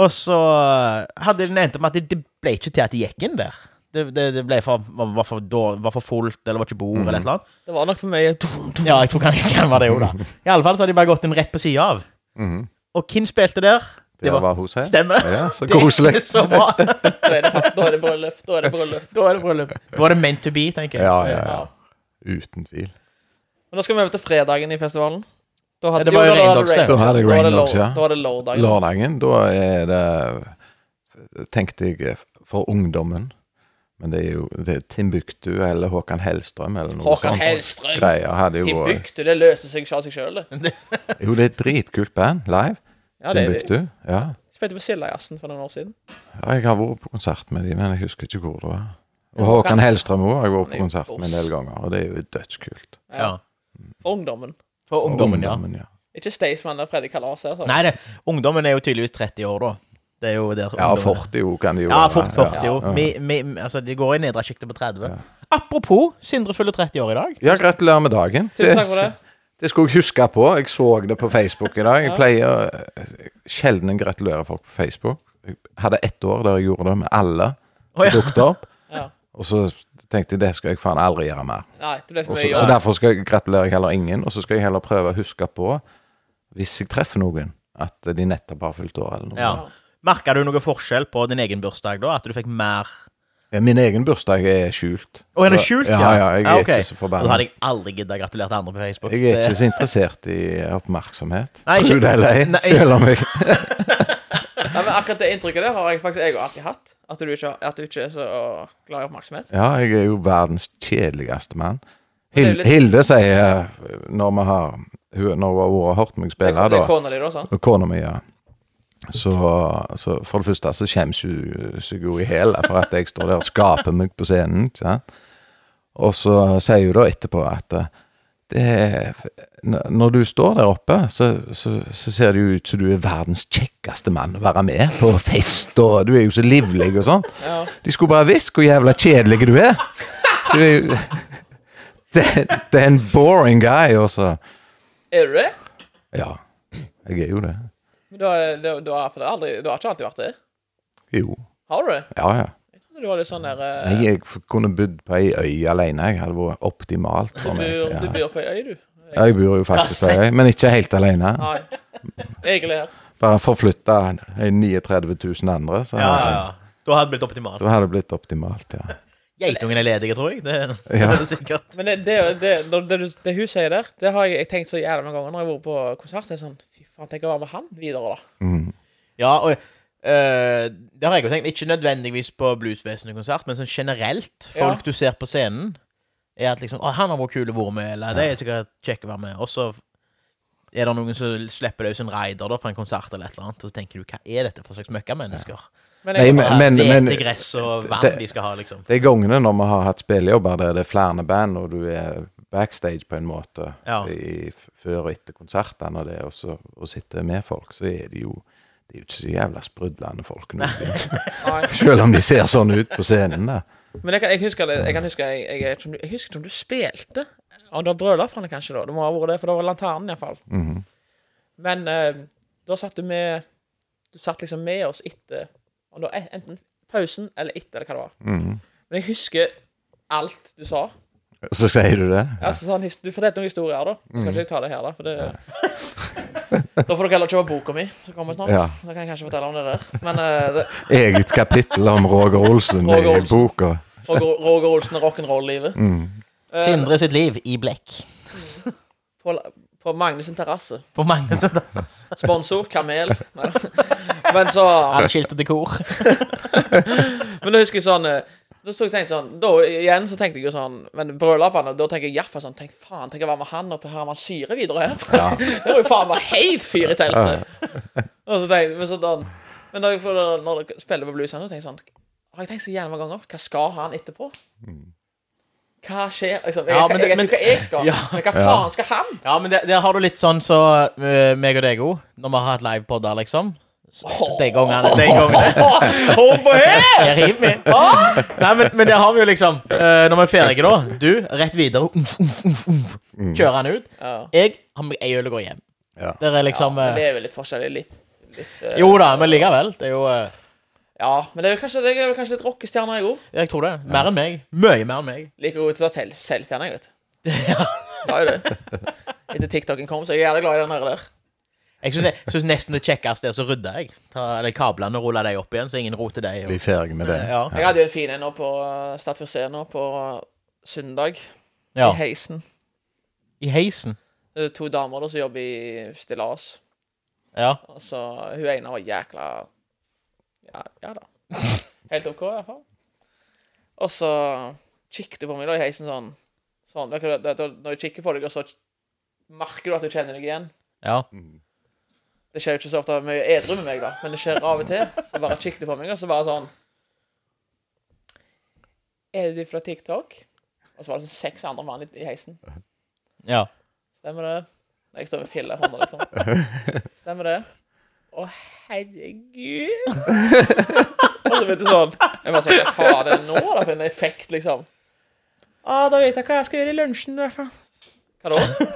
[SPEAKER 2] Og så eh, hadde den endt med at det, det ble ikke til at de gikk inn der. Det, det, det ble for, var, for dår, var for fullt, eller var ikke bord, eller et eller annet.
[SPEAKER 3] Det var nok for mye
[SPEAKER 1] Mm.
[SPEAKER 2] Ja, jeg tror kanskje det var det jo, da. I alle fall så hadde de bare gått inn rett på sida av.
[SPEAKER 1] Mhm.
[SPEAKER 2] Og hvem spilte der?
[SPEAKER 1] Det var hos her.
[SPEAKER 2] Stemmer.
[SPEAKER 1] Ja, så
[SPEAKER 2] Det er
[SPEAKER 1] koselig.
[SPEAKER 2] Så bra.
[SPEAKER 3] Da er det, fast- da er det bryllup. Da er det bryllup.
[SPEAKER 2] Da er det bryllup. Da er det meant to be, tenker jeg.
[SPEAKER 1] Ja, ja, ja.
[SPEAKER 3] Ja.
[SPEAKER 1] Uten tvil.
[SPEAKER 3] Men da skal vi over til fredagen i festivalen. Da
[SPEAKER 2] Ja, det var jo
[SPEAKER 3] da
[SPEAKER 2] Rain Dogs, det.
[SPEAKER 1] Da hadde jeg
[SPEAKER 3] var
[SPEAKER 1] Rain
[SPEAKER 3] det
[SPEAKER 1] Dogs,
[SPEAKER 3] lov-
[SPEAKER 1] ja.
[SPEAKER 3] Da var det lørdagen.
[SPEAKER 1] Lørdagen, da er det Tenkte jeg for ungdommen. Men det er jo det er Timbuktu eller Håkan Hellstrøm eller noe
[SPEAKER 3] Håkan
[SPEAKER 1] sånt.
[SPEAKER 3] Hellstrøm.
[SPEAKER 1] Greier hadde jo vært
[SPEAKER 3] Timbuktu. Det løser seg ikke av seg sjøl, det.
[SPEAKER 1] Jo, det er et dritkult band live.
[SPEAKER 3] Ja, det
[SPEAKER 1] Timbuktu. Ja.
[SPEAKER 3] spilte på Sildajazzen for noen år siden.
[SPEAKER 1] ja. Jeg har vært på konsert med dem, men jeg husker ikke hvor det var. Og Håkan Hellstrøm òg har jeg vært på konsert med en del ganger, og det er jo dødskult.
[SPEAKER 2] Ja.
[SPEAKER 3] For ungdommen.
[SPEAKER 2] For ungdommen, ja.
[SPEAKER 1] Ungdommen, ja.
[SPEAKER 3] Ikke Staysman eller Freddy Kalas. Altså.
[SPEAKER 2] Nei, det, ungdommen er jo tydeligvis 30 år, da. Det er jo der
[SPEAKER 1] Ja,
[SPEAKER 2] ungdommen er.
[SPEAKER 1] 40 jo kan de jo
[SPEAKER 2] Ja,
[SPEAKER 1] være.
[SPEAKER 2] fort 40
[SPEAKER 1] ja.
[SPEAKER 2] år. Vi, vi, altså, de går i nedre sjiktet på 30. Apropos, Sindre fyller 30 år i dag.
[SPEAKER 1] Ja, gratulerer med dagen.
[SPEAKER 3] Tusen takk for det.
[SPEAKER 1] Det skulle jeg huske på. Jeg så det på Facebook i dag. Jeg pleier eh, sjelden jeg gratulerer folk på Facebook. Jeg hadde ett år der jeg gjorde det med alle som
[SPEAKER 2] Å, ja.
[SPEAKER 1] dukket opp.
[SPEAKER 3] Ja.
[SPEAKER 1] Og så tenkte jeg det skal jeg faen aldri gjøre mer.
[SPEAKER 3] Nei, det ble
[SPEAKER 1] Og
[SPEAKER 3] for
[SPEAKER 1] så,
[SPEAKER 3] mye
[SPEAKER 1] så
[SPEAKER 3] jobb.
[SPEAKER 1] derfor skal jeg gratulerer jeg heller ingen, og så skal jeg heller prøve å huske på, hvis jeg treffer noen, at de nettopp har fylt år eller noe.
[SPEAKER 2] Ja. Merka du noe forskjell på din egen bursdag da? At du fikk mer
[SPEAKER 1] Ja, Min egen bursdag er skjult.
[SPEAKER 2] Å, den er skjult,
[SPEAKER 1] ja?
[SPEAKER 2] ja?
[SPEAKER 1] Ja, jeg
[SPEAKER 2] Ja,
[SPEAKER 1] er
[SPEAKER 2] ok.
[SPEAKER 1] ikke så
[SPEAKER 2] Da
[SPEAKER 1] forbanna.
[SPEAKER 2] hadde jeg aldri gidda gratulert andre på Facebook.
[SPEAKER 1] Jeg er
[SPEAKER 2] Det-
[SPEAKER 1] ikke så interessert i oppmerksomhet.
[SPEAKER 2] Nei, ikke-
[SPEAKER 1] Tro det eller ei,
[SPEAKER 2] Nei.
[SPEAKER 1] selv om jeg
[SPEAKER 3] Nei, men akkurat det inntrykket der har jeg faktisk jeg alltid hatt. At du ikke, at du ikke er så glad i oppmerksomhet.
[SPEAKER 1] Ja, jeg er jo verdens kjedeligste mann.
[SPEAKER 3] Det er jo
[SPEAKER 1] Hil
[SPEAKER 3] litt-
[SPEAKER 1] Hilde sier, eh, når vi har hun- Når hun har hørt meg
[SPEAKER 3] Det
[SPEAKER 1] spille,
[SPEAKER 3] er
[SPEAKER 1] da
[SPEAKER 3] kona di, da, sant?
[SPEAKER 1] Og kona mi, ja. Så, så for det første så skjemmes hun seg jo i hæl for at jeg står der og skaper meg på scenen. Ikke sant? Og så sier hun da etterpå at eh, det er, n- når du står der oppe, så, så, så ser det jo ut som du er verdens kjekkeste mann å være med på fest, og du er jo så livlig og sånn.
[SPEAKER 3] Ja.
[SPEAKER 1] De skulle bare visst hvor jævla kjedelig du er. Du er jo det, det er en boring guy, og så
[SPEAKER 3] Er du det?
[SPEAKER 1] Ja, jeg er jo det.
[SPEAKER 3] Men Du har, du, du, har, for det har aldri, du har ikke alltid vært det?
[SPEAKER 1] Jo.
[SPEAKER 3] Har du det?
[SPEAKER 1] Ja, ja.
[SPEAKER 3] Jeg trodde du var litt sånn der eh,
[SPEAKER 1] Nei, jeg f- kunne bodd på ei øy alene. Jeg hadde vært optimalt for
[SPEAKER 3] du,
[SPEAKER 1] meg.
[SPEAKER 3] bor, du
[SPEAKER 1] Ja.
[SPEAKER 3] bor på ei øy, du?
[SPEAKER 1] Ja, jeg bor jo faktisk på ei øy, men ikke helt alene.
[SPEAKER 3] Nei. Egil er her.
[SPEAKER 1] Bare forflytta 39 000 andre, så
[SPEAKER 2] Ja, ja, ja. Da hadde det blitt optimalt.
[SPEAKER 1] da hadde det blitt optimalt, ja.
[SPEAKER 2] Geitungen er ledige, tror jeg. Det,
[SPEAKER 1] Ja.
[SPEAKER 2] det er sikkert.
[SPEAKER 3] Men det, det, det, når- det, du- det hun sier der, det har jeg, jeg tenkt så jævla mange ganger når jeg har vært på konsert. Jeg er sånn, Fy faen, tenk å være med han videre, da.
[SPEAKER 1] Mm.
[SPEAKER 2] Ja, og eh, det har jeg jo tenkt. Ikke nødvendigvis på bluesvesenet-konsert, men sånn generelt. Folk du ser på scenen, er at liksom Å, han har vært kul å være med, eller det er sikkert kjekt å være med. Og så er det noen som slipper løs en rider da, fra en konsert eller et eller annet, og så tenker du hva er dette for slags møkkamennesker?
[SPEAKER 3] Men
[SPEAKER 1] Nei,
[SPEAKER 3] jeg,
[SPEAKER 1] men-
[SPEAKER 2] Men, men,
[SPEAKER 1] men-
[SPEAKER 2] gress og vann
[SPEAKER 1] det-
[SPEAKER 2] de skal ha, liksom.
[SPEAKER 1] De gangene når vi har hatt spillejobber der det er flere band, og du er backstage på en måte
[SPEAKER 2] Ja.
[SPEAKER 1] i, f- før og etter konsertene og det, og, så, og sitter med folk, så er de jo det er jo ikke så jævla sprudlende folk nå.
[SPEAKER 3] nei.
[SPEAKER 1] Selv om de ser sånn ut på scenen. da.
[SPEAKER 3] Men jeg kan, jeg husker, det- jeg, kan huske jeg, jeg, jeg, jeg husker ikke om du spilte. Og da brøla fra det kanskje, da. Det må ha vært det, for det var Lanternen iallfall.
[SPEAKER 1] Mhm.
[SPEAKER 3] Men eh, da satt du med Du satt liksom med oss etter om det var en- enten pausen eller etter, eller hva det var.
[SPEAKER 1] Mhm.
[SPEAKER 3] Men jeg husker alt du sa.
[SPEAKER 1] Så sier du det?
[SPEAKER 3] Altså, sånn, his- du fortalte noen historier, da.
[SPEAKER 1] Mhm.
[SPEAKER 3] Jeg skal ikke jeg ta det her, da. For det... da får dere heller kjøpe boka mi, som kommer snart.
[SPEAKER 1] Ja.
[SPEAKER 3] Da kan jeg kanskje fortelle om det der. Men eh, det,
[SPEAKER 1] eget kapittel om Roger Olsen
[SPEAKER 3] Roger
[SPEAKER 1] i
[SPEAKER 3] Olsen.
[SPEAKER 1] boka.
[SPEAKER 3] Roger, Roger Olsen og rock'n'roll-livet.
[SPEAKER 1] Mhm.
[SPEAKER 3] Eh,
[SPEAKER 2] Sindre sitt liv i blekk.
[SPEAKER 3] På, på Magnus sin terrasse.
[SPEAKER 2] På mange sider. Altså.
[SPEAKER 3] Sponsor Kamel. Nei. Men så
[SPEAKER 2] Skilt og dekor.
[SPEAKER 3] Men da husker jeg sånn eh, Da stod jeg og tenkte sånn Da igjen så tenkte jeg jo sånn Men brødlappene Da tenker jeg iallfall sånn Tenk faen, tenk å være med han oppe her man syre videre her. det var jo faen meg helt fyr i teltet. Og så tenkte jeg Men så da Men når jeg, får, når jeg spiller på bluesen, så tenker jeg sånn Har jeg tenkt så jævla mange ganger Hva skal han etterpå? Hva skjer? Liksom, jeg,
[SPEAKER 2] Mm. Ja, men
[SPEAKER 3] jeg,
[SPEAKER 2] det-
[SPEAKER 3] vet jo hva jeg skal,
[SPEAKER 2] Ja.
[SPEAKER 3] men hva faen skal han?
[SPEAKER 2] Ja, men der, der har du litt sånn så eh, meg og deg òg, når vi har hatt livepodder, liksom. Så, De gangene, de gangene.
[SPEAKER 3] Hold på her!
[SPEAKER 2] Jeg river meg. Nei, men, men der har vi jo liksom eh, Når vi er ferdige, da. Du, rett videre. Umf, umf, umf, umf. Kjører han ut.
[SPEAKER 3] Ja.
[SPEAKER 2] Jeg har meg ei øl og går hjem.
[SPEAKER 1] Ja.
[SPEAKER 2] Der er liksom
[SPEAKER 3] Men det
[SPEAKER 2] eh,
[SPEAKER 3] er vel litt forskjellig litt, litt eh,
[SPEAKER 2] Jo da, men likevel. Det er jo eh,
[SPEAKER 3] Ja, men det er jo kanskje, det er jo kanskje litt rockestjerner jeg òg.
[SPEAKER 2] Jeg tror det. Mer enn meg. Mye mer enn meg.
[SPEAKER 3] Liker godt til å ta self selfiene, jeg, vet du. Ja. jo det. Etter TikToken kom, så jeg er jævlig glad i den her der.
[SPEAKER 2] Jeg syns, jeg synes nesten det kjekkeste er så rydder jeg. Ta de kablene og ruller de opp igjen, så ingen roter de.
[SPEAKER 1] Vi er
[SPEAKER 2] og-
[SPEAKER 1] ferdige med det.
[SPEAKER 2] Ja.
[SPEAKER 3] Jeg hadde jo en fin en nå på uh, Stadfjord Scene nå på eh, søndag,
[SPEAKER 2] ja.
[SPEAKER 3] i heisen.
[SPEAKER 2] I heisen.
[SPEAKER 3] Det er to damer da som jobber i stillas.
[SPEAKER 2] Ja.
[SPEAKER 3] Og så hun ene var jækla Ja, ja da. Helt OK, i hvert fall. Og så kikket hun på meg da i heisen sånn. sånn det, det, det, når jeg kikker på deg, og så merker du at du kjenner deg igjen.
[SPEAKER 2] ja.
[SPEAKER 3] Det skjer jo ikke så ofte med edru med meg, da, men det skjer av og til. Så bare kikket de på meg, og så bare sånn Er du fra TikTok? Og så var det sånn seks andre mann i, i heisen.
[SPEAKER 2] Ja.
[SPEAKER 3] Stemmer det? Når jeg står med fille i hånda, liksom. Stemmer det? Å, herregud! Og så begynte sånn Jeg bare sånn Hva faen er det nå, da, for en effekt, liksom? Å, da vet jeg hva jeg skal gjøre i lunsjen, i hvert fall. Hva da?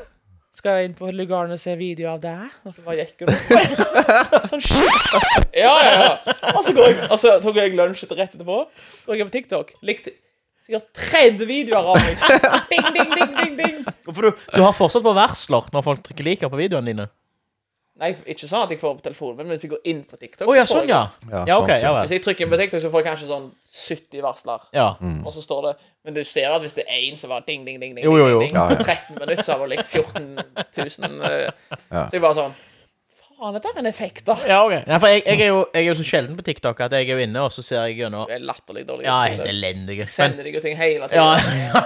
[SPEAKER 3] skal jeg inn på lugaren og se video av deg. Og så bare gikk hun opp. Sånn shit. Ja, ja, ja. Og så, går jeg, og så tok jeg lunsj rett etterpå. Så gikk jeg på TikTok. Likte sikkert 30 videoer av meg. Ding, ding, ding, ding, ding.
[SPEAKER 2] For du, du har fortsatt på varsler når folk trykker liker på videoene dine.
[SPEAKER 3] Nei, ikke sånn at jeg får på telefonen min, men hvis jeg går inn på TikTok
[SPEAKER 2] Å ja,
[SPEAKER 3] så får
[SPEAKER 2] sånn,
[SPEAKER 3] jeg-
[SPEAKER 2] ja. Ja, OK.
[SPEAKER 1] sant,
[SPEAKER 2] Ja vel.
[SPEAKER 3] Hvis jeg trykker inn på TikTok, så får jeg kanskje sånn 70 varsler.
[SPEAKER 2] Ja.
[SPEAKER 3] Og så står det Men du ser at hvis det er én som var ding, ding, ding,
[SPEAKER 2] Mm.
[SPEAKER 3] ding,
[SPEAKER 2] Jo, jo, jo.
[SPEAKER 3] ding, ding
[SPEAKER 1] Ja, ja.
[SPEAKER 3] på 13 minutter, så har hun likt 14 000 eh,
[SPEAKER 1] Ja.
[SPEAKER 3] Så jeg bare sånn Faen, dette er en effekt, da.
[SPEAKER 2] Ja, ok. Nei, for jeg, jeg, er jo, jeg er jo så sjelden på TikTok at jeg er jo inne, og så ser jeg gjennom
[SPEAKER 3] Du er latterlig dårlig.
[SPEAKER 2] Ja, helt elendig. Men,
[SPEAKER 3] Sender deg jo ting hele tiden.
[SPEAKER 2] ja, ja.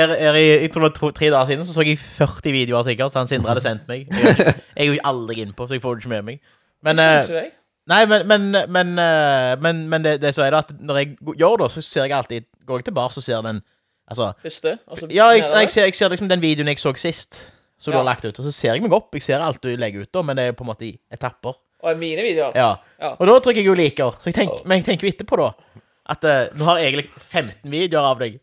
[SPEAKER 2] Her, her i, jeg tror det var to, tre dager siden så så jeg 40 videoer sikkert, så han Sindre hadde sendt meg. Jeg er jo- jeg er jo aldri innpå, så jeg får det ikke med meg. Men,
[SPEAKER 3] Skjønner
[SPEAKER 2] eh,
[SPEAKER 3] ikke deg.
[SPEAKER 2] nei, men, men, men, eh, men, men det, det så er det at når jeg gjør det, så ser jeg alltid Går jeg tilbake, så ser den Altså
[SPEAKER 3] Første. og så
[SPEAKER 2] Ja, jeg,
[SPEAKER 3] nedover.
[SPEAKER 2] nei, jeg, ser, jeg ser liksom den videoen jeg så sist, som du
[SPEAKER 3] Ja.
[SPEAKER 2] har lagt ut. Og så ser jeg meg opp. Jeg ser alt du legger ut, da, men det er på en måte i etapper.
[SPEAKER 3] Og mine videoer.
[SPEAKER 2] Ja.
[SPEAKER 3] Ja.
[SPEAKER 2] Og da trykker jeg jo liker. Så jeg tenk, men jeg tenker jo etterpå, da, at eh, nå har jeg egentlig 15 videoer av deg.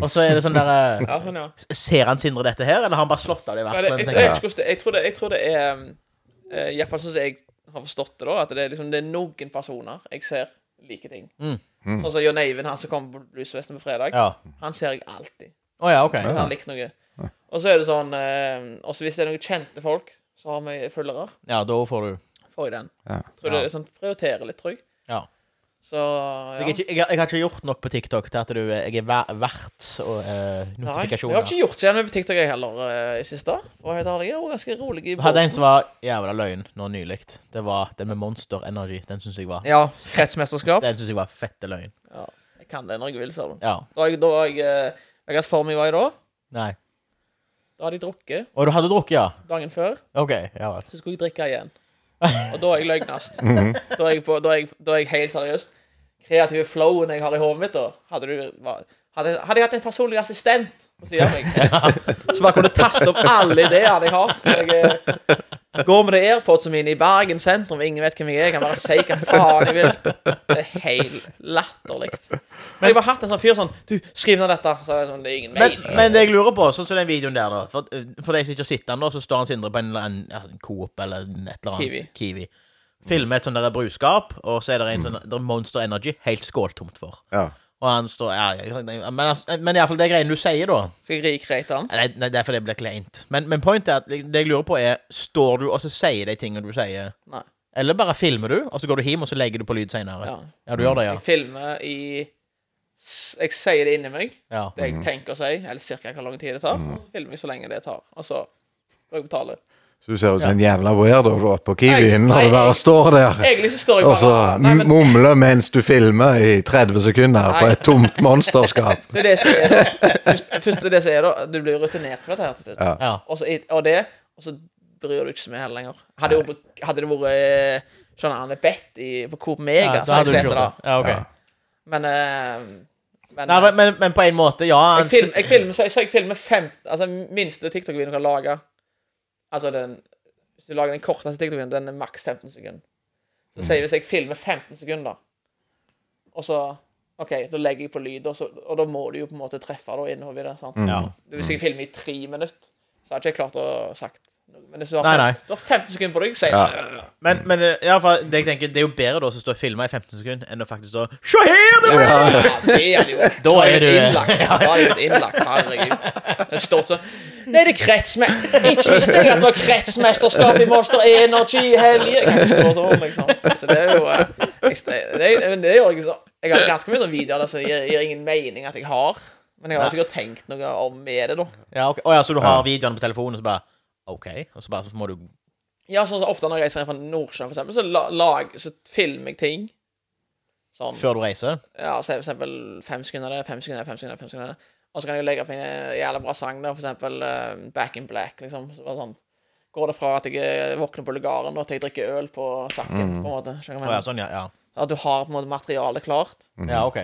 [SPEAKER 2] Og så er det sånn der eh,
[SPEAKER 3] Ja, sånn, ja.
[SPEAKER 2] Ser han Sindre dette her, eller har han bare slått av det i
[SPEAKER 3] Nei, det, jeg,
[SPEAKER 2] verset?
[SPEAKER 3] jeg,
[SPEAKER 2] tenker
[SPEAKER 3] vet
[SPEAKER 2] jeg.
[SPEAKER 3] ikke hvordan det- jeg, tror det, jeg tror det er eh, I hvert fall sånn som jeg har forstått det, da, at det er, liksom, det er noen personer jeg ser like ting.
[SPEAKER 2] Mm.
[SPEAKER 3] Sånn som John Eivind, han som kom på bluesfesten på fredag.
[SPEAKER 2] Ja.
[SPEAKER 3] Han ser jeg alltid.
[SPEAKER 2] Å ja, OK.
[SPEAKER 3] Hvis han likte noe. Og så er det sånn eh, også hvis det er noen kjente folk, så har vi følgere.
[SPEAKER 2] Ja, da får du
[SPEAKER 3] Får jeg den.
[SPEAKER 1] Ja.
[SPEAKER 3] Tror det er sånn, Prioriterer litt, tror jeg.
[SPEAKER 2] Ja.
[SPEAKER 3] Så ja.
[SPEAKER 2] Jeg, er ikke, jeg, har- jeg har ikke gjort nok på TikTok til at du eh, Jeg er ver- verdt og, eh,
[SPEAKER 3] Nei, jeg
[SPEAKER 2] notifikasjoner.
[SPEAKER 3] har ikke gjort så mye på TikTok jeg heller eh, i siste. For å være helt ærlig, jeg var ganske rolig i
[SPEAKER 2] Vi hadde en
[SPEAKER 3] båten.
[SPEAKER 2] som var jævla løgn nå nylig. Det var den med Monster Energy. Den syns jeg var
[SPEAKER 3] Ja, kretsmesterskap.
[SPEAKER 2] Den synes jeg var fette løgn.
[SPEAKER 3] Ja, jeg kan det når jeg vil, sa du.
[SPEAKER 2] Ja.
[SPEAKER 3] Da var jeg, da var jeg eh, Hva slags form jeg var i da?
[SPEAKER 2] Nei.
[SPEAKER 3] Da hadde jeg drukket
[SPEAKER 2] Og du hadde drukket, ja?
[SPEAKER 3] dagen før.
[SPEAKER 2] OK. Ja vel.
[SPEAKER 3] Så skulle jeg drikke igjen. Og da er jeg løgnast. Da er jeg, på, da er jeg, da er jeg helt seriøst. Kreative flowen jeg har i hodet mitt, da. Hadde, du, hva- hadde, hadde jeg hatt en personlig assistent på siden av meg, som bare kunne tatt opp alle ideene jeg har Jeg eh, går med det airpodsene mine i Bergen sentrum, ingen vet hvem jeg er, jeg kan bare si hva faen jeg vil. Det er helt latterlig. Men jeg bare hatt en sånn fyr sånn Du, skriv ned dette. Så er jeg sånn, det er ingen
[SPEAKER 2] Men,
[SPEAKER 3] mening.
[SPEAKER 2] men det jeg lurer på, sånn som den videoen der, da For, eh, for de som ikke har sett den, da, så står han Sindre på en, eller annen- ja, en Coop eller en- et eller annet. Kiwi. Filmer et sånt der bruskap, og så er det en sånn der Monster Energy helt skåltomt for.
[SPEAKER 1] Ja.
[SPEAKER 2] Og han står ja, ja, Men, altså- men iallfall det greiene du sier, da.
[SPEAKER 3] Skal jeg rikrate han?
[SPEAKER 2] Nei, nei det er fordi det blir kleint. Men, men pointet er at det jeg lurer på, er Står du og så sier de tingene du sier?
[SPEAKER 3] Nei.
[SPEAKER 2] Eller bare filmer du, og så går du hjem, og så legger du på lyd seinere?
[SPEAKER 3] Ja.
[SPEAKER 2] du gjør det, ja.
[SPEAKER 3] Jeg filmer i s- Jeg sier det inni meg.
[SPEAKER 2] ja.
[SPEAKER 3] det jeg tenker å si, eller cirka hvor lang tid det tar. Og så filmer jeg så lenge det tar. Og så får jeg betale.
[SPEAKER 1] Så du ser ut som en jævla weirdo da, på Kiwien
[SPEAKER 3] Nei,
[SPEAKER 1] når du
[SPEAKER 3] nei,
[SPEAKER 1] bare står der
[SPEAKER 3] Egentlig så står jeg
[SPEAKER 1] og
[SPEAKER 3] bare
[SPEAKER 1] så
[SPEAKER 3] Nei, men
[SPEAKER 1] mumler mens du filmer i 30 sekunder på
[SPEAKER 3] Nei.
[SPEAKER 1] et tomt monsterskap.
[SPEAKER 3] det er det som er, da. Først, først er det som er, da. Du blir rutinert for dette her til slutt.
[SPEAKER 1] Ja.
[SPEAKER 2] ja.
[SPEAKER 3] Og, så, og det, og så bryr du deg ikke så mye heller lenger. Hadde, jo, hadde det vært eh, sånn Arne Bett i, på Coop Mega,
[SPEAKER 2] Ja, da
[SPEAKER 3] så hadde jeg
[SPEAKER 2] du
[SPEAKER 3] slettet det.
[SPEAKER 2] gjort det. Ja, ok.
[SPEAKER 1] Ja.
[SPEAKER 3] Men, eh, men,
[SPEAKER 2] Nei, men, men, men på en måte, ja.
[SPEAKER 3] jeg,
[SPEAKER 2] Han,
[SPEAKER 3] film, jeg filmer, så jeg, så jeg filmer fem Altså, minste TikTok-videoen du kan lage Altså, den Hvis du lager den korteste TikTok-videoen, den er maks 15 sekunder. Så
[SPEAKER 2] Mm.
[SPEAKER 3] sier jeg hvis jeg filmer 15 sekunder, og så OK, da legger jeg på lyd, og, så, og da må du jo på en måte treffe da, innover i det. sant?
[SPEAKER 2] ja.
[SPEAKER 3] Du,
[SPEAKER 2] Mm.
[SPEAKER 3] hvis jeg filmer i tre minutter, så har jeg ikke klart å sagt noe. Men hvis du har,
[SPEAKER 2] Nei,
[SPEAKER 3] fem,
[SPEAKER 2] nei.
[SPEAKER 3] Du har 15 sekunder på deg, sier
[SPEAKER 1] Ja.
[SPEAKER 3] jeg
[SPEAKER 2] Men, men eh, ja, for det, jeg tenker, det er jo bedre da å stå og filme i 15 sekunder enn å faktisk stå Se her! det var-"
[SPEAKER 1] Ja.
[SPEAKER 3] Ja, det er det jo. Da
[SPEAKER 2] er du-
[SPEAKER 3] innlagt. Da er du innlagt. Herregud. Det står sånn Nei, det er kretsme... Ikke visste jeg at det var kretsmesterskap i Monster Energy i helgen! Det står sånn, liksom. Så det er jo eh, jeg, det, er- men det er jo ikke så, Jeg har ganske mye sånn videoer der som gir, gir ingen mening at jeg har. Men jeg har sikkert tenkt noe om med det, da.
[SPEAKER 2] Ja, ok. Å ja, så du har videoene på telefonen, og så bare OK? Og så bare så må du
[SPEAKER 3] Ja, sånn som Ofte når jeg reiser ned fra Nordsjøen, for eksempel, så, la, lag, så filmer jeg ting. Sånn.
[SPEAKER 2] Før du reiser?
[SPEAKER 3] Ja, så er det for eksempel fem sekunder det, fem sekunder det, fem sekunder det, fem sekunder det. Og så kan jeg legge opp en jævla bra sang der, for eksempel eh, Back in Black, liksom. Så bare sånn. Går det fra at jeg eh, våkner på lugaren da, til jeg drikker øl på sakken, på en måte. Skjønner du
[SPEAKER 2] Mm. Å ja,
[SPEAKER 3] hva jeg mener?
[SPEAKER 2] sånn, ja. Ja,
[SPEAKER 3] At du har på en måte materialet klart.
[SPEAKER 2] ja OK.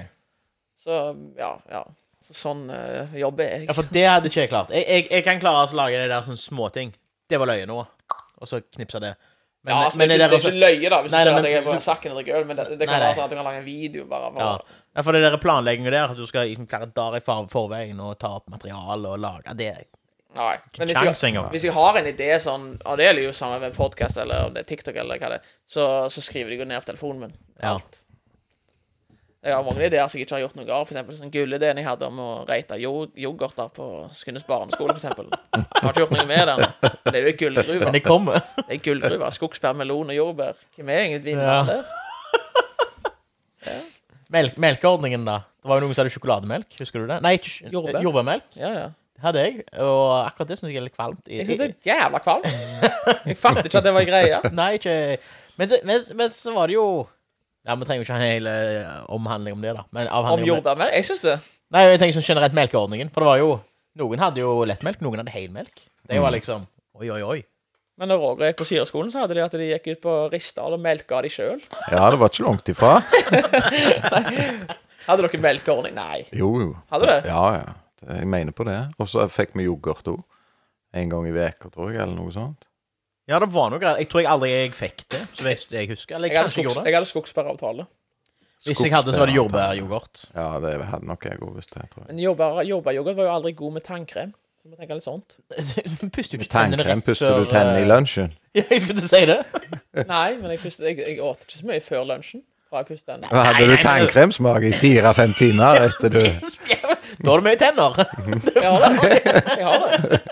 [SPEAKER 3] Så ja, ja. Så sånn eh, jobber jeg.
[SPEAKER 2] Ja, for det hadde ikke jeg klart. Jeg, jeg, jeg kan klare å lage det der sånne småting. Det var løye nå. Og så knipsa det. Men,
[SPEAKER 3] ja, altså,
[SPEAKER 2] men
[SPEAKER 3] det,
[SPEAKER 2] det
[SPEAKER 3] er
[SPEAKER 2] der
[SPEAKER 3] ikke, det er ikke løye, da, hvis
[SPEAKER 2] Nei,
[SPEAKER 3] du
[SPEAKER 2] nei,
[SPEAKER 3] ser at
[SPEAKER 2] men-
[SPEAKER 3] jeg er på sakken og drikker øl, men det, det kan
[SPEAKER 2] Nei, nei.
[SPEAKER 3] være sånn at du kan lage en video bare for
[SPEAKER 2] Ja. ja, for det der planlegginga der, at du skal liksom flere dager i for- forveien og ta opp materiale og lage det
[SPEAKER 3] Nei. Men hvis jeg,
[SPEAKER 2] Kjangs engang.
[SPEAKER 3] hvis jeg har en idé sånn Og det gjelder jo sammen med podkast eller om det er TikTok eller hva det er, så, så skriver jeg jo ned på telefonen min.
[SPEAKER 2] Ja.
[SPEAKER 3] Alt. Jeg har mange ideer som jeg ikke har gjort noe av. For eksempel den gullideen jeg hadde om å reite yo- yoghurter på Skundes barneskole, for eksempel. Jeg har ikke gjort noe med den. Det er jo en gullgruve.
[SPEAKER 2] Men det kommer.
[SPEAKER 3] Det er gullgruve. Skogsbær, melon og jordbær. Hvem er egentlig
[SPEAKER 2] Ja.
[SPEAKER 3] vinneren der?
[SPEAKER 2] Melk, melkeordningen, da. Det var jo noen som hadde sjokolademelk. Husker du det? Nei, ikke,
[SPEAKER 3] Jordbær.
[SPEAKER 2] jordbær. jordbærmelk.
[SPEAKER 3] Ja, ja.
[SPEAKER 2] Det hadde jeg. Og akkurat det syns jeg er litt kvalmt. I,
[SPEAKER 3] Jeg synes det er jævla kvalmt. Jeg fatter ikke at det var greia.
[SPEAKER 2] Nei, ikke men så, men, men så var det jo Ja, Vi trenger jo ikke ha en hel eh, omhandling om det, da. Men
[SPEAKER 3] Om
[SPEAKER 2] avhandling om det.
[SPEAKER 3] jordbær, men jeg synes det.
[SPEAKER 2] Nei, jeg tenker sånn generelt melkeordningen. For det var jo Noen hadde jo lettmelk, noen hadde helmelk. Det
[SPEAKER 3] Mm.
[SPEAKER 2] var liksom Oi, oi, oi.
[SPEAKER 3] Men når Roger gikk på syreskolen, så hadde de at de gikk ut på Rissdal og melka de sjøl.
[SPEAKER 1] Ja, det var ikke langt ifra.
[SPEAKER 3] Hadde dere melkeordning? Nei.
[SPEAKER 1] Jo, jo.
[SPEAKER 3] Hadde du det?
[SPEAKER 1] Ja, ja. Det- Jeg mener på det. Og så fikk vi yoghurt òg. En gang i veka, tror jeg, eller noe sånt.
[SPEAKER 2] Ja, det var noe greier. Jeg tror jeg aldri jeg fikk det. Så hvis jeg husker. Eller
[SPEAKER 3] Jeg hadde,
[SPEAKER 2] jeg kanskje
[SPEAKER 3] skogs,
[SPEAKER 2] gjorde det.
[SPEAKER 3] jeg hadde skogsbæravtale.
[SPEAKER 2] Hvis jeg hadde, så var det jordbæryoghurt.
[SPEAKER 1] Ja, det hadde nok jeg òg visst, det, tror jeg.
[SPEAKER 3] Men jordbær- jordbæryoghurt var jo aldri god med tannkrem. Så må tenke litt sånt.
[SPEAKER 2] Du puster jo ikke tennene
[SPEAKER 1] Tannkrem
[SPEAKER 2] rett
[SPEAKER 1] puster du
[SPEAKER 2] før,
[SPEAKER 1] tennene i
[SPEAKER 2] eh,
[SPEAKER 1] lunsjen.
[SPEAKER 2] Ja, jeg skulle til å si det. Eh.
[SPEAKER 3] Nei, men jeg, pustet, jeg, jeg åt ikke så mye før lunsjen. Fra jeg pustet den.
[SPEAKER 1] Da hadde du
[SPEAKER 2] nei, nei.
[SPEAKER 1] tannkremsmak i fire-fem timer etter du
[SPEAKER 2] Da har du mye tenner.
[SPEAKER 3] Jeg har det. Jeg har det.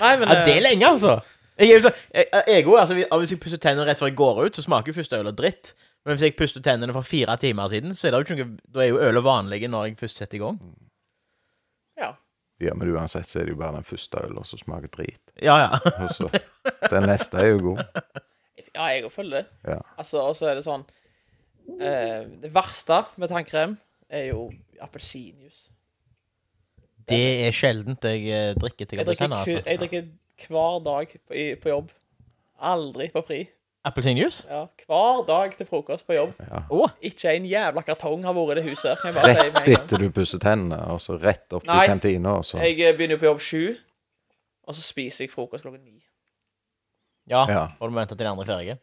[SPEAKER 3] Nei, men
[SPEAKER 2] Ja, det er
[SPEAKER 3] eh,
[SPEAKER 2] lenge, altså. Jeg er jo så, jeg, jeg, også, altså, hvis jeg pusser tennene rett før jeg går ut, så smaker jo første ølet dritt. Men hvis jeg puster tennene for fire timer siden, så er det jo ikke noe, da er jo ølet vanlig når jeg først setter i gang.
[SPEAKER 3] ja.
[SPEAKER 1] Ja, men uansett så er det jo bare den første ølen som smaker drit.
[SPEAKER 2] Ja, ja.
[SPEAKER 1] Og så Den neste er jo god.
[SPEAKER 3] ja, jeg òg følger det.
[SPEAKER 1] Ja.
[SPEAKER 3] Altså, og så er det sånn eh, Det verste med tannkrem er jo appelsinjuice.
[SPEAKER 2] Det er sjeldent jeg eh, drikker til
[SPEAKER 3] Jeg
[SPEAKER 2] jeg drikker
[SPEAKER 3] drikker,
[SPEAKER 2] tenner,
[SPEAKER 3] ku, jeg
[SPEAKER 2] altså.
[SPEAKER 3] drikker hver dag på, i, på jobb. Aldri på fri.
[SPEAKER 2] Appelsinjuice?
[SPEAKER 3] Ja, hver dag til frokost på jobb.
[SPEAKER 1] Ja.
[SPEAKER 2] Å,
[SPEAKER 3] Ikke en jævla kartong har vært i det huset. Kan jeg bare
[SPEAKER 1] Rett
[SPEAKER 3] si med en gang.
[SPEAKER 1] etter du pusser tennene, og så rett opp
[SPEAKER 3] Nei.
[SPEAKER 1] i kantina, og så
[SPEAKER 3] Jeg eh, begynner jo på jobb sju, og så spiser jeg frokost klokken ni.
[SPEAKER 2] ja.
[SPEAKER 1] Ja.
[SPEAKER 2] Og du venter til de andre er ferdige?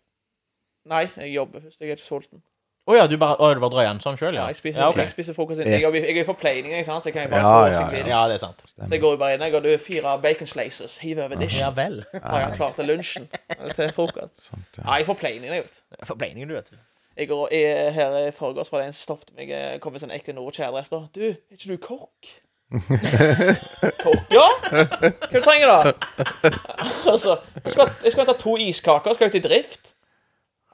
[SPEAKER 3] Nei, jeg jobber først. Jeg er ikke sulten.
[SPEAKER 2] Å ja, du bare, å, du bare drøyer den sånn sjøl, ja?
[SPEAKER 3] Ja, jeg, spiser,
[SPEAKER 2] ja, ok.
[SPEAKER 3] jeg spiser frokost innen. Jeg, jobber i- jeg er i forpleining, ikke sant, så jeg kan bare
[SPEAKER 1] Ja,
[SPEAKER 3] gå
[SPEAKER 1] ja,
[SPEAKER 3] hvis jeg vil.
[SPEAKER 2] ja, det er sant.
[SPEAKER 3] Så jeg går jo bare inn. Jeg har du fire bacon slices. Hiv over
[SPEAKER 2] Ja
[SPEAKER 3] dishen.
[SPEAKER 2] vel.
[SPEAKER 3] Har jeg klar til lunsjen? Eller til frokost?
[SPEAKER 1] sånt.
[SPEAKER 3] Ja,
[SPEAKER 1] Ja.
[SPEAKER 3] jeg får planing, jeg, vet du.
[SPEAKER 2] Forbleiningen, du, vet du.
[SPEAKER 3] Jeg går, jeg, her i forgårs var det en som stoppet meg eh, kom i sånn Equinor-kjeledress. da. 'Du, er ikke du kokk?' kokk? Ja! Hva du trenger du, da? altså, jeg skulle, hatt- jeg skulle hatt to iskaker, skal ut i drift.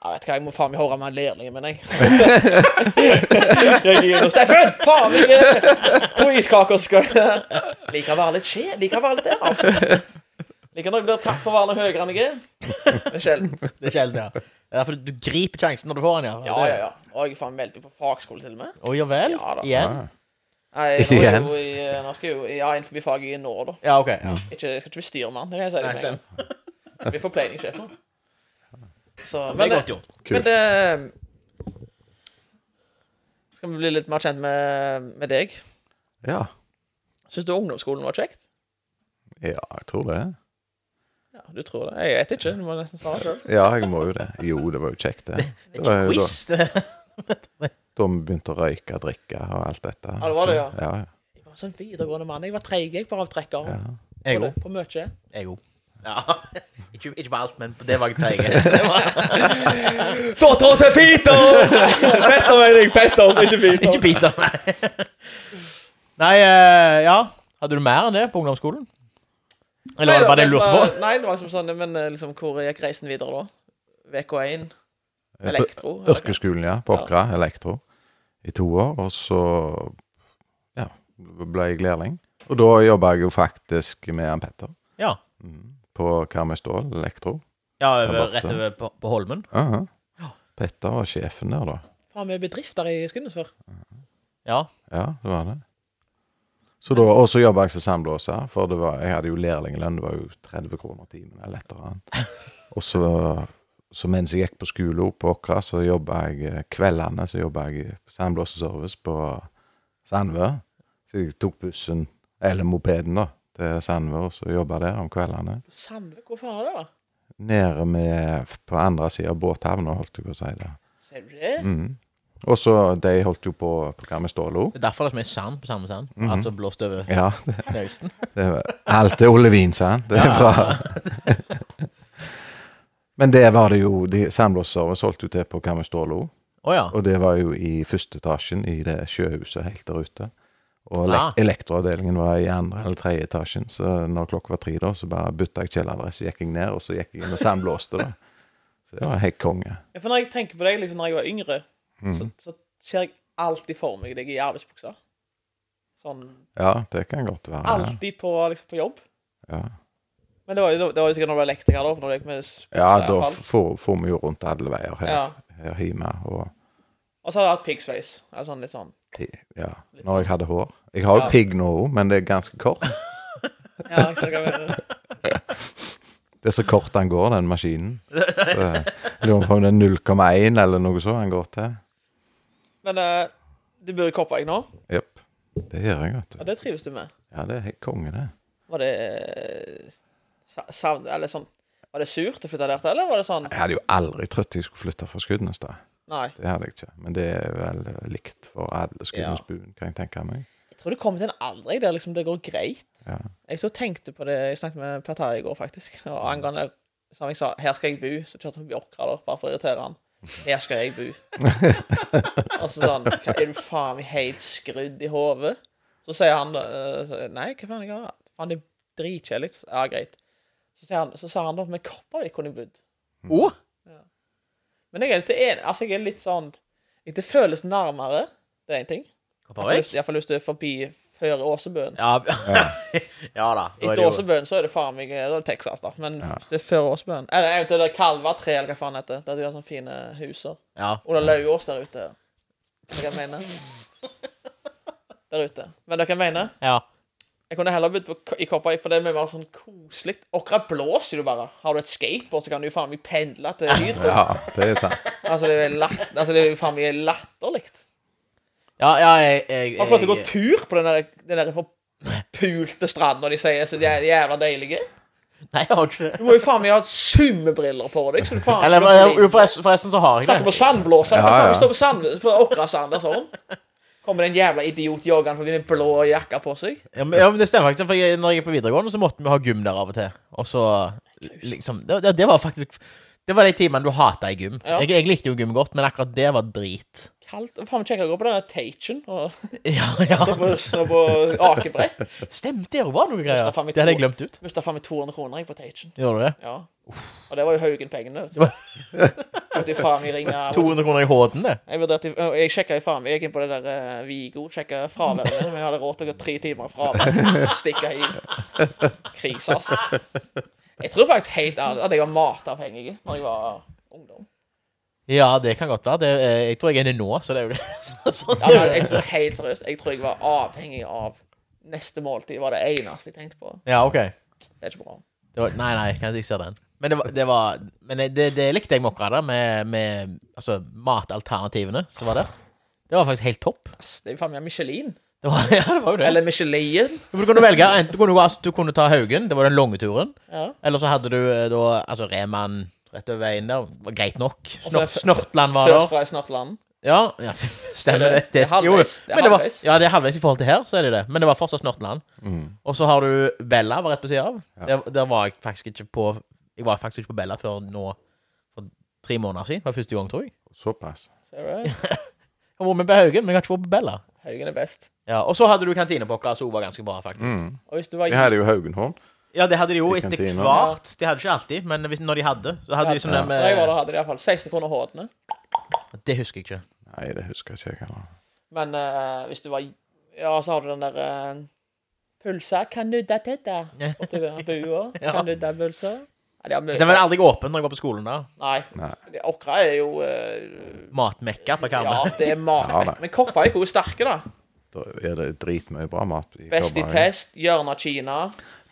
[SPEAKER 3] Jeg vet hva, jeg må faen meg høre med han lærlingen min, jeg. jeg gir noe. Steffen! Faen meg! eh, To iskaker skal Liker å være litt skje. Liker å være litt der, altså. Liker når jeg blir tatt for å være noe høyere enn jeg er. Det er sjelden.
[SPEAKER 2] Det er sjelden, ja. Det er derfor du, du griper sjansen når du får den, ja.
[SPEAKER 3] Ja, ja, ja. Og jeg er faen meldt meg på fagskole, til og med.
[SPEAKER 2] Å ja vel?
[SPEAKER 3] Ja, da.
[SPEAKER 2] Igjen?
[SPEAKER 1] Ja.
[SPEAKER 3] Nei, nå
[SPEAKER 1] Ikke
[SPEAKER 3] er jeg
[SPEAKER 1] igjen.
[SPEAKER 3] jo i, nå skal jeg jo ja, innenfor faget jeg er nå, da.
[SPEAKER 2] Ja, OK. Ja.
[SPEAKER 3] Ikke, jeg skal ikke bli styrmann, det kan jeg si.
[SPEAKER 2] Nei,
[SPEAKER 3] det med en gang. Jeg blir forpleiningssjef nå. Så,
[SPEAKER 2] Det er
[SPEAKER 3] men, det,
[SPEAKER 2] godt gjort.
[SPEAKER 3] men det ehm, Skal vi bli litt mer kjent med, med deg?
[SPEAKER 1] ja.
[SPEAKER 3] Syns du ungdomsskolen var kjekt?
[SPEAKER 1] Ja, jeg tror det.
[SPEAKER 3] Ja, du tror det. Jeg vet ikke, du må nesten svare sjøl.
[SPEAKER 1] Ja, jeg må jo det. Jo, det var jo kjekt, det. Det var jo da,
[SPEAKER 2] Quiz. det-
[SPEAKER 1] da vi begynte å røyke, drikke og alt dette.
[SPEAKER 3] Ja, det var det, ja.
[SPEAKER 1] Ja, ja.
[SPEAKER 3] Jeg var sånn videregående mann. Jeg var treig, jeg, bare av trekker.
[SPEAKER 1] ja.
[SPEAKER 2] Jeg
[SPEAKER 3] På
[SPEAKER 2] òg.
[SPEAKER 3] det- På mye.
[SPEAKER 2] Jeg òg. Ja. Ikke, ikke på alt, men på det var jeg treig. Det var-
[SPEAKER 3] Dattera til Peter! Petter, mener jeg. Petter, ikke Peter.
[SPEAKER 2] Ikke biter, nei. Nei, eh, ja. Hadde du mer enn det på ungdomsskolen? Eller var det bare det du lurte på?
[SPEAKER 3] Nei, det var liksom sånn, men eh, liksom, hvor gikk reisen videre da? VK1,
[SPEAKER 1] På
[SPEAKER 3] elektro? eller hva?
[SPEAKER 1] Yrkesskolen, ja. På Åkra, elektro. I to år. Og så ja, ble jeg lærling. Og da jobba jeg jo faktisk med han Petter
[SPEAKER 2] Ja.
[SPEAKER 1] på Karmøy Stål elektro.
[SPEAKER 2] ja
[SPEAKER 1] Der
[SPEAKER 2] over,
[SPEAKER 1] borte.
[SPEAKER 2] rett over på, på Holmen?
[SPEAKER 1] Aha. Petter var sjefen der, da.
[SPEAKER 3] Faen, vi er bedrifter i Skudenes før.
[SPEAKER 2] Ja.
[SPEAKER 1] Ja, det var det. Så da, og så jobba jeg som sandblåser, for det var, jeg hadde jo lærlinglønn. Det var jo 30 kroner timen eller et eller annet. Og så, så mens jeg gikk på skole oppe på Åkra, så jobba jeg eh, kveldene så jobba jeg i sandblåserservice på Sandvø. Så jeg tok bussen, eller mopeden, da, til Sandvø, og så jobba der om kveldene.
[SPEAKER 3] Sandvik, hvor faen er det da?
[SPEAKER 1] Nede med, på andre sida av båthavna, holdt jeg på å si det.
[SPEAKER 3] Ser du det?
[SPEAKER 1] Mm. Og så de holdt jo på på hva med Ståle òg.
[SPEAKER 2] Det er derfor det er så mye sand på samme sand. Altså blåst over
[SPEAKER 1] Ja, det,
[SPEAKER 2] nausten.
[SPEAKER 1] det var, alt er Ollevin, sa han. Det er fra Men det var det jo de Sandblåsere solgte jo til på hva med Ståle òg.
[SPEAKER 2] Å ja.
[SPEAKER 1] Og det var jo i første etasjen i det sjøhuset helt der ute. Og ele
[SPEAKER 2] Ah.
[SPEAKER 1] elektroavdelingen var i andre eller tredje etasjen, så når klokka var tre, da, så bare bytta jeg kjelleradresse, gikk jeg ned, og så gikk jeg inn og sandblåste, da. Så det var helt konge.
[SPEAKER 3] Ja, For når jeg tenker på deg liksom når jeg var yngre,
[SPEAKER 1] Mm.
[SPEAKER 3] så, så ser jeg alltid for meg deg i arbeidsbuksa. Sånn
[SPEAKER 1] Ja, det kan godt være. ja.
[SPEAKER 3] alltid på, liksom, på jobb.
[SPEAKER 1] Ja.
[SPEAKER 3] Men det var jo, det var jo sikkert når du var elektriker, da. Når du gikk med s-
[SPEAKER 1] Ja,
[SPEAKER 3] buksa i
[SPEAKER 1] da
[SPEAKER 3] hvert fall.
[SPEAKER 1] f- får, får vi jo rundt alle veier her,
[SPEAKER 3] Ja.
[SPEAKER 1] her hjemme. Og
[SPEAKER 3] Og så har jeg hatt piggsveis. Altså, sånn, litt sånn.
[SPEAKER 1] ja, når jeg hadde hår. Jeg har jo
[SPEAKER 3] Ja.
[SPEAKER 1] pigg nå òg, men det er ganske kort.
[SPEAKER 3] Ja, jeg skjønner hva jeg mener.
[SPEAKER 1] Det er så kort den går, den maskinen. Så, jeg lurer på om det er 0,1 eller noe sånt han går til.
[SPEAKER 3] Men eh, du bor i Koppberg nå,
[SPEAKER 1] Jepp. Det gjør jeg, vet du.
[SPEAKER 3] og det trives du med.
[SPEAKER 1] Ja, det er helt konge, det.
[SPEAKER 3] Var det eh, sa- savn... Eller sånn Var det surt å flytte der til, eller var det sånn
[SPEAKER 1] Jeg hadde jo aldri trodd jeg skulle flytte fra Skudenes, da.
[SPEAKER 3] Nei.
[SPEAKER 1] Det hadde jeg ikke. Men det er vel likt for alle Skudenesbuen, kan jeg tenke meg.
[SPEAKER 3] Jeg tror det kommer til en alder jeg, der liksom det går greit.
[SPEAKER 1] Ja.
[SPEAKER 3] Jeg så tenkte på det Jeg snakket med Per Terje i går, faktisk. Og angående Som jeg sa, her skal jeg bo. Så kjørte han forbi Åkra, da, bare for å irritere han. Her skal jeg bo. og så sånn hva, Er du faen meg helt skrudd i hodet? Så sier han eh, så- Nei, hva faen jeg har Faen, det er dritkjedelig. Ja, greit. Så sier han, så sa han da med Kopervik kunne jeg bodd.
[SPEAKER 2] Å?
[SPEAKER 3] Men jeg er litt enig. Altså, jeg er litt sånn Det føles nærmere. Det er én ting.
[SPEAKER 2] Kopervik?
[SPEAKER 3] Iallfall hvis du er forbi før Åsebøen.
[SPEAKER 2] Ja. ja da. da er det
[SPEAKER 3] Etter
[SPEAKER 2] jo-
[SPEAKER 3] Åsebøen så er det faen meg eh, Da er det Texas, da. Men hvis det er før Åsebøen Eller eventuelt det er Kalvatre, eller hva faen det heter. Der de har sånne fine huser.
[SPEAKER 2] Ja.
[SPEAKER 3] Og det er Lauvås der ute. Vet du Hva jeg mener Der ute. Men dere mener?
[SPEAKER 2] ja.
[SPEAKER 3] Jeg kunne heller bodd på- i Koppa, for det er mye mer sånn koselig. Åkra blåser jo bare. Har du et skateboard, så kan du jo faen meg pendle til Hydro.
[SPEAKER 1] Ja, det er sant.
[SPEAKER 3] Altså, det er jo latt- altså, det er jo faen meg latterlig.
[SPEAKER 2] Ja, ja, jeg, jeg,
[SPEAKER 3] Man får lov til å gå
[SPEAKER 2] jeg,
[SPEAKER 3] tur på den der, den der forpulte stranda de sier så de er jævla deilige.
[SPEAKER 2] Nei, jeg har ikke
[SPEAKER 3] Du
[SPEAKER 2] det.
[SPEAKER 3] må jo faen meg ha summebriller på deg. Så du faen
[SPEAKER 2] Eller,
[SPEAKER 3] skal bli-
[SPEAKER 2] jo, forresten, forresten så har jeg
[SPEAKER 3] Snakker
[SPEAKER 2] det.
[SPEAKER 3] på sandblåser.
[SPEAKER 1] Ja,
[SPEAKER 3] Ja,
[SPEAKER 1] ja.
[SPEAKER 3] Vi står på, sand, på Åkrasand og sånn. Kommer det en jævla idiot joggende forbi med blå jakke på seg.
[SPEAKER 2] Ja, men, ja, men Det stemmer faktisk. For jeg, når jeg er på videregående, så måtte vi ha gym der av og til. Og så liksom Det, det- det var faktisk Det var de timene du hata i gym.
[SPEAKER 3] Ja.
[SPEAKER 2] Jeg, jeg likte jo gym godt, men akkurat det var drit.
[SPEAKER 3] Kaldt. Faen meg kjekkere å gå på den der Tachen og
[SPEAKER 2] Ja, ja.
[SPEAKER 3] stå på, stå på akebrett.
[SPEAKER 2] Stemte det òg, var noe greier?
[SPEAKER 3] Mista faen meg
[SPEAKER 2] Det hadde jeg
[SPEAKER 3] to-
[SPEAKER 2] glemt ut.
[SPEAKER 3] Mista faen meg 200 kroner jeg på Tachen.
[SPEAKER 2] Gjorde du det?
[SPEAKER 3] Ja. Og det var jo Haugen-pengene. vet
[SPEAKER 2] Det
[SPEAKER 3] du.
[SPEAKER 2] var-
[SPEAKER 3] Måtte jo faen meg ringe
[SPEAKER 2] 200 kroner i HD-en, det.
[SPEAKER 3] Jeg vurderte øh, Jeg sjekka i faen meg. Jeg gikk inn på det der eh, Vigo, sjekka fraværet mitt. Men jeg hadde råd til å gå tre timer fra meg. Stikke hjem. Krise, altså. Jeg tror faktisk helt ærlig at jeg var matavhengig når jeg var ungdom.
[SPEAKER 2] Ja, det kan godt være. Det, eh, jeg tror jeg er det nå, så det er jo det. Så, så,
[SPEAKER 3] Ja, men jeg tror helt seriøst Jeg tror jeg var avhengig av neste måltid. var det eneste jeg tenkte på.
[SPEAKER 2] ja, OK.
[SPEAKER 3] Det er ikke bra.
[SPEAKER 2] Det var, nei, nei, kanskje jeg ser den. Men det, var, det, var, men det, det likte jeg med Åkra, da, med, med altså, matalternativene som var der. Det var faktisk helt topp.
[SPEAKER 3] Ass, det er jo faen meg Michelin.
[SPEAKER 2] Det var, ja, det var jo det.
[SPEAKER 3] Eller Michelin.
[SPEAKER 2] For Du kunne velge, enten du kunne, gå- altså, du kunne ta Haugen, det var den lange turen.
[SPEAKER 3] Ja.
[SPEAKER 2] Eller så hadde du eh, da altså Reman rett over veien der. Var greit nok. Snor,
[SPEAKER 3] Og så-
[SPEAKER 2] Snortland var
[SPEAKER 3] Først
[SPEAKER 2] der.
[SPEAKER 3] fra i Snortland.
[SPEAKER 2] Ja, ja stemmer det.
[SPEAKER 3] Det er
[SPEAKER 2] jo,
[SPEAKER 3] halvveis. Det er
[SPEAKER 2] men det var,
[SPEAKER 3] halvveis.
[SPEAKER 2] ja, det er halvveis i forhold til her, så er det det. Men det var fortsatt Snortland.
[SPEAKER 1] Mm.
[SPEAKER 2] Og så har du Bella, var rett på sida av. Der, der var jeg faktisk ikke på Jeg var faktisk ikke på Bella før nå for tre måneder siden. Det var første gang, tror jeg.
[SPEAKER 1] Såpass.
[SPEAKER 3] Ser du det?
[SPEAKER 2] Jeg har vært med på Haugen, men jeg har ikke vært på Bella.
[SPEAKER 3] Haugen er best.
[SPEAKER 2] Ja, Og så hadde du kantinepokker, som også var ganske bra, faktisk.
[SPEAKER 1] Mm.
[SPEAKER 3] Og hvis du var
[SPEAKER 1] Vi hadde jo Haugenhorn.
[SPEAKER 2] Ja, det hadde de jo
[SPEAKER 1] I
[SPEAKER 2] etter
[SPEAKER 1] kantina.
[SPEAKER 2] hvert. De hadde ikke alltid, men hvis, når de hadde, så hadde de sånn der
[SPEAKER 3] Når jeg var
[SPEAKER 2] med
[SPEAKER 3] der, hadde de iallfall 16 kroner hodene.
[SPEAKER 2] Det husker jeg ikke.
[SPEAKER 1] Nei, det husker jeg ikke jeg heller.
[SPEAKER 3] Men eh, hvis du var Ja, så har du den der uh, Pulsa kan nudda tedda borti ved bua.
[SPEAKER 2] Ja.
[SPEAKER 3] Kan nudda pulsa. Nei, de har mye
[SPEAKER 2] Den var aldri åpen når jeg var på skolen der.
[SPEAKER 3] Nei.
[SPEAKER 1] Nei.
[SPEAKER 3] Det- Åkra er jo eh,
[SPEAKER 2] Matmekka fra
[SPEAKER 3] Ja,
[SPEAKER 2] Karmøy.
[SPEAKER 3] det er mat.
[SPEAKER 1] Ja, da.
[SPEAKER 3] Men Koppavik er jo sterke, da.
[SPEAKER 1] Da er det dritmye bra mat. i
[SPEAKER 3] Best i
[SPEAKER 1] Kobberøy.
[SPEAKER 3] test, hjørnet av Kina.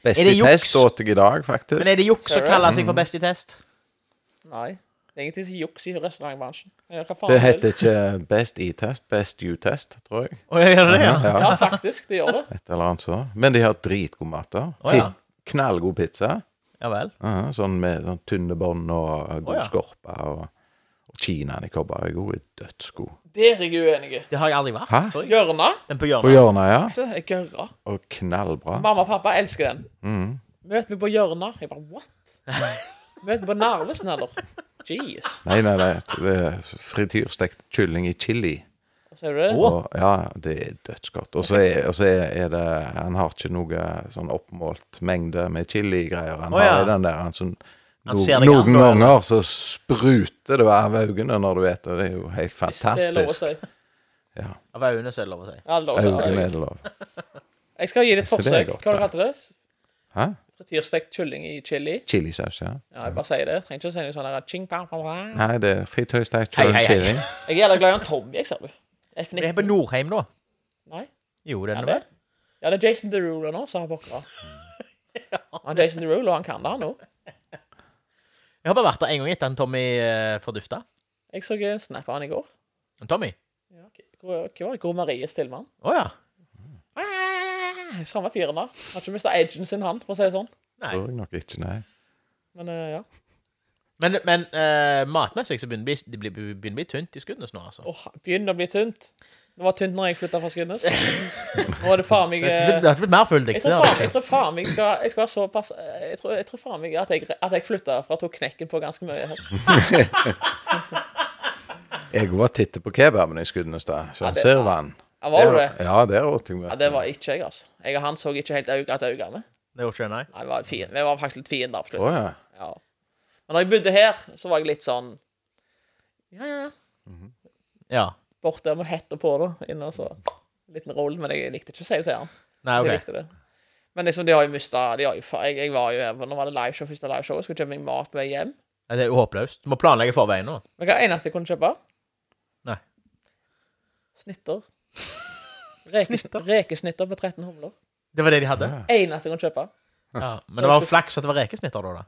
[SPEAKER 1] Best
[SPEAKER 2] Er det
[SPEAKER 1] i
[SPEAKER 2] juks?
[SPEAKER 1] test åt jeg i dag, faktisk.
[SPEAKER 2] Men er det juks å
[SPEAKER 3] Ser du?
[SPEAKER 2] kalle
[SPEAKER 1] Mm.
[SPEAKER 2] seg for Best i test?
[SPEAKER 3] Nei. Det er ingenting som juks i restaurantbransjen. Ja, Hva faen
[SPEAKER 1] Det
[SPEAKER 3] du vil.
[SPEAKER 1] heter ikke Best E-test, Best U-test, tror jeg.
[SPEAKER 2] Å, jeg gjør det, ja.
[SPEAKER 1] Ja,
[SPEAKER 3] Ja, faktisk. Det gjør det.
[SPEAKER 1] Et eller annet så. Men de har dritgod mat der.
[SPEAKER 2] Å, ja.
[SPEAKER 1] Pi- Knallgod pizza.
[SPEAKER 2] Ja vel.
[SPEAKER 1] Ja, sånn med sånn tynne bånd og god
[SPEAKER 2] Å, ja.
[SPEAKER 1] skorpe. Og, og kinaen i kobber er god, er dødsgod.
[SPEAKER 3] Der er jeg uenig. i.
[SPEAKER 2] Det har jeg aldri vært.
[SPEAKER 1] Hæ?
[SPEAKER 2] Sorry.
[SPEAKER 3] Gjørna.
[SPEAKER 2] Den på
[SPEAKER 1] På
[SPEAKER 2] hjørnet.
[SPEAKER 1] hjørnet, ja.
[SPEAKER 3] Så er jeg Gørra.
[SPEAKER 1] Og knallbra.
[SPEAKER 3] Mamma og pappa elsker den.
[SPEAKER 1] Mm.
[SPEAKER 3] Møt meg på hjørnet. Jeg bare what? Møt meg på Narvesen, eller? Jeez.
[SPEAKER 1] Nei, nei, nei. Det er frityrstekt kylling i chili.
[SPEAKER 3] Ser du det?
[SPEAKER 2] Å.
[SPEAKER 1] Og, ja, det er dødsgodt. Og så er, og så er er det Han har ikke noe sånn oppmålt mengde med chili-greier. Han
[SPEAKER 2] Å,
[SPEAKER 1] har
[SPEAKER 2] ja.
[SPEAKER 1] i den der han som
[SPEAKER 2] Han
[SPEAKER 1] no,
[SPEAKER 2] ser deg
[SPEAKER 1] Noen
[SPEAKER 2] an, da, eller?
[SPEAKER 1] ganger så spruter det av øynene når du vet det. Det er jo helt
[SPEAKER 3] Hvis det er lov å
[SPEAKER 1] fantastisk.
[SPEAKER 3] si.
[SPEAKER 2] Av øynene, så er det lov å si.
[SPEAKER 3] Ja, det er lov å si.
[SPEAKER 1] Øynene er det lov.
[SPEAKER 3] Jeg skal gi det et
[SPEAKER 1] Så det er
[SPEAKER 3] forsøk.
[SPEAKER 1] godt,
[SPEAKER 3] Hva
[SPEAKER 1] da.
[SPEAKER 3] kalte du det?
[SPEAKER 1] Hæ?
[SPEAKER 3] Frityrstekt kylling i chili?
[SPEAKER 1] Chilisaus, ja.
[SPEAKER 3] Ja, jeg bare sier det. Jeg trenger ikke å si noe sånn der ching, pam, pam, pam.
[SPEAKER 1] Nei, det er fritøystekt
[SPEAKER 2] Hei, hei, hei.
[SPEAKER 1] chili.
[SPEAKER 3] Jeg er jævla glad i han Tommy, jeg, ser du.
[SPEAKER 2] Det er på
[SPEAKER 3] F19.
[SPEAKER 2] Norheim, da.
[SPEAKER 3] Nei,
[SPEAKER 2] Jo,
[SPEAKER 3] er
[SPEAKER 2] den
[SPEAKER 3] det?
[SPEAKER 2] er
[SPEAKER 3] Ja, det er Jason Derulo nå, sa Bokra. Han er Jason Derulo, han kan det, han òg.
[SPEAKER 2] Jeg har bare vært der en gang etter han Tommy uh, fordufta.
[SPEAKER 3] Jeg så eh, snap av han i går.
[SPEAKER 2] Han Tommy?
[SPEAKER 3] Ja, hva hva var det Kor Maries film han?
[SPEAKER 2] Å ja.
[SPEAKER 3] Ah, Samme fyren, da. Har ikke mista agen sin, han, for å si det sånn.
[SPEAKER 2] Nei.
[SPEAKER 1] Tror jeg nok ikke, nei.
[SPEAKER 3] Men eh, ja.
[SPEAKER 2] Men, men eh, matmessig så begynner det å bli- det blir- begynner å bli tynt i skuddene nå, altså.
[SPEAKER 3] Åh, begynner å bli tynt. Det var tynt når jeg flytta fra Skudenes. Nå er det faen meg
[SPEAKER 2] Det har
[SPEAKER 3] eh,
[SPEAKER 2] ikke blitt- det har ikke blitt mer full
[SPEAKER 3] Jeg
[SPEAKER 2] dikt.
[SPEAKER 3] tror faen, jeg tror faen meg skal, jeg skal være såpass eh, Jeg tror, jeg tror faen meg at jeg, at jeg flytta fra tok knekken på ganske mye. her.
[SPEAKER 1] Jeg var titte på kebaben i Skudenes da, så han
[SPEAKER 3] det-
[SPEAKER 1] ser vann.
[SPEAKER 3] Ja, Var du det?
[SPEAKER 1] Ja, det er åtte
[SPEAKER 3] Ja, det var ikke jeg, altså. Jeg og han så ikke helt øye, at øynene.
[SPEAKER 2] Det gjorde ikke det, nei.
[SPEAKER 3] Nei, vi var, fiend, vi var faktisk litt fiender på
[SPEAKER 1] Å
[SPEAKER 3] slutten.
[SPEAKER 1] ja.
[SPEAKER 3] Ja. Men når jeg bodde her, så var jeg litt sånn Ja, ja. ja.
[SPEAKER 2] Ja.
[SPEAKER 3] Bort der med hetta på, da. Inne og så Liten roll, men jeg likte ikke å si det til han.
[SPEAKER 2] Nei,
[SPEAKER 3] Jeg
[SPEAKER 2] OK.
[SPEAKER 3] likte det. Men liksom, de har jo mista de har jo, fa- jeg, jeg var jo her, Nå var det liveshow, første liveshow. Jeg skulle kjøpe meg mat med hjem.
[SPEAKER 2] Nei, Det er jo håpløst. Du må planlegge forveien nå.
[SPEAKER 3] Men hva er det eneste jeg kunne kjøpe?
[SPEAKER 2] Nei.
[SPEAKER 3] Snitter. Reke,
[SPEAKER 2] Snitter?
[SPEAKER 3] Rekesnitter på 13 humler.
[SPEAKER 2] Det var det de hadde?
[SPEAKER 1] Ja.
[SPEAKER 3] Eneste jeg kunne kjøpe.
[SPEAKER 2] Ja. Men det var jo flaks at det var rekesnitter da, da.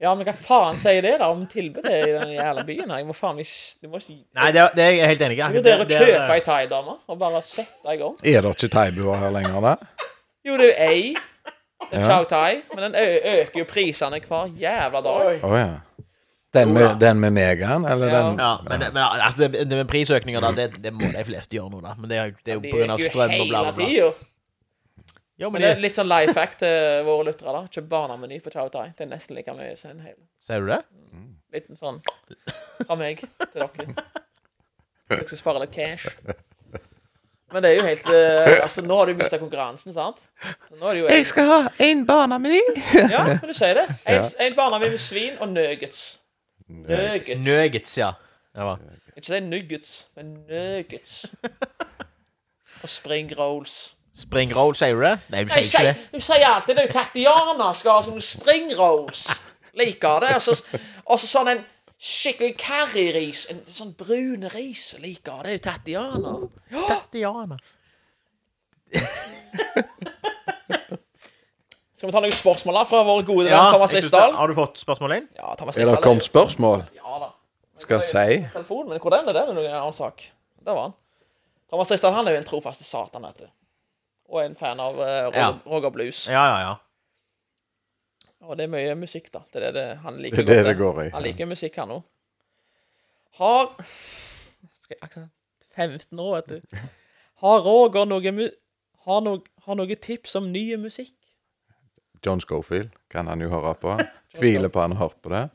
[SPEAKER 3] Ja, men hva faen sier det da om tilbudet i den jævla byen her? Jeg må faen ikke Du må ikke
[SPEAKER 2] Nei, det, det er jeg helt enig i.
[SPEAKER 3] Jeg vurderer å kjøpe ei thaidame og bare sette i gang.
[SPEAKER 1] Er det ikke thaibuer her lenger, da?
[SPEAKER 3] Jo, det er jo ei. Det
[SPEAKER 1] Ja.
[SPEAKER 3] er chow thai, men den ø- øker jo prisene hver jævla dag.
[SPEAKER 1] Å ja. Den med, den med megaen, eller
[SPEAKER 3] Ja.
[SPEAKER 1] den
[SPEAKER 2] Ja, men, det- men altså, det, det med prisøkninger, da, det, det må de fleste gjøre nå, da. Men det er, jo- det er jo
[SPEAKER 3] De
[SPEAKER 2] pga.
[SPEAKER 3] øker jo
[SPEAKER 2] strøm og bla,
[SPEAKER 3] hele
[SPEAKER 2] bla, bla.
[SPEAKER 3] tida.
[SPEAKER 2] Jo, men
[SPEAKER 3] Men det er
[SPEAKER 2] det,
[SPEAKER 3] litt sånn life fact til våre lyttere, da. Kjøp barnemeny for chow thai. Det er nesten like mye som en hel
[SPEAKER 2] Ser du det?
[SPEAKER 3] liten sånn fra meg til dere. Dere skal spare litt cash. Men det er jo helt eh, Altså, nå har du mista konkurransen, sant? Så nå er det jo en,
[SPEAKER 1] skal ha én barnemeny!
[SPEAKER 3] ja, men du sier det. En,
[SPEAKER 1] Ja.
[SPEAKER 3] en barnehage med svin og nuggets. Nuggets.
[SPEAKER 2] Nuggets, ja. Det var.
[SPEAKER 3] Ikke si nuggets, men nuggets. Og spring rolls.
[SPEAKER 2] Spring roll, sier du det? Nei, du
[SPEAKER 3] Nei,
[SPEAKER 2] sier ikke
[SPEAKER 3] sier,
[SPEAKER 2] det.
[SPEAKER 3] du sier alltid det er jo Tatiana skal ha som spring rolls. Liker det. Og så- Og så sånn en skikkelig curryris. En sånn brun ris. Liker det. Det er jo Tatiana.
[SPEAKER 2] Tatiana.
[SPEAKER 3] Skal vi ta noen spørsmål da fra vår gode venn
[SPEAKER 2] Ja,
[SPEAKER 3] Thomas
[SPEAKER 2] jeg synes
[SPEAKER 3] Listdal?
[SPEAKER 2] det. Har du fått spørsmål inn?
[SPEAKER 3] Ja, Thomas
[SPEAKER 1] Er det
[SPEAKER 3] Listdal.
[SPEAKER 1] kommet spørsmål?
[SPEAKER 3] Ja da.
[SPEAKER 1] Skal jeg si?
[SPEAKER 3] Telefonen min, hvordan er det? Det er en annen sak. Der var han. Thomas Listdal han er jo en trofaste satan, vet du. Og en fan av eh, Roger,
[SPEAKER 2] Ja.
[SPEAKER 3] Roger Blues.
[SPEAKER 2] Ja, ja, ja.
[SPEAKER 3] Og det er mye musikk, da. Det er det, det han liker.
[SPEAKER 1] Det er det
[SPEAKER 3] godt,
[SPEAKER 1] det går i.
[SPEAKER 3] Han liker musikk, han òg. Har Skal jeg akkurat 15 år, vet du. Har Roger noe mu... Har noe, har noe tips om ny musikk?
[SPEAKER 1] John Schofield kan han jo høre på. Tviler på han har hørt på det.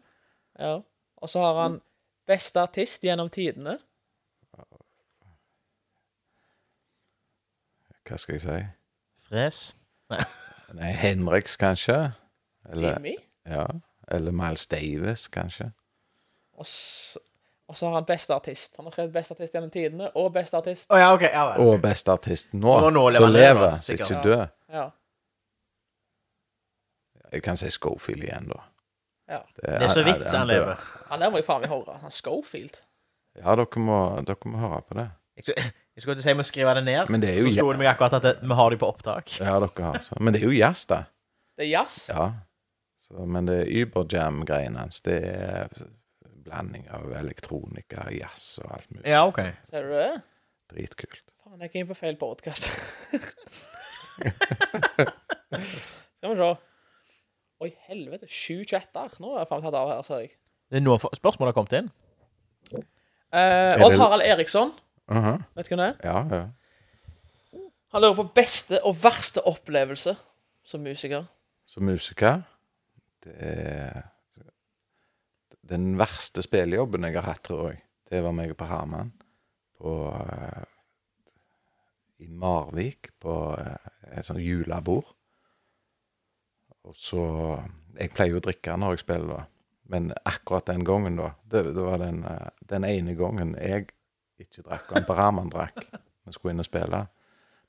[SPEAKER 3] Ja. Og så har han beste artist gjennom tidene.
[SPEAKER 1] Hva skal jeg si?
[SPEAKER 2] Fres.
[SPEAKER 1] Nei, Henriks, kanskje? Eller,
[SPEAKER 3] Jimmy.
[SPEAKER 1] ja. Eller Miles Davis, kanskje?
[SPEAKER 3] Og så, og så har han beste artist. Han har skrevet beste artist gjennom tidene, og beste artist.
[SPEAKER 2] Å ja, OK. Ja, vel.
[SPEAKER 1] Og beste artist nå,
[SPEAKER 2] Og nå lever
[SPEAKER 1] som
[SPEAKER 2] han lever,
[SPEAKER 1] lever, som
[SPEAKER 2] sikkert.
[SPEAKER 1] ikke dør.
[SPEAKER 3] Ja.
[SPEAKER 1] Jeg kan si Schofield igjen, da.
[SPEAKER 3] Ja.
[SPEAKER 2] Det er så vidt han
[SPEAKER 1] dør.
[SPEAKER 2] lever.
[SPEAKER 3] Han der må jeg faen meg høre. Han Schofield.
[SPEAKER 1] Ja, dere må, dere må høre på det.
[SPEAKER 2] Jeg skulle jeg skulle til å si vi må skrive det ned,
[SPEAKER 1] Men det er jo
[SPEAKER 2] så slo det meg akkurat at det, vi har det på opptak.
[SPEAKER 1] Ja, dere har så. Men det er jo jazz, da.
[SPEAKER 3] Det er jazz.
[SPEAKER 1] Ja. Så, men det Uberjam-greien hans, det er blanding av elektronika, jazz og alt mulig.
[SPEAKER 2] Ja, OK.
[SPEAKER 3] Ser du det?
[SPEAKER 1] Dritkult.
[SPEAKER 3] Faen, jeg gikk inn på feil podkast. Skal vi se. Oi, helvete. Sju chatter. Nå er jeg faen meg tatt av her, ser jeg.
[SPEAKER 2] Det er noe for- spørsmål har kommet inn.
[SPEAKER 3] Eh, Odd Harald Eriksson.
[SPEAKER 1] Mhm.
[SPEAKER 3] Vet du hvem det er?
[SPEAKER 1] Ja, ja.
[SPEAKER 3] Han lurer på beste og verste opplevelse som musiker.
[SPEAKER 1] Som musiker Det er den verste spillejobben jeg har hatt, tror jeg. Det var meg og Per Herman på eh, I Marvik, på eh, et sånt julebord. Og så Jeg pleier jo å drikke når jeg spiller, da. Men akkurat den gangen, da Det, det var den, eh, den ene gangen jeg ikke drakk, og han Per Herman drakk. Vi skulle inn og spille.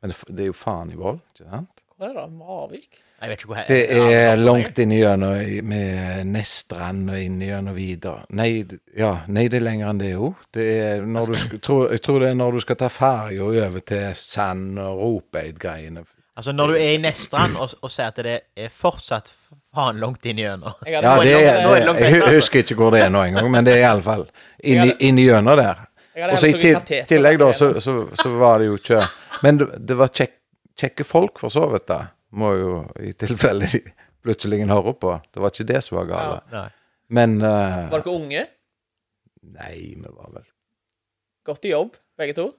[SPEAKER 1] Men det, f- det er jo faen i vold, ikke sant?
[SPEAKER 3] Hvor er det? Marvik?
[SPEAKER 2] Jeg vet ikke hvor
[SPEAKER 1] Det er
[SPEAKER 2] jeg.
[SPEAKER 1] langt inn igjennom i- med Nestrand og inn igjennom videre. Nei, d- ja, nei, det er lenger enn det òg. Det er når du sk- tror- Jeg tror det er når du skal ta ferja over til Sand og Ropeid-greiene.
[SPEAKER 2] Altså, når du er i Nestrand og, og sier at det er fortsatt faen langt inn gjennom
[SPEAKER 3] Jeg hadde,
[SPEAKER 1] Ja,
[SPEAKER 3] heller-
[SPEAKER 1] det
[SPEAKER 2] nå er det
[SPEAKER 1] er,
[SPEAKER 2] langt
[SPEAKER 1] det, jeg
[SPEAKER 2] vekk,
[SPEAKER 1] hu-
[SPEAKER 2] altså.
[SPEAKER 1] husker ikke hvor det er nå engang, men det er iallfall inn igjennom der.
[SPEAKER 3] jeg hadde
[SPEAKER 1] Og så i
[SPEAKER 3] heller tatt
[SPEAKER 1] til,
[SPEAKER 3] kateter.
[SPEAKER 1] tillegg, da, så, så, så var det jo ikke Men det, det var kjekk, kjekke folk, for så vidt, da. Må jo i tilfelle de plutselig hører på. Det var ikke det som var galt.
[SPEAKER 2] Nei.
[SPEAKER 1] Men eh,
[SPEAKER 3] Var dere unge?
[SPEAKER 1] Nei, vi var vel
[SPEAKER 3] Godt i jobb, begge to?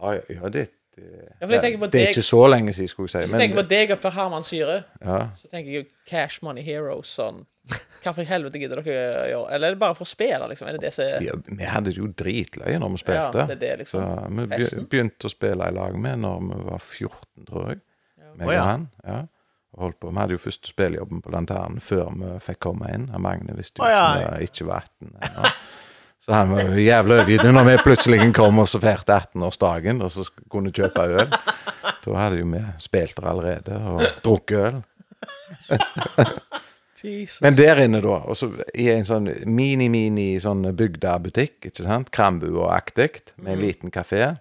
[SPEAKER 1] Ja, ja, ja det, det,
[SPEAKER 3] for jeg tenker på
[SPEAKER 1] det, det er
[SPEAKER 3] deg-
[SPEAKER 1] ikke så lenge siden, skulle jeg
[SPEAKER 3] Hvis
[SPEAKER 1] si.
[SPEAKER 3] jeg tenker
[SPEAKER 1] Men,
[SPEAKER 3] på deg og Per Herman Syre,
[SPEAKER 1] ja.
[SPEAKER 3] så tenker jeg jo Cash Money Heroes sånn. Hva for i helvete gidder dere gjøre? Eller er det bare for å spille, liksom? Er det det som er
[SPEAKER 1] Ja, vi hadde det jo dritløye når vi
[SPEAKER 3] Ja,
[SPEAKER 1] spilte.
[SPEAKER 3] det er det,
[SPEAKER 1] så
[SPEAKER 3] liksom.
[SPEAKER 1] vi be-
[SPEAKER 3] Festen.
[SPEAKER 1] begynte å spille i lag med når vi var 14, tror jeg. Meg
[SPEAKER 2] Å, ja.
[SPEAKER 1] og han. Ja. Og Holdt på. Vi hadde jo første spillejobben på Lanternen før vi fikk komme inn. Han Magne visste jo
[SPEAKER 2] Å, ja.
[SPEAKER 1] ikke om det ikke var 18. ennå. Så han var jo jævla overgitt når vi plutselig kom og så feirte 18-årsdagen og så sk- kunne kjøpe øl. Da hadde jo vi spilt der allerede og drukket øl.
[SPEAKER 3] Jesus.
[SPEAKER 1] Men der inne, da, og så i en sånn mini-mini sånn bygdebutikk, ikke sant, Krambua-aktig, med en liten kafé,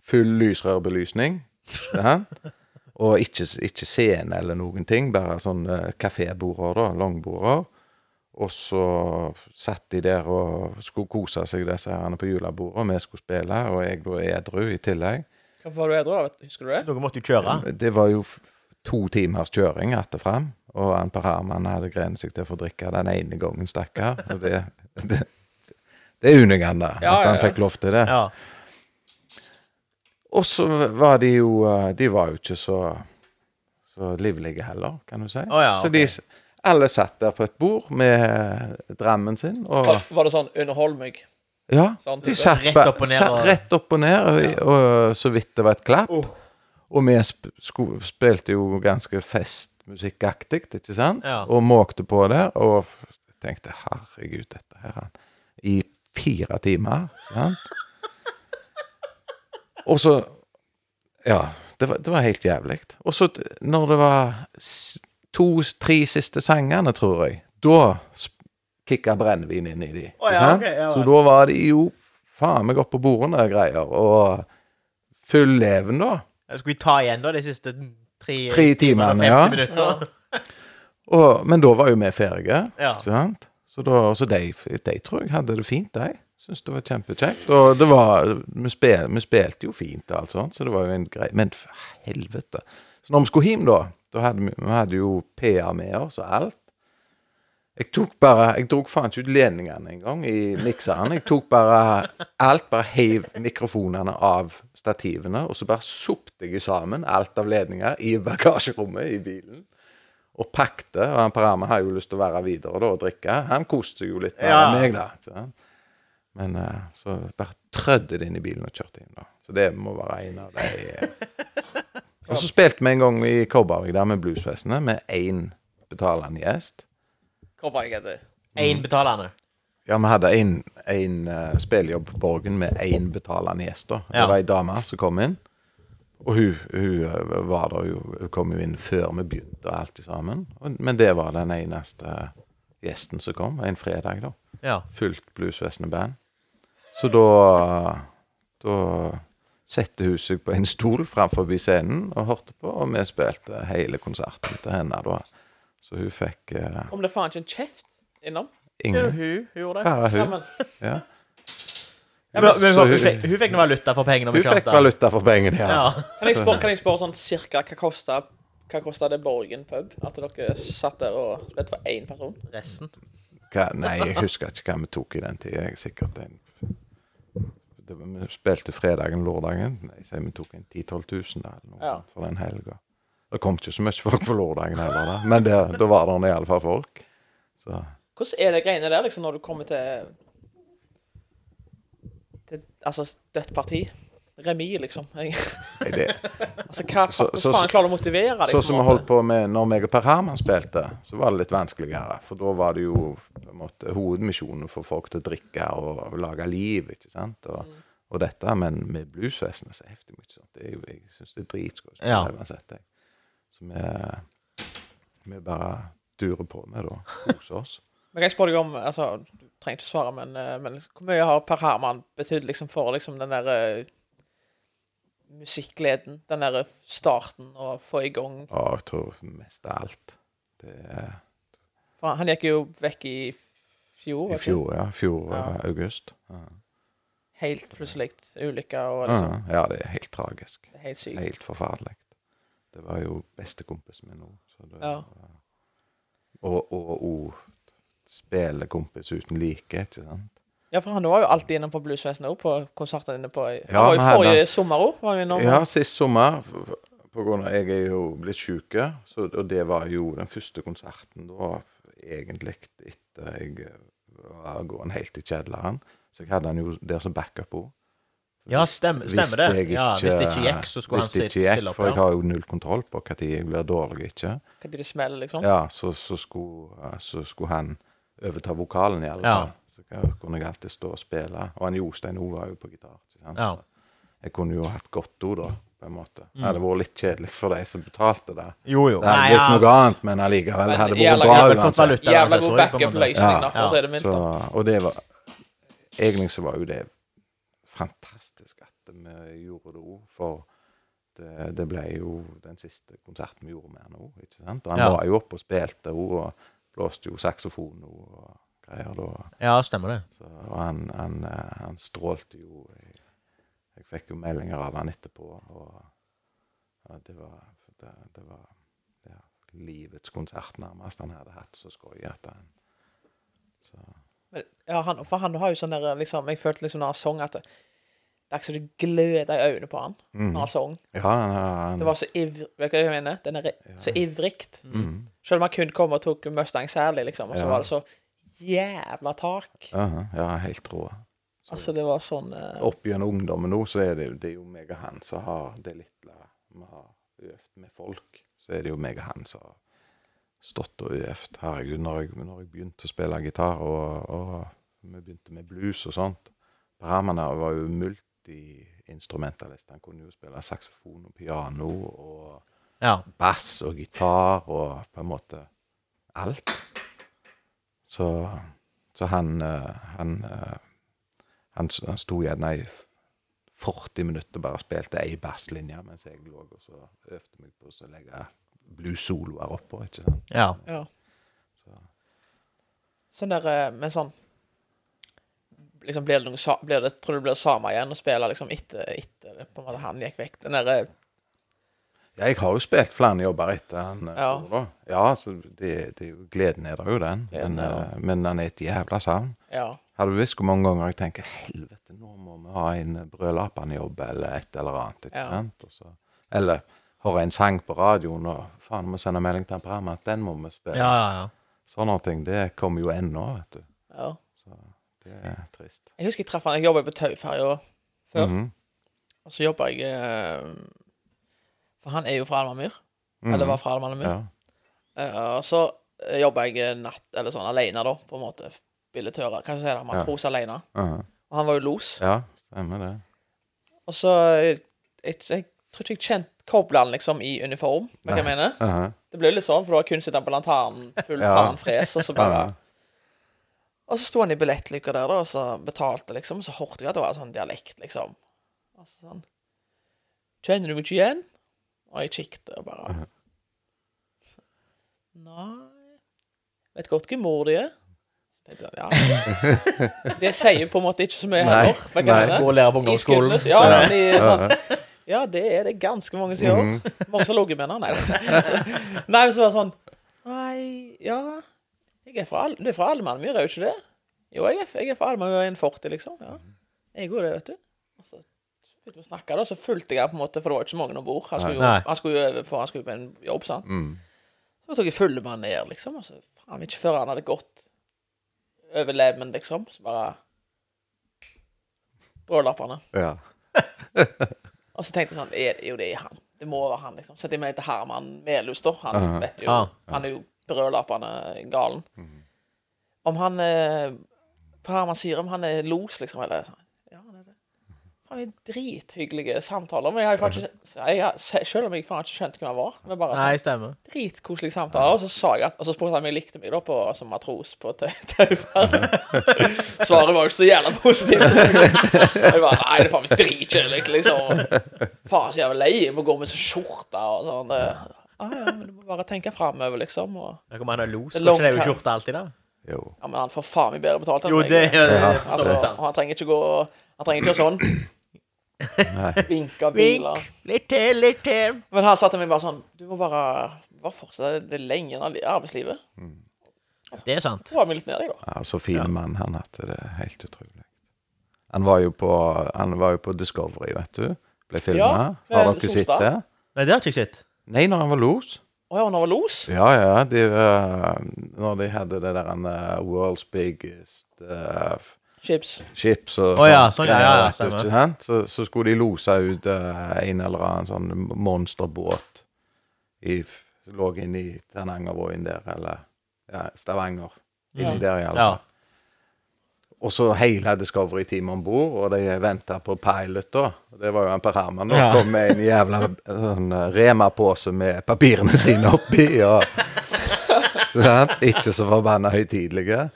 [SPEAKER 1] full lysrørbelysning, ikke sant? og ikke, ikke scene eller noen ting, bare sånn eh, kaféborder, da, langborder. Og så satt de der og skulle kose seg, disse herrene på julebordet, og vi skulle spille, og jeg da er edru i tillegg.
[SPEAKER 3] Hvorfor var du edru, da? vet du? Husker du det?
[SPEAKER 2] Noe måtte jo kjøre.
[SPEAKER 1] Det var jo f- to timers kjøring att og fram, og han Per Herman hadde grenet seg til å få drikke den ene gangen, stakkar. Og det, det, det unner jeg han da,
[SPEAKER 3] Ja,
[SPEAKER 1] at han
[SPEAKER 3] ja, ja.
[SPEAKER 1] fikk lov til det.
[SPEAKER 2] Ja.
[SPEAKER 1] Og så var de jo eh, De var jo ikke så, så livlige heller, kan du si.
[SPEAKER 2] Å ja,
[SPEAKER 1] Så de s- alle satt der på et bord med eh, drammen sin, og
[SPEAKER 3] Var- Var det sånn 'underhold meg'?
[SPEAKER 1] Ja,
[SPEAKER 3] Sant,
[SPEAKER 1] de
[SPEAKER 3] det.
[SPEAKER 1] satt
[SPEAKER 2] Rett
[SPEAKER 1] ba-
[SPEAKER 2] opp og ned,
[SPEAKER 1] satt
[SPEAKER 2] og-
[SPEAKER 1] rett opp og ned, og, og så vidt det var et klapp. Og vi sp sko spilte jo ganske festmusikkaktig, ikke sant?
[SPEAKER 2] Ja.
[SPEAKER 1] Og måkte på der, og tenkte 'herregud, dette her han, I fire timer, ikke sant? og så Ja, det var, det var helt jævlig. Og så, t- når det var to-tre siste sangene, tror jeg, da sp- kicka brennevin inn i de.
[SPEAKER 2] Å ja,
[SPEAKER 1] ikke sant?
[SPEAKER 2] ok, ja vel.
[SPEAKER 1] så da var de jo faen meg oppe på bordene og greier, og full leven, da.
[SPEAKER 2] Skulle vi ta igjen da de siste tre,
[SPEAKER 1] Tre timene,
[SPEAKER 2] og 50
[SPEAKER 1] ja.
[SPEAKER 2] minutter?
[SPEAKER 1] Og, men da var jo vi ferdige.
[SPEAKER 2] Ja.
[SPEAKER 1] ikke sant? Så da, så de, de tror jeg hadde det fint, de. Syns det var kjempekjekt. Og det var, vi, spil, vi spilte jo fint, og alt sånt, så det var jo en grei Men for helvete. Så når vi skulle hjem, da, da hadde vi, vi hadde jo PR med oss og alt. Jeg tok bare, jeg dro faen ikke ut ledningene engang i mikseren. Jeg tok bare alt, bare heiv mikrofonene av stativene, og så bare sopte jeg sammen alt av ledninger i bagasjerommet i bilen. Og pakte. Og han Per Arme har jo lyst til å være videre da, og drikke. Han koste seg jo litt mer
[SPEAKER 2] Ja.
[SPEAKER 1] enn meg, da. ikke sant? Men eh, så bare trødde det inn i bilen og kjørte inn, da. Så det må være en av de eh. Og så spilte vi en gang i Kobbervik der med bluesfestene med én betalende gjest.
[SPEAKER 3] Kom bare, jeg heter
[SPEAKER 2] Én betalende.
[SPEAKER 1] Ja, vi hadde en, en eh, spillejobb på Borgen med én betalende gjest. da. Det
[SPEAKER 2] Ja.
[SPEAKER 1] var ei dame som kom inn. Og hun, hun eh, var der jo, hun kom jo inn før vi begynte og alt sammen. Og, men det var den eneste gjesten som kom, en fredag, da.
[SPEAKER 2] Ja.
[SPEAKER 1] Fullt bluesvesenet band. Så da Da satte hun seg på en stol framfor scenen og hørte på, og vi spilte hele konserten til henne da. Så hun fikk eh,
[SPEAKER 3] Kom det faen ikke en kjeft innom?
[SPEAKER 2] Jo,
[SPEAKER 1] ingen
[SPEAKER 2] hun, hun gjorde det.
[SPEAKER 1] Bare
[SPEAKER 3] Ja,
[SPEAKER 1] hun.
[SPEAKER 3] men
[SPEAKER 1] Ja.
[SPEAKER 2] Men, men,
[SPEAKER 1] Så
[SPEAKER 2] hun,
[SPEAKER 1] hun-
[SPEAKER 2] fikk, hun fikk noe valuta for pengene. vi
[SPEAKER 1] Hun fikk
[SPEAKER 2] kjøpte.
[SPEAKER 1] valuta for pengene, ja.
[SPEAKER 2] Ja.
[SPEAKER 3] Kan jeg spørre, kan jeg spørre sånn cirka hva kosta hva kosta det Borgen pub? At dere satt der og spilte for én person?
[SPEAKER 2] Resten.
[SPEAKER 1] Hva, nei, jeg husker ikke hva vi tok i den tida. Jeg er sikkert en det, var- Vi spilte fredagen lørdagen. Nei, så vi tok en 10 000-12 000 da, eller noe
[SPEAKER 3] Ja.
[SPEAKER 1] sånt for den helga. Det kom ikke så mye folk på lørdagen heller, da. men det, da var det iallfall folk. Så
[SPEAKER 3] Hvordan er det greiene der, liksom, når du kommer til, til Altså, dødt parti? Remis, liksom. Jeg,
[SPEAKER 1] nei, det,
[SPEAKER 3] altså, hva
[SPEAKER 1] Så-
[SPEAKER 3] faen,
[SPEAKER 1] så-
[SPEAKER 3] hvordan faen klarer du å motivere deg? på
[SPEAKER 1] Sånn
[SPEAKER 3] en
[SPEAKER 1] som vi
[SPEAKER 3] måte?
[SPEAKER 1] holdt på med når meg og Per Herman spilte, så var det litt vanskeligere. For da var det jo på en måte, hovedmisjonen for folk til å drikke og lage liv, ikke sant. Og,
[SPEAKER 3] Mm.
[SPEAKER 1] og dette, men med bluesfestene så heftig mye sånt. Det er jo, jeg syns det er dritskøy å spille
[SPEAKER 2] Ja.
[SPEAKER 1] uansett, jeg. Så vi, vi bare durer på med det og koser oss.
[SPEAKER 3] Men kan jeg spørre deg om altså, Du trenger ikke svare, men, eh, men liksom, hvor mye har Per Herman betydd liksom, for liksom, den der eh, musikkgleden? Den der eh, starten å få i gang
[SPEAKER 1] Og jeg tror mest av alt det er
[SPEAKER 3] For han, han gikk jo vekk i
[SPEAKER 1] i
[SPEAKER 3] fjor. var det ikke?
[SPEAKER 1] fjor, ja. Fjor
[SPEAKER 3] Ja.
[SPEAKER 1] eh, august. Ja.
[SPEAKER 3] Helt plutselig ulykke og liksom,
[SPEAKER 1] Ja, ja, det er helt tragisk.
[SPEAKER 3] det er helt sykt.
[SPEAKER 1] Ah. Helt forferdelig. Det var jo bestekompisen min òg. så det-
[SPEAKER 3] Ja.
[SPEAKER 1] Og, og, og spillekompis uten like, ikke sant?
[SPEAKER 3] Ja, for han var jo alltid innom på bluesfesten òg, på konsertene inne på Han
[SPEAKER 1] Ja,
[SPEAKER 3] var
[SPEAKER 1] han
[SPEAKER 3] jo
[SPEAKER 1] hadde-
[SPEAKER 3] forrige sommer òg, var han innom.
[SPEAKER 1] Ja, sist sommer, f- f- på grunn av jeg er jo blitt syk, så- og det var jo den første konserten da, egentlig etter jeg var gående helt i kjelleren. Så jeg hadde han jo der som backup òg.
[SPEAKER 2] Ja, stemmer, stemmer det. Ja, hvis det ikke gikk, så skulle han
[SPEAKER 1] hvis det
[SPEAKER 2] sitte
[SPEAKER 1] ikke gikk,
[SPEAKER 2] stille opp.
[SPEAKER 1] For jeg
[SPEAKER 2] Ja.
[SPEAKER 1] har jo null kontroll på når jeg blir dårlig ikke.
[SPEAKER 3] Hva tid det smeller, liksom.
[SPEAKER 1] Ja, så, så, skulle, så skulle han overta vokalen i alle
[SPEAKER 2] Ja.
[SPEAKER 1] fall. Så ka- kunne jeg alltid stå og spille. Og han Jostein Ove var jo på gitar. ikke sant?
[SPEAKER 2] Ja. Mm.
[SPEAKER 1] Jeg kunne jo hatt godt av det, på en måte. Det hadde vært litt kjedelig for de som betalte det.
[SPEAKER 2] Jo, jo.
[SPEAKER 1] Det hadde blitt noe annet, men allikevel det hadde
[SPEAKER 3] Jævla
[SPEAKER 1] vært bra
[SPEAKER 2] jævla fått
[SPEAKER 1] uansett.
[SPEAKER 2] valuta.
[SPEAKER 3] Jævla
[SPEAKER 2] uansett,
[SPEAKER 3] god
[SPEAKER 2] tror jeg, på en måte.
[SPEAKER 3] backup-løsning, da, for
[SPEAKER 2] Ja.
[SPEAKER 3] å si det
[SPEAKER 1] Så,
[SPEAKER 3] minste.
[SPEAKER 1] og det var Egentlig så var jo det fantastisk at vi gjorde det òg, for det, det ble jo den siste konserten vi gjorde med han òg, ikke sant? Og han
[SPEAKER 2] Ja.
[SPEAKER 1] var jo oppe og spilte òg, og blåste jo saksofon og greier da.
[SPEAKER 2] Ja, stemmer det.
[SPEAKER 1] Så, og han, han, eh, han strålte jo. Jeg, jeg fikk jo meldinger av han etterpå, og ja, det var, det, det var ja, livets konsert nærmest han hadde hatt så skøy at han
[SPEAKER 3] Men, ja, han, for han har jo sånn der liksom, Jeg følte liksom når han sang at det det er ikke så du gløder i øynene på han
[SPEAKER 1] Mm.
[SPEAKER 3] når han sang.
[SPEAKER 1] Ja, han, han
[SPEAKER 3] Det var så ivrig, vet du hva jeg mener? Den er, Så ivrigt.
[SPEAKER 1] Mhm.
[SPEAKER 3] Selv om han kun kom og tok Mustang Sally, liksom, og så
[SPEAKER 1] Ja.
[SPEAKER 3] var det så jævla tak.
[SPEAKER 1] Aha, Ja, helt rå.
[SPEAKER 3] Altså, det var sånn eh,
[SPEAKER 1] Opp gjennom ungdommen nå, så er det, jo- det er jo meg og han som har det lille vi har øvd med folk. Så er det jo meg og han som har stått og øvd. Herregud, når jeg, når jeg begynte å spille gitar, og, og vi begynte med blues og sånt Brahmana var jo multiinstrumentalist. Han kunne jo spille saksofon og piano og
[SPEAKER 2] Ja.
[SPEAKER 1] bass og gitar og på en måte alt. Så, så han eh, han, eh, han s- han sto gjerne i f- 40 minutter og bare spilte ei basslinje mens jeg lå og så øvde meg på å legge blues-soloer oppå. ikke sant?
[SPEAKER 2] ja.
[SPEAKER 3] Ja.
[SPEAKER 1] Så.
[SPEAKER 3] Sånn der eh, Men sånn liksom blir det noe, sa- blir det, Tror du det blir det samme igjen å spille liksom etter, etter det, på en måte han gikk vekk? Den der, eh,
[SPEAKER 1] Ja, jeg har jo spilt flere jobber etter han. eh,
[SPEAKER 3] Ja.
[SPEAKER 1] Tore, da. ja så det, det, er jo- gleden er der jo, den.
[SPEAKER 3] Gleden
[SPEAKER 1] Men,
[SPEAKER 3] er
[SPEAKER 1] eh, men han er et jævla savn.
[SPEAKER 3] ja.
[SPEAKER 1] Har du visst hvor mange ganger jeg tenker helvete, nå må vi ha en Brødlapan-jobb eller et eller annet. ikke
[SPEAKER 3] Ja.
[SPEAKER 1] sant? Og så, eller hører en sang på radioen og faen, må sende melding til han på at den må vi spille.
[SPEAKER 2] Ja, ja, ja.
[SPEAKER 1] Sånne ting. Det kommer jo ennå, vet du.
[SPEAKER 3] ja.
[SPEAKER 1] Så det er trist.
[SPEAKER 3] Jeg husker jeg traff han Jeg jobba på Tauferja før.
[SPEAKER 1] Mhm,
[SPEAKER 3] Og så jobba jeg eh, For han er jo fra Almamyr.
[SPEAKER 1] mhm,
[SPEAKER 3] Eller var fra Almamyr.
[SPEAKER 1] ja.
[SPEAKER 3] Eh, og så eh, jobba jeg eh, natt, eller sånn alene, da, på en måte. Billetører. Hva heter det? Matros alene.
[SPEAKER 1] aha.
[SPEAKER 3] Og han var jo los.
[SPEAKER 1] Uh-huh. ja, stemmer det.
[SPEAKER 3] Og så eh, Jeg, jeg tror ikke jeg kjente kobla han liksom i uniform. vet du Hva jeg
[SPEAKER 1] Nei.
[SPEAKER 3] mener?
[SPEAKER 1] Aha,
[SPEAKER 3] Det ble litt sånn, for da har kun sittet han på lanternen, full
[SPEAKER 1] Ja.
[SPEAKER 3] faen fres, og så bare
[SPEAKER 1] ja.
[SPEAKER 3] Og så sto han i billettlykka der, da, og så betalte, liksom, og så hørte jeg at det var sånn dialekt, liksom. Og så sånn Kjenner du meg ikke igjen? Og jeg kikket og bare Nei Vet godt hvem mor di er. Så tenkte jeg, ja. Det sier på en måte ikke så mye
[SPEAKER 1] Nei,
[SPEAKER 3] heller. Hva kan
[SPEAKER 1] nei.
[SPEAKER 3] hende?
[SPEAKER 2] Gå og lære på
[SPEAKER 3] I
[SPEAKER 2] ungdomsskolen.
[SPEAKER 3] Skudenes, Ja, Mhm.
[SPEAKER 2] så-
[SPEAKER 3] men i, sånn, ja, det er det ganske mange som gjør. Mange som har ligget med henne. Nei da. Nei, men så var det sånn Nei, ja jeg er fra, Al- Du er fra Almammyr, er jo ikke det? Jo, jeg er, jeg er fra Almammyr 140, liksom. Ja. Jeg òg det, vet du. Og så begynte vi å snakke, da, så fulgte jeg på en måte, for det var jo ikke så mange om bord. Han, skulle
[SPEAKER 2] Nei.
[SPEAKER 3] jo- han skulle jo over på han skulle på en jobb, sant.
[SPEAKER 1] Mm.
[SPEAKER 3] Så tok jeg fulle mann ned, liksom. Og så faen ikke før han hadde gått over lemmen, liksom. Så bare Brålappene.
[SPEAKER 1] Ja.
[SPEAKER 3] Og så tenkte jeg sånn er, Jo, det er han. Det må være han, liksom. Så de mente Herman Melhus, da. Han
[SPEAKER 1] Aha.
[SPEAKER 3] vet jo
[SPEAKER 2] Ah.
[SPEAKER 3] Han er jo brødlappende galen. Om han eh, På Herman sier om han er los, liksom, eller sånn. Ja, han er det. Faen, det er drithyggelige samtaler. Men jeg har jo faktisk jeg har, Selv om jeg faen ikke skjønte hvem han var. Men bare sånn,
[SPEAKER 2] Nei, stemmer.
[SPEAKER 3] dritkoselig samtale. Og så sa jeg at, og så spurte han om jeg likte meg da på, som matros på tau- Taufaen.
[SPEAKER 2] Mhm.
[SPEAKER 3] Svaret var jo ikke så jævla positivt. Jeg bare Nei, det er faen meg dritkjedelig, liksom. Faen så jævla lei. Jeg må gå med så skjorte og sånn. Det. Ja, ja, men du må bare tenke framover, liksom. Og,
[SPEAKER 2] Jeg kommer an og los.
[SPEAKER 3] Det er
[SPEAKER 2] Går ikke det med
[SPEAKER 3] long-
[SPEAKER 2] skjorte alltid, da?
[SPEAKER 1] Jo.
[SPEAKER 3] ja, men han får faen meg bedre betalt enn
[SPEAKER 2] Jo,
[SPEAKER 3] meg.
[SPEAKER 2] det er det er sånn. for så
[SPEAKER 3] altså,
[SPEAKER 2] vidt
[SPEAKER 3] og han
[SPEAKER 2] sant.
[SPEAKER 3] trenger ikke gå Han trenger ikke gjøre sånn.
[SPEAKER 1] Nei.
[SPEAKER 3] Vinke og hvile.
[SPEAKER 2] Litt til, litt til.
[SPEAKER 3] Men han sa til meg bare sånn Du må bare, bare fortsette det er lenge i arbeidslivet.
[SPEAKER 2] Det er sant.
[SPEAKER 3] Så var vi litt nede, jeg, da.
[SPEAKER 1] Ja, så fin mann han hadde det. er Helt utrolig. Han var jo på, han var jo på Discovery, vet du. Ble filma.
[SPEAKER 3] Ja,
[SPEAKER 1] Har
[SPEAKER 3] med
[SPEAKER 1] dere sett
[SPEAKER 3] Solstad.
[SPEAKER 1] det?
[SPEAKER 2] Nei, det har ikke jeg sett.
[SPEAKER 1] Nei, når han var los.
[SPEAKER 3] Å ja, han var los?
[SPEAKER 1] Ja, ja. De, eh, når de hadde det der eh, World's Biggest eh,
[SPEAKER 3] Chips.
[SPEAKER 1] Ships og
[SPEAKER 2] Å ja, sånn, ja,
[SPEAKER 1] greier,
[SPEAKER 2] ja, ja,
[SPEAKER 1] vet du,
[SPEAKER 2] stemmer.
[SPEAKER 1] ikke sant? Så, så skulle de lose ut eh, en eller annen sånn monsterbåt i f- Lå inne i Ternangervågen der, eller ja, Stavanger. Inni
[SPEAKER 3] Ja.
[SPEAKER 1] der, i alle
[SPEAKER 2] Mm. Ja.
[SPEAKER 1] fall. Og så hele Discovery-teamet om bord, og de venta på pilot, da. Og Det var jo han Per Herman. Da
[SPEAKER 2] Ja.
[SPEAKER 1] kom med en jævla sånn eh, Rema-pose med papirene sine oppi. Og, sant? Ikke så forbanna høytidelige.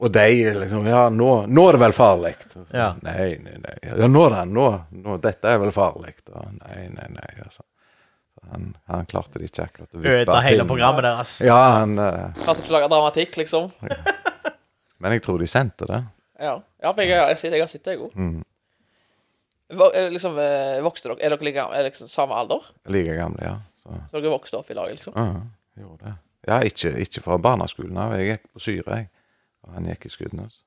[SPEAKER 1] Og de er liksom Ja, nå, nå er det vel farlig.
[SPEAKER 2] Ja.
[SPEAKER 1] Nei, nei, nei. Ja, nå da, nå, nå. Dette er vel farlig. Og nei, nei, nei. Altså. Så Han, han klarte det ikke akkurat å vippe
[SPEAKER 2] Ødela hele
[SPEAKER 1] pinnen.
[SPEAKER 2] programmet deres.
[SPEAKER 1] Ja, han eh,
[SPEAKER 3] Klarte ikke å lage dramatikk, liksom.
[SPEAKER 1] Men jeg tror de sendte det.
[SPEAKER 3] Ja, ja for jeg, jeg, jeg, sitter- jeg har sittet, jeg òg.
[SPEAKER 1] Mm.
[SPEAKER 3] Liksom, eh, vokste dere, er dere like, er dere samme alder?
[SPEAKER 1] Like gamle, ja. Så.
[SPEAKER 3] Så dere vokste opp i lag, liksom?
[SPEAKER 1] Ja, jeg gjorde det. Ja, ikke, ikke fra barneskolen av. Jeg gikk på Syre, jeg. Og han gikk i Skudenes.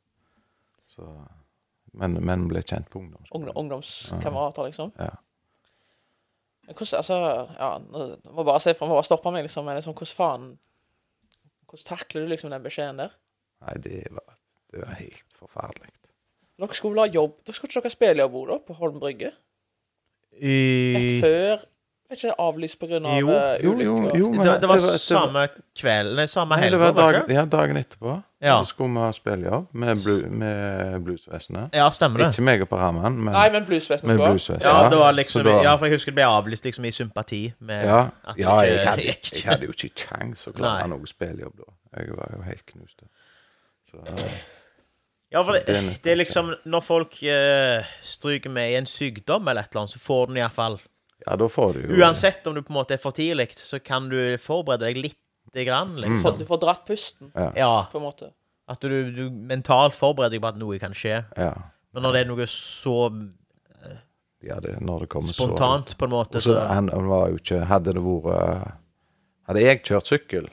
[SPEAKER 1] Så, men, men ble kjent på
[SPEAKER 3] Ungdom,
[SPEAKER 1] ungdomsskolen.
[SPEAKER 3] ungdomskamerater, liksom?
[SPEAKER 1] Ja.
[SPEAKER 3] Men Hvordan, altså, ja, nå nå må jeg bare se frem, må bare stoppe meg, liksom. Men liksom, hvordan faen Hvordan takler du liksom den beskjeden der?
[SPEAKER 1] Nei, det var, det var helt forferdelig.
[SPEAKER 3] Dere skulle vel ha jobb Dere skulle ikke dere spille jobb da, på Holm Brygge? Rett
[SPEAKER 2] I...
[SPEAKER 3] før Vet ikke, avlyst på grunn av
[SPEAKER 2] Jo,
[SPEAKER 3] eh,
[SPEAKER 1] jo,
[SPEAKER 3] ulykker?
[SPEAKER 1] jo, jo, men
[SPEAKER 2] Det, det var
[SPEAKER 1] det
[SPEAKER 2] samme kveld, nei, samme
[SPEAKER 1] Nei,
[SPEAKER 2] helg,
[SPEAKER 1] det var
[SPEAKER 2] var det
[SPEAKER 1] dag,
[SPEAKER 2] ikke?
[SPEAKER 1] ja, dagen etterpå.
[SPEAKER 2] Ja.
[SPEAKER 1] Så skulle vi ha spillejobb med, blu, med bluesvesenet.
[SPEAKER 2] Ja, stemmer det.
[SPEAKER 1] Ikke meg og Per Herman, men
[SPEAKER 3] Nei, men bluesvesenet
[SPEAKER 1] med
[SPEAKER 3] skulle ha.
[SPEAKER 1] bluesvesenet.
[SPEAKER 2] Ja, det var
[SPEAKER 1] Så
[SPEAKER 2] liksom,
[SPEAKER 1] da-
[SPEAKER 2] ja, for jeg husker det ble avlyst liksom i sympati med
[SPEAKER 1] ja,
[SPEAKER 2] at det
[SPEAKER 1] ja jeg,
[SPEAKER 2] ikke
[SPEAKER 1] hadde,
[SPEAKER 2] gikk.
[SPEAKER 1] jeg hadde jo ikke kjangs å klare
[SPEAKER 2] Nei.
[SPEAKER 1] noe spillejobb da. Jeg var jo helt knust. Så,
[SPEAKER 2] Ja, for
[SPEAKER 1] Det er
[SPEAKER 2] det,
[SPEAKER 1] nettopp
[SPEAKER 2] det er liksom Når folk eh, stryker med i en sykdom eller et eller annet, så får du den iallfall.
[SPEAKER 1] ja, da får du jo
[SPEAKER 2] Uansett om du på en måte er for tidlig, så kan du forberede deg lite grann,
[SPEAKER 3] Du
[SPEAKER 1] Mm.
[SPEAKER 3] får-
[SPEAKER 2] liksom.
[SPEAKER 3] Du får dratt pusten,
[SPEAKER 2] Ja.
[SPEAKER 3] på en måte.
[SPEAKER 2] At du, du mentalt forbereder deg på at noe kan skje.
[SPEAKER 1] Ja.
[SPEAKER 2] Men når det er noe så
[SPEAKER 1] ja det, når det kommer
[SPEAKER 2] spontant, på en
[SPEAKER 1] så
[SPEAKER 2] måte,
[SPEAKER 1] Og så
[SPEAKER 2] så
[SPEAKER 1] han, han var jo ikke Hadde det vært eh, Hadde jeg kjørt sykkel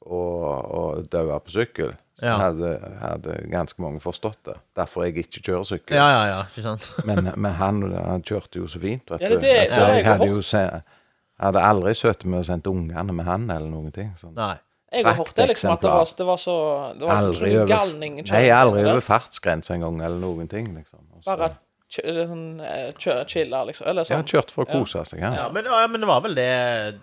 [SPEAKER 1] og, og daua på sykkel, så
[SPEAKER 2] Ja.
[SPEAKER 1] hadde, hadde ganske mange forstått det. Derfor jeg ikke kjører sykkel.
[SPEAKER 2] Ja, ja, ja. Ikke sant?
[SPEAKER 1] Men, men han, han kjørte jo så fint, vet
[SPEAKER 3] Ja, det-
[SPEAKER 1] du.
[SPEAKER 3] det-
[SPEAKER 1] at
[SPEAKER 3] det har jeg
[SPEAKER 1] jeg hadde
[SPEAKER 3] hørt.
[SPEAKER 1] jo se, hadde aldri søtt med å sende ungene med han eller noen ting. Sånn.
[SPEAKER 2] Nei.
[SPEAKER 3] Jeg har hørt det, liksom, at det var,
[SPEAKER 1] Prakteksemplar.
[SPEAKER 3] det var så Det var
[SPEAKER 1] Aldri
[SPEAKER 3] sånn
[SPEAKER 1] over,
[SPEAKER 3] galning
[SPEAKER 1] nei, aldri over fartsgrensa engang, eller noen ting, liksom. Og så-
[SPEAKER 3] Bare kjø- sånn eh, kjø- chille, liksom. Eller
[SPEAKER 1] ja, han
[SPEAKER 3] sånn.
[SPEAKER 1] kjørte for å
[SPEAKER 3] Ja.
[SPEAKER 1] kose seg, han.
[SPEAKER 2] Ja, men, ja, men det var vel det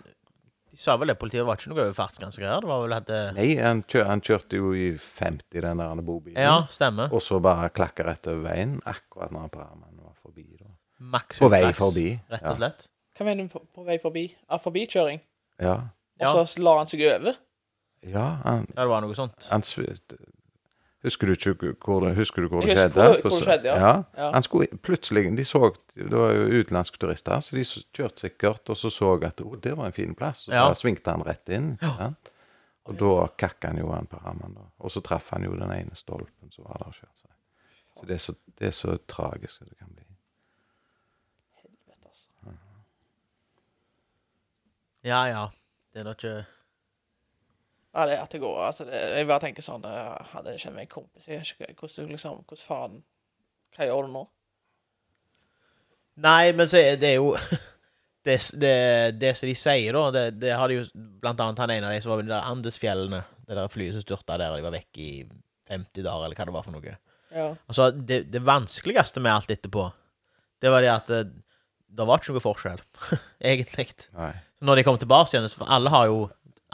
[SPEAKER 2] De sa vel det, politiet det var ikke noe over fartsgrense-greier. Det var vel at eh, det,
[SPEAKER 1] Nei, han, kjør, han kjørte jo i 50, den der bobilen.
[SPEAKER 2] Ja, stemmer.
[SPEAKER 1] Og så bare klakke rett over veien, akkurat når Brahman var forbi. da.
[SPEAKER 2] Maks
[SPEAKER 1] På vei
[SPEAKER 2] uflaks,
[SPEAKER 1] forbi,
[SPEAKER 2] Rett
[SPEAKER 1] ja.
[SPEAKER 2] og slett.
[SPEAKER 3] Hva mener du på- på vei forbi? Ja, forbikjøring.
[SPEAKER 1] Ja,
[SPEAKER 2] Ja.
[SPEAKER 3] Og så la han seg over.
[SPEAKER 1] ja han,
[SPEAKER 2] Ja, det var noe sånt.
[SPEAKER 1] han sv- Husker du ikke hvor det, husker du hvor det
[SPEAKER 3] Jeg husker
[SPEAKER 1] skjedde?
[SPEAKER 3] hvor det-
[SPEAKER 1] På
[SPEAKER 3] hvor
[SPEAKER 1] s-
[SPEAKER 3] det skjedde, ja. Ja.
[SPEAKER 1] Han skulle plutselig De så Det var jo utenlandske turister, så de s- kjørte sikkert, og så så at Å, det var en fin plass. Og
[SPEAKER 2] Ja.
[SPEAKER 1] da svingte han rett inn. ikke sant? Og da kakka han jo han på rammen, da. Og så traff han jo den ene stolpen som var der og kjørte seg. Så det er så, det er så tragisk det kan bli.
[SPEAKER 3] altså.
[SPEAKER 2] Ja, ja. Det er eh, da ikke
[SPEAKER 3] Ja, det er at det går. Altså, det, jeg bare tenker sånn eh, Hadde jeg kjent meg en kompis jeg vet ikke Hvordan liksom, hvordan faen Hva gjør du nå?
[SPEAKER 2] Nei, men så er det er jo det, det, det som de sier, da det, det har de jo Blant annet han ene av de som var ved de der Andesfjellene. Det der flyet som styrta der, og de var vekk i 50 dager, eller hva det var for noe.
[SPEAKER 3] Ja.
[SPEAKER 2] Altså, det, det vanskeligste med alt etterpå, det var det at eh, det var ikke noe forskjell, egentlig.
[SPEAKER 1] Nei.
[SPEAKER 2] Så når de kom tilbake igjen, så for alle har jo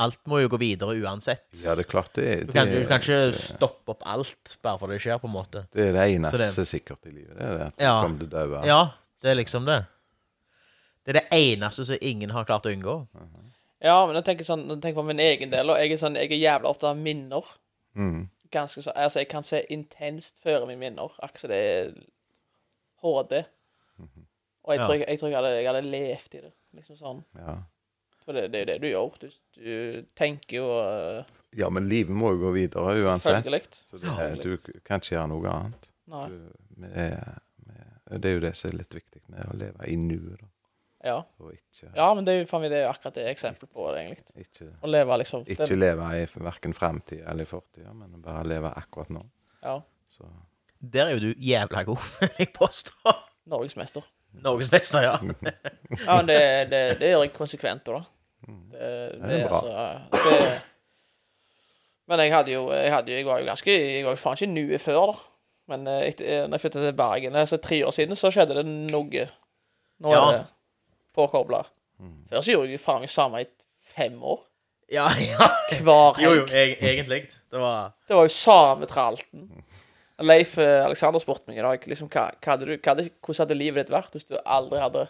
[SPEAKER 2] Alt må jo gå videre uansett.
[SPEAKER 1] Ja, det er klart det,
[SPEAKER 2] du,
[SPEAKER 1] det,
[SPEAKER 2] kan, du kan
[SPEAKER 1] det-
[SPEAKER 2] ikke stoppe opp alt bare for det skjer, på en måte.
[SPEAKER 1] det er det eneste
[SPEAKER 2] Så
[SPEAKER 1] sikkert i livet. Det er det at
[SPEAKER 2] Ja.
[SPEAKER 1] du kommer til å dø.
[SPEAKER 2] Ja, det er liksom det. Det er det eneste som ingen har klart å unngå.
[SPEAKER 3] ja, men jeg tenker sånn, jeg tenker på min egen del, og jeg er, sånn, jeg er jævla opptatt av minner.
[SPEAKER 1] Mm.
[SPEAKER 3] Ganske så, altså, jeg kan se intenst føre meg minner, akkurat som det er HD. Og jeg
[SPEAKER 2] Ja.
[SPEAKER 3] tror jeg, jeg, tror jeg, hadde, jeg hadde levd i det, liksom sånn.
[SPEAKER 1] Ja.
[SPEAKER 3] For det, det er jo det du gjør. Du, du tenker jo øh,
[SPEAKER 1] ja, men livet må jo gå videre uansett.
[SPEAKER 3] følgelig.
[SPEAKER 1] Så det, er- du kan ikke gjøre noe annet.
[SPEAKER 3] Nei.
[SPEAKER 1] Du, vi er, vi er, det er jo det som er litt viktig med å leve i nuet, da.
[SPEAKER 3] Ja.
[SPEAKER 1] Og ikke,
[SPEAKER 3] ja, men det er jo faen meg det er jo akkurat det eksempelet på det, egentlig.
[SPEAKER 1] ikke,
[SPEAKER 3] Å leve liksom
[SPEAKER 1] ikke leve i verken fremtid eller fortid, men bare leve akkurat nå.
[SPEAKER 3] ja,
[SPEAKER 1] Så
[SPEAKER 2] Der er jo du jævla god, vil jeg påstår.
[SPEAKER 3] Norgesmester.
[SPEAKER 2] Norgesmester, ja.
[SPEAKER 3] Ja, men det, det, det gjør jeg konsekvent, da. Det, det,
[SPEAKER 1] Mm. det er
[SPEAKER 3] er
[SPEAKER 1] bra.
[SPEAKER 3] altså det, Men jeg hadde jo Jeg, hadde jo, jeg var jo ganske Jeg var jo faen ikke nue før, da. Men eh, etter, eh, når jeg flyttet til Bergen altså tre år siden, så skjedde det noe. Nå er
[SPEAKER 2] Ja.
[SPEAKER 3] det påkobla.
[SPEAKER 1] Mm.
[SPEAKER 3] Før så gjorde jeg jo faen meg samme i fem år.
[SPEAKER 2] Ja, ja.
[SPEAKER 3] Hver
[SPEAKER 2] Jo, jo,
[SPEAKER 3] helg.
[SPEAKER 2] eg, egentlig. Det var
[SPEAKER 3] Det var jo samme tralten. Leif eh, Alexander spurte meg i dag liksom, hva, hva hadde du, hva hadde, hvordan hadde livet ditt vært hvis du aldri hadde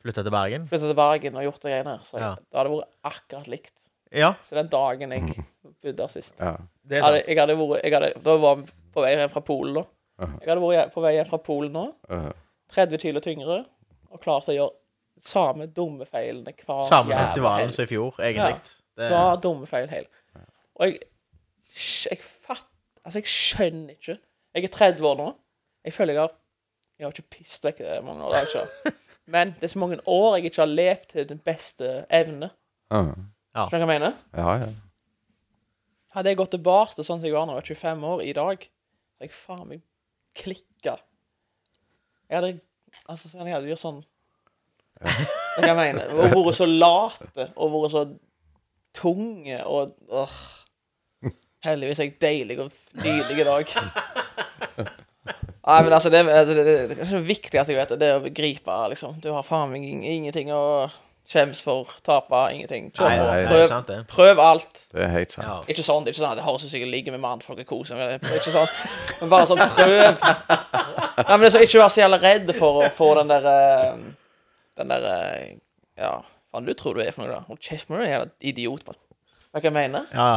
[SPEAKER 2] Flytta til Bergen?
[SPEAKER 3] flyttet til Bergen og gjort de greiene her. Så jeg,
[SPEAKER 2] Ja.
[SPEAKER 3] det hadde vært akkurat likt.
[SPEAKER 2] Ja,
[SPEAKER 3] Så den dagen jeg bodde der sist
[SPEAKER 1] ja.
[SPEAKER 2] Mhm. det er
[SPEAKER 3] hadde,
[SPEAKER 2] sant.
[SPEAKER 3] jeg hadde vært, jeg hadde, Da var vi på vei hjem fra Polen, da.
[SPEAKER 1] Aha.
[SPEAKER 3] Jeg hadde vært på vei hjem fra Polen nå,
[SPEAKER 1] øh,
[SPEAKER 3] 30 kilo tyngre, og klar til å gjøre samme dumme feilene hver
[SPEAKER 2] Samme
[SPEAKER 3] jævla
[SPEAKER 2] festivalen
[SPEAKER 3] helg.
[SPEAKER 2] som i fjor, egentlig. Det,
[SPEAKER 3] Hver dumme feil hel. Og jeg Jeg fatt... Altså, jeg skjønner ikke. Jeg er 30 år nå. Jeg føler jeg har Jeg har ikke pisset vekk det mange år. Det har jeg ikke. Men det er så mange år jeg ikke har levd til den beste evne.
[SPEAKER 1] øh.
[SPEAKER 3] Skjønner du hva jeg mener?
[SPEAKER 1] ja, ja.
[SPEAKER 3] Hadde jeg gått tilbake til sånn som jeg var når jeg var 25 år i dag, så hadde jeg faen meg klikka. Jeg hadde Altså, sånn, jeg hadde gjort sånn Det kan jeg mene. Og vært så late, og vært så tunge, og åh. Heldigvis er jeg deilig og f- nydelig i dag. Nei, men altså, det, det, det, det, det er viktig at jeg vet det, det er å begripe, liksom. Du har faen meg ing- ingenting å skjemmes for, tape, ingenting. Kjør
[SPEAKER 2] Nei,
[SPEAKER 3] på.
[SPEAKER 2] nei,
[SPEAKER 1] det er
[SPEAKER 2] det er
[SPEAKER 3] Prøv,
[SPEAKER 2] sant, det.
[SPEAKER 3] prøv alt.
[SPEAKER 1] Det er helt sant.
[SPEAKER 2] Ja.
[SPEAKER 3] Ikke sånn, det er ikke sånn at det høres ut som jeg ligger med mannfolk og koser meg. det er Ikke sånn. Men bare sånn, prøv. Nei, men det er så ikke vær så jævla redd for å få den der eh, Den der eh, Ja, faen du tror du er for noe, da. Hold kjeft med deg, jævla idiot. Vet du hva jeg mener?
[SPEAKER 2] Ja,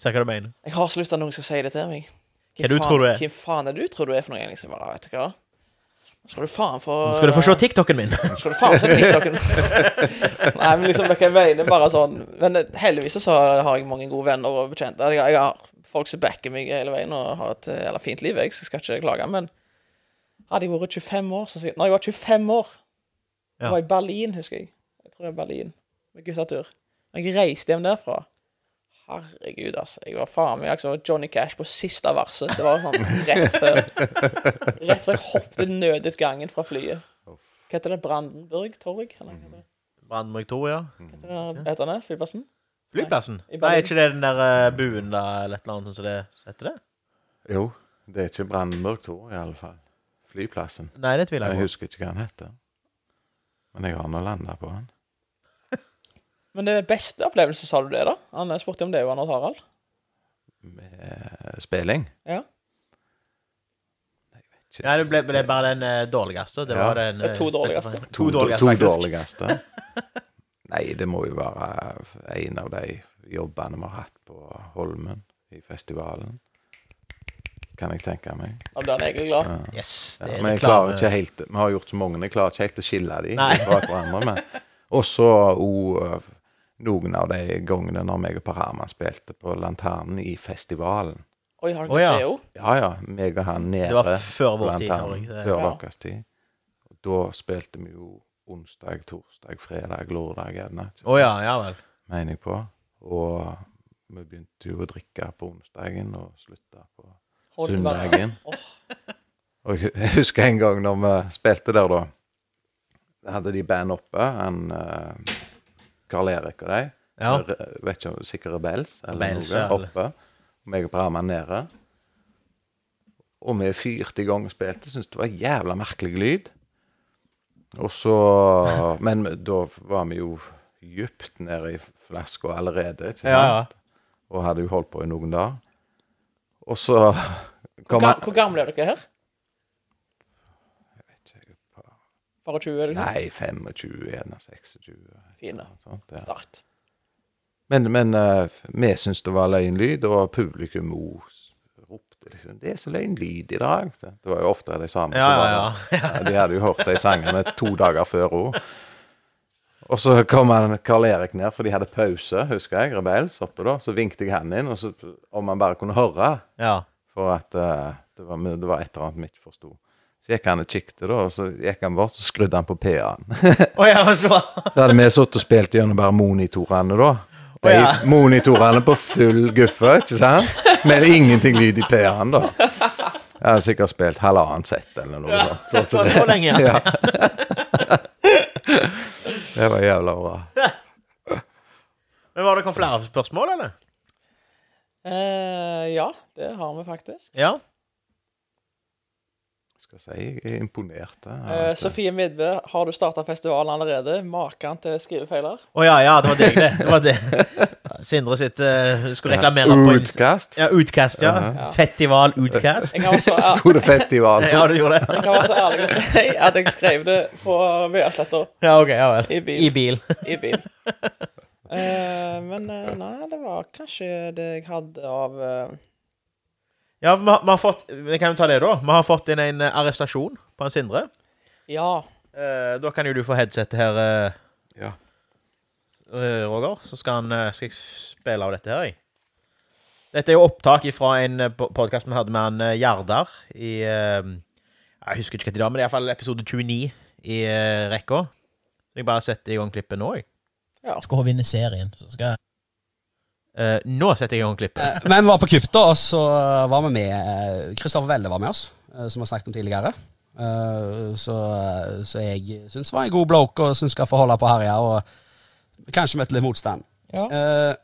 [SPEAKER 2] Ser hva du mener.
[SPEAKER 3] Jeg har så lyst til at noen skal si det til meg.
[SPEAKER 2] Hva du tror du er?
[SPEAKER 3] Hvem faen er du tror du er for noe? Jeg liksom bare, vet du hva? Nå skal du faen få
[SPEAKER 2] Nå skal du få
[SPEAKER 3] eh,
[SPEAKER 2] se TikToken min.
[SPEAKER 3] skal du faen sette TikToken? Nei, men liksom, jeg mener bare sånn Men eh, heldigvis så har jeg mange gode venner og bekjente. Jeg, jeg har folk som backer meg hele veien og har et eh, jævla fint liv. Jeg skal ikke klage, men hadde jeg vært 25 år så sikkert, Når jeg var 25 år,
[SPEAKER 2] Ja.
[SPEAKER 3] jeg var i Berlin, husker jeg. Jeg tror jeg var i Berlin med guttatur. Når jeg reiste hjem derfra Herregud, altså. Jeg var faen meg altså, Johnny Cash på siste verset. Det var sånn rett før Rett før jeg hoppet nødutgangen fra flyet. Hva heter det? Brandenburg Torg? Eller hva heter det?
[SPEAKER 2] Brandmark 2, ja.
[SPEAKER 1] Mm,
[SPEAKER 3] Hva heter det? Hva heter det? Flyplassen?
[SPEAKER 2] Flyplassen?
[SPEAKER 3] I
[SPEAKER 2] Nei,
[SPEAKER 3] Berlin.
[SPEAKER 2] er ikke det den der eh, buen da, eller et eller annet sånt som det så heter? det?
[SPEAKER 1] Jo, det er ikke Brandenburg Tor, i alle fall. Flyplassen.
[SPEAKER 2] Nei, det tviler
[SPEAKER 1] Jeg
[SPEAKER 2] jeg på.
[SPEAKER 1] husker ikke hva han heter. Men jeg har nå landa på han.
[SPEAKER 3] Men det beste opplevelse, sa du det, da? Han eh, spurte om det, jo, Anders Harald.
[SPEAKER 1] Med eh, spilling.
[SPEAKER 3] Ja.
[SPEAKER 1] Ikke-
[SPEAKER 2] Nei, det ble, ble bare den eh, dårligste. Det
[SPEAKER 1] Ja.
[SPEAKER 2] var den
[SPEAKER 3] Det er to
[SPEAKER 2] eh,
[SPEAKER 3] dårligste.
[SPEAKER 2] spesifikke-
[SPEAKER 1] To,
[SPEAKER 2] To dårligste,
[SPEAKER 1] to
[SPEAKER 2] faktisk.
[SPEAKER 1] dårligste. Nei, det må jo være en av de jobbene vi har hatt på Holmen, i festivalen. Kan jeg tenke meg.
[SPEAKER 3] Da ble han egentlig glad.
[SPEAKER 2] Yes,
[SPEAKER 1] Ja,
[SPEAKER 2] det er
[SPEAKER 1] men jeg klarer ikke helt Vi har gjort så mange, jeg klarer ikke helt å skille de
[SPEAKER 2] Nei.
[SPEAKER 1] fra hverandre. Men også og, øh, noen av de gangene når meg og Per Herman spilte på Lanternen i festivalen.
[SPEAKER 3] Oi, har han
[SPEAKER 2] Å,
[SPEAKER 3] gjort
[SPEAKER 2] ja.
[SPEAKER 3] det jo?
[SPEAKER 1] Ja, ja. Meg og han nede
[SPEAKER 2] Det var før
[SPEAKER 1] på
[SPEAKER 2] vår tid.
[SPEAKER 1] Lanternen.
[SPEAKER 2] Norge. Det-
[SPEAKER 1] Før
[SPEAKER 3] Ja.
[SPEAKER 1] deres tid. Og da spilte vi jo onsdag, torsdag, fredag, lørdag gjerne.
[SPEAKER 2] Å ja, ja vel.
[SPEAKER 1] Mener jeg på. Og vi begynte jo å drikke på onsdagen og slutta på
[SPEAKER 3] Holdt det bare-
[SPEAKER 1] Sundhagen. Og jeg husker en gang når vi spilte der, da. hadde de band oppe, han eh, Karl Erik og de.
[SPEAKER 2] Ja.
[SPEAKER 1] Re- eh, Vet ikke om sikkert Rebels eller
[SPEAKER 2] Rebels,
[SPEAKER 1] noe.
[SPEAKER 2] ja, eller-
[SPEAKER 1] Oppe. Og meg og Praman nede. Og vi fyrte i gang og spilte. Syntes det var jævla merkelig lyd. Og så Men da var vi jo dypt nede i flaska allerede. Ikke sant?
[SPEAKER 2] Ja, ja.
[SPEAKER 1] Og hadde jo holdt på i noen dager. Og så kom
[SPEAKER 3] Ga,
[SPEAKER 1] han
[SPEAKER 3] hvor gamle er dere her? Bare 20? eller noe?
[SPEAKER 1] Nei, 25 eller 26.
[SPEAKER 3] Fine.
[SPEAKER 1] Sånt, ja.
[SPEAKER 3] Start.
[SPEAKER 1] Men, men eh, vi syntes det var løgnlyd, og publikum òg ropte liksom 'Det er så løgnlyd i dag.' Det det var jo ofte de samme
[SPEAKER 2] Ja,
[SPEAKER 1] som var
[SPEAKER 2] ja,
[SPEAKER 1] der. Ja, De hadde jo hørt de sangene to dager før òg. Og så kom han Karl Erik ned, for de hadde pause, husker jeg, Rebels oppe da. Så vinket jeg han inn, og så, om han bare kunne høre.
[SPEAKER 2] ja.
[SPEAKER 1] For at eh, det, var, men det var et eller annet vi ikke forsto. Så gikk han og kikket, da, og så gikk han bort, så skrudde han på PA-en.
[SPEAKER 2] Å ja, så
[SPEAKER 1] Så hadde vi sittet og spilt gjennom bare monitorene, da. De
[SPEAKER 2] Å, ja.
[SPEAKER 1] monitorene på full guffe, ikke sant? Men ingenting lyd i P-en, da. Jeg hadde sikkert spilt halvannet sett eller noe sånt. sånn
[SPEAKER 2] Så, så, så lenge, ja.
[SPEAKER 1] Ja. Det var jævla bra.
[SPEAKER 2] Men Var det kommet flere spørsmål, eller?
[SPEAKER 3] Eh, ja, det har vi faktisk.
[SPEAKER 2] Ja.
[SPEAKER 1] Skal si jeg er imponert. jeg.
[SPEAKER 3] Eh, Sofie Midbø, har du starta festivalen allerede? Maken til skrivefeiler.
[SPEAKER 2] Å ja, ja, det var deg, det. det, var det. Sindre sitt eh, skulle reklamere på Insta.
[SPEAKER 1] Utkast.
[SPEAKER 2] Ja, Utkast, ja.
[SPEAKER 1] Ja.
[SPEAKER 2] Festival Utkast.
[SPEAKER 3] Jeg kan være så, æ-
[SPEAKER 1] Sto det fett i valen?
[SPEAKER 2] Ja, du gjorde det?
[SPEAKER 3] jeg kan være så ærlig å si at jeg skrev det på Veasletta
[SPEAKER 2] Ja, ok, ja vel.
[SPEAKER 3] i bil.
[SPEAKER 2] I bil.
[SPEAKER 3] i bil. Eh, men eh, nei, det var kanskje det jeg hadde av eh,
[SPEAKER 2] Ja, vi har, vi har fått Vi kan jo ta det, da. Vi har fått inn en eh, arrestasjon på en Sindre.
[SPEAKER 3] Ja.
[SPEAKER 2] Eh, da kan jo du få headsetet her, eh,
[SPEAKER 1] Ja.
[SPEAKER 2] eh, Roger. Så skal, han, eh, skal jeg spille av dette her, jeg. Dette er jo opptak fra en podkast vi hadde med han eh, Gjerdar i eh, Jeg husker ikke hva det var, men det er iallfall episode 29 i eh, rekka. Så jeg bare setter i gang klippet nå, jeg.
[SPEAKER 5] skal hun vinne serien. Så skal jeg...
[SPEAKER 2] Eh, nå setter jeg i gang klippet.
[SPEAKER 5] Eh, Men vi var på kupp, da, og så var vi med eh, Kristoffer Welle var med oss, eh, som vi har snakket om tidligere. Eh, Så, så jeg syns var en god bloke, og syns skal få holde på å herje. Og kanskje møtte litt motstand.
[SPEAKER 6] Ja.
[SPEAKER 5] Eh,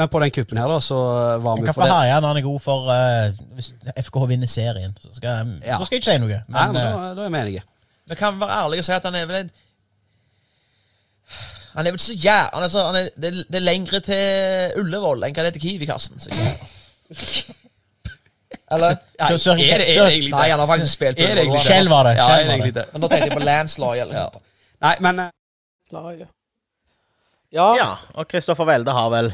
[SPEAKER 5] Men på den kuppen her, da, så var
[SPEAKER 6] Han
[SPEAKER 5] vi
[SPEAKER 6] kan
[SPEAKER 5] på
[SPEAKER 6] få
[SPEAKER 5] det.
[SPEAKER 6] herje når han er god for eh, Hvis FKH vinner serien, så skal,
[SPEAKER 5] Ja.
[SPEAKER 6] da skal jeg ikke si noe. Men,
[SPEAKER 5] Nei, men
[SPEAKER 6] eh,
[SPEAKER 5] da, da er vi enige.
[SPEAKER 6] vi kan være ærlige og si at han er vel en Han er vel ikke så jæ... Han er så, han er, det, er- det er lengre til Ullevål enn hva det er til Kiwi-kassen. så jeg sier. Eller?
[SPEAKER 5] Nei,
[SPEAKER 6] Så- så-
[SPEAKER 5] er det, er
[SPEAKER 6] så-
[SPEAKER 5] det egentlig
[SPEAKER 6] Nei, han har faktisk spilt på
[SPEAKER 5] Er det egentlig
[SPEAKER 6] Ullevål. Skjelv var det,
[SPEAKER 5] Ja,
[SPEAKER 6] skjelv
[SPEAKER 5] er det
[SPEAKER 6] var
[SPEAKER 5] egentlig det.
[SPEAKER 6] Men nå tenkte jeg på landslag eller noe sånt.
[SPEAKER 5] Nei, men eh,
[SPEAKER 3] Laget. Ja,
[SPEAKER 2] Ja, og Kristoffer Welde har vel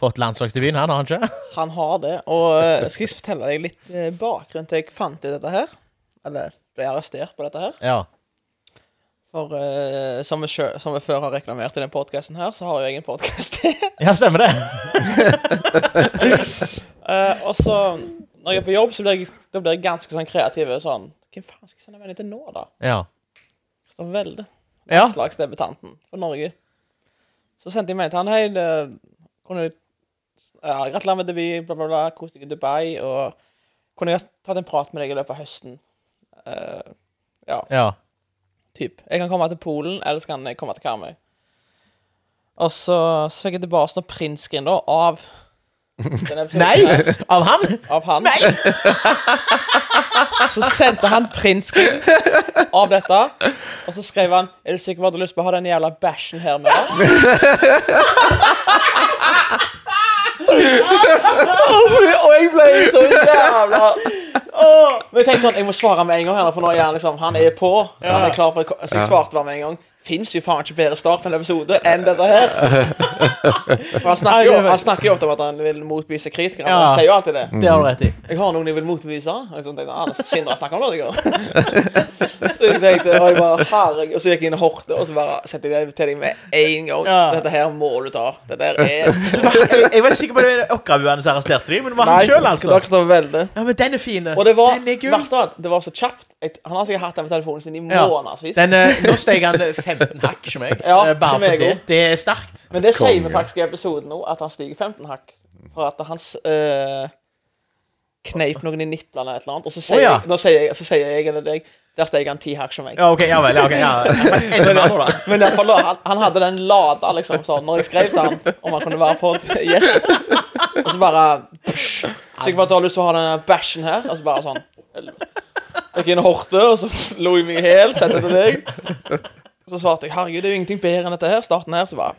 [SPEAKER 2] fått landslagsdebuten, han, har han ikke?
[SPEAKER 3] han har det. Og eh, skal jeg fortelle deg litt eh, bakgrunn til jeg fant ut dette her? Eller ble arrestert på dette her?
[SPEAKER 2] Ja.
[SPEAKER 3] For eh, som, vi sjø, som vi før har reklamert i den podkasten her, så har jo jeg en podkast.
[SPEAKER 2] ja, stemmer det.
[SPEAKER 3] Eh, og så, når jeg er på jobb, så blir jeg, da blir jeg ganske sånn kreativ. og Sånn, Hvem faen skal jeg sende melding til nå, da?
[SPEAKER 2] Ja.
[SPEAKER 3] Kristoffer Welde.
[SPEAKER 2] Ja.
[SPEAKER 3] Slagsdebutanten for Norge. Så sendte jeg melding til han. Hei, det, kunne du ja, Gratulerer med debut, bla, bla, bla. Kos deg i Dubai. Og kunne jeg ha tatt en prat med deg i løpet av høsten? Eh,
[SPEAKER 2] Ja.
[SPEAKER 3] typ. Jeg kan komme til Polen, eller så kan jeg komme til Karmøy. Og så, så fikk jeg tilbake noen printscreen da, av denne episoden
[SPEAKER 2] Nei!
[SPEAKER 3] her,
[SPEAKER 2] Av han?
[SPEAKER 3] Av han. Så sendte han printscreen av dette, og så skrev han Er du sikker på at du har lyst på å ha den jævla bæsjen her med deg? og jeg ble så jævla Åh. Men jeg tenkte sånn, jeg må svare med en gang, her, for nå er han liksom Han er på. Så han er klar for Så jeg svarte bare med en gang. Fins jo faen ikke bedre start på en episode enn dette her. For han snakker jo, han snakker jo ofte om at han vil motbevise kritikere. men
[SPEAKER 2] Ja.
[SPEAKER 3] Han sier jo alltid det.
[SPEAKER 2] Det har du rett i.
[SPEAKER 3] Jeg har noen jeg vil motbevise. Og så tenkte jeg, ah, Sindre snakker om det i går. så jeg tenkte, og jeg bare, herregud. Og så gikk jeg inn i Horte, og så bare sendte jeg det til deg med en gang.
[SPEAKER 2] Ja.
[SPEAKER 3] Dette her må du ta. Dette her er
[SPEAKER 2] Jeg, jeg var ikke sikker på det var Åkrabuene som arresterte dem, men det var han sjøl, altså.
[SPEAKER 3] dere står velde.
[SPEAKER 2] Ja, men den er fin.
[SPEAKER 3] Og det var,
[SPEAKER 2] den er gull.
[SPEAKER 3] verst av alt, det var så kjapt. Jeg, han har sikkert hatt den på telefonen sin i
[SPEAKER 2] Ja.
[SPEAKER 3] månedsvis.
[SPEAKER 2] Den, eh, nå steg han eh, 15 hakk, som jeg.
[SPEAKER 3] Ja,
[SPEAKER 2] eh, bare
[SPEAKER 3] som
[SPEAKER 2] på
[SPEAKER 3] jeg
[SPEAKER 2] det.
[SPEAKER 3] også.
[SPEAKER 2] Det er sterkt.
[SPEAKER 3] Men det sier vi
[SPEAKER 1] Konge.
[SPEAKER 3] faktisk i episoden nå, at han stiger 15 hakk. For at hans eh, kneip noen i niplene eller et eller annet. Og så sier,
[SPEAKER 2] Å, ja.
[SPEAKER 3] jeg, nå sier, jeg, så sier jeg eller deg Der steg han ti hakk som meg.
[SPEAKER 2] Ja, ok, ja vel. Ja, ok, ja. Men Enda mer nå, da.
[SPEAKER 3] Men i hvert fall da, han, han hadde den lada, liksom, sånn, når jeg skrev til han om han kunne være på t- gjest. Og så bare psh, Sikkert at du har lyst til å ha denne bæsjen her. Og så bare sånn Gikk inn i horte, og så lo jeg meg i hjel, sendte til deg. Og så svarte jeg herregud, det er jo ingenting bedre enn dette her. Starten her, så bare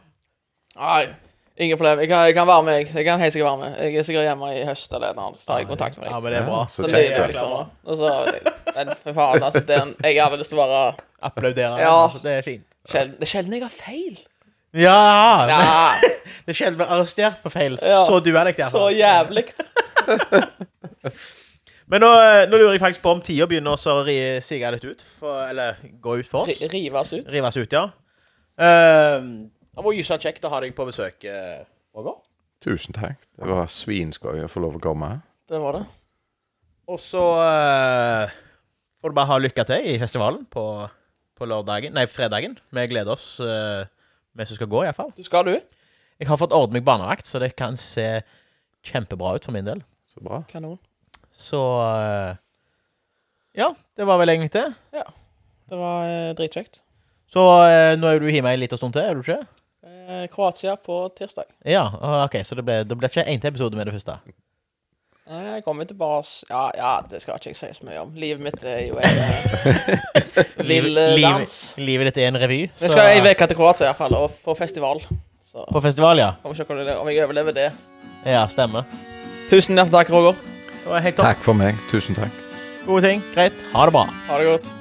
[SPEAKER 3] Nei, ingen problem. Jeg kan, jeg kan være med, jeg. Jeg kan helt sikkert være med. Jeg er sikkert hjemme i høst eller et eller annet. Så tar jeg kontakt med deg.
[SPEAKER 2] Ja, men det er bra.
[SPEAKER 1] Så
[SPEAKER 3] Så
[SPEAKER 1] kjekt,
[SPEAKER 3] løy jeg
[SPEAKER 1] da.
[SPEAKER 3] liksom. da. Og så Men for faen, altså. Det er en, jeg hadde lyst til å bare
[SPEAKER 2] Applauderer.
[SPEAKER 3] Ja.
[SPEAKER 2] altså, Det er fint.
[SPEAKER 3] sjelden, Det er sjelden jeg har feil.
[SPEAKER 2] Ja! men
[SPEAKER 3] Ja,
[SPEAKER 2] Det er sjelden blir arrestert på feil.
[SPEAKER 3] Ja.
[SPEAKER 2] Så du er det,
[SPEAKER 3] så jævlig.
[SPEAKER 2] Men nå, eh, nå lurer jeg faktisk på om tida begynner å ri- sige litt ut. For, eller gå ut for oss.
[SPEAKER 3] Ri- Rives ut.
[SPEAKER 2] Rives ut, ja. Eh, det var jysa kjekt å ha deg på besøk, eh, Roger.
[SPEAKER 1] Tusen takk. Det var svinskøy å få lov å komme.
[SPEAKER 3] Det var det.
[SPEAKER 2] Og så eh, får du bare ha lykke til i festivalen på, på lørdagen, nei, fredagen. Vi gleder oss, eh, vi som skal gå, iallfall.
[SPEAKER 3] Du skal, du?
[SPEAKER 2] Jeg har fått ordnet meg barnevakt, så det kan se kjempebra ut for min del.
[SPEAKER 1] Så bra.
[SPEAKER 3] Kanon.
[SPEAKER 2] Så eh, Ja, det var vel egentlig det.
[SPEAKER 3] Det var eh, dritkjekt.
[SPEAKER 2] Så eh, nå er du hjemme en liten stund til, er du ikke?
[SPEAKER 3] Eh, Kroatia på tirsdag.
[SPEAKER 2] Ja, ah, OK, så det ble, det ble ikke én til episode med det første.
[SPEAKER 3] Eh, Jeg kommer tilbake ja, ja, det skal ikke jeg si så mye om. Livet mitt er jo en eh, vill eh,
[SPEAKER 2] Liv-
[SPEAKER 3] dans.
[SPEAKER 2] Livet ditt er en revy.
[SPEAKER 3] Men
[SPEAKER 2] så- eh,
[SPEAKER 3] jeg skal ei uke til Kroatia i hvert fall, og på festival. Så
[SPEAKER 2] På festival, ja.
[SPEAKER 3] får vi se hvordan det- om jeg overlever det.
[SPEAKER 2] Ja, stemmer.
[SPEAKER 3] Tusen hjertelig takk, Roger.
[SPEAKER 2] Det var helt topp.
[SPEAKER 1] Takk for meg. Tusen takk.
[SPEAKER 2] Gode ting. Greit. Ha det bra.
[SPEAKER 3] Ha det godt.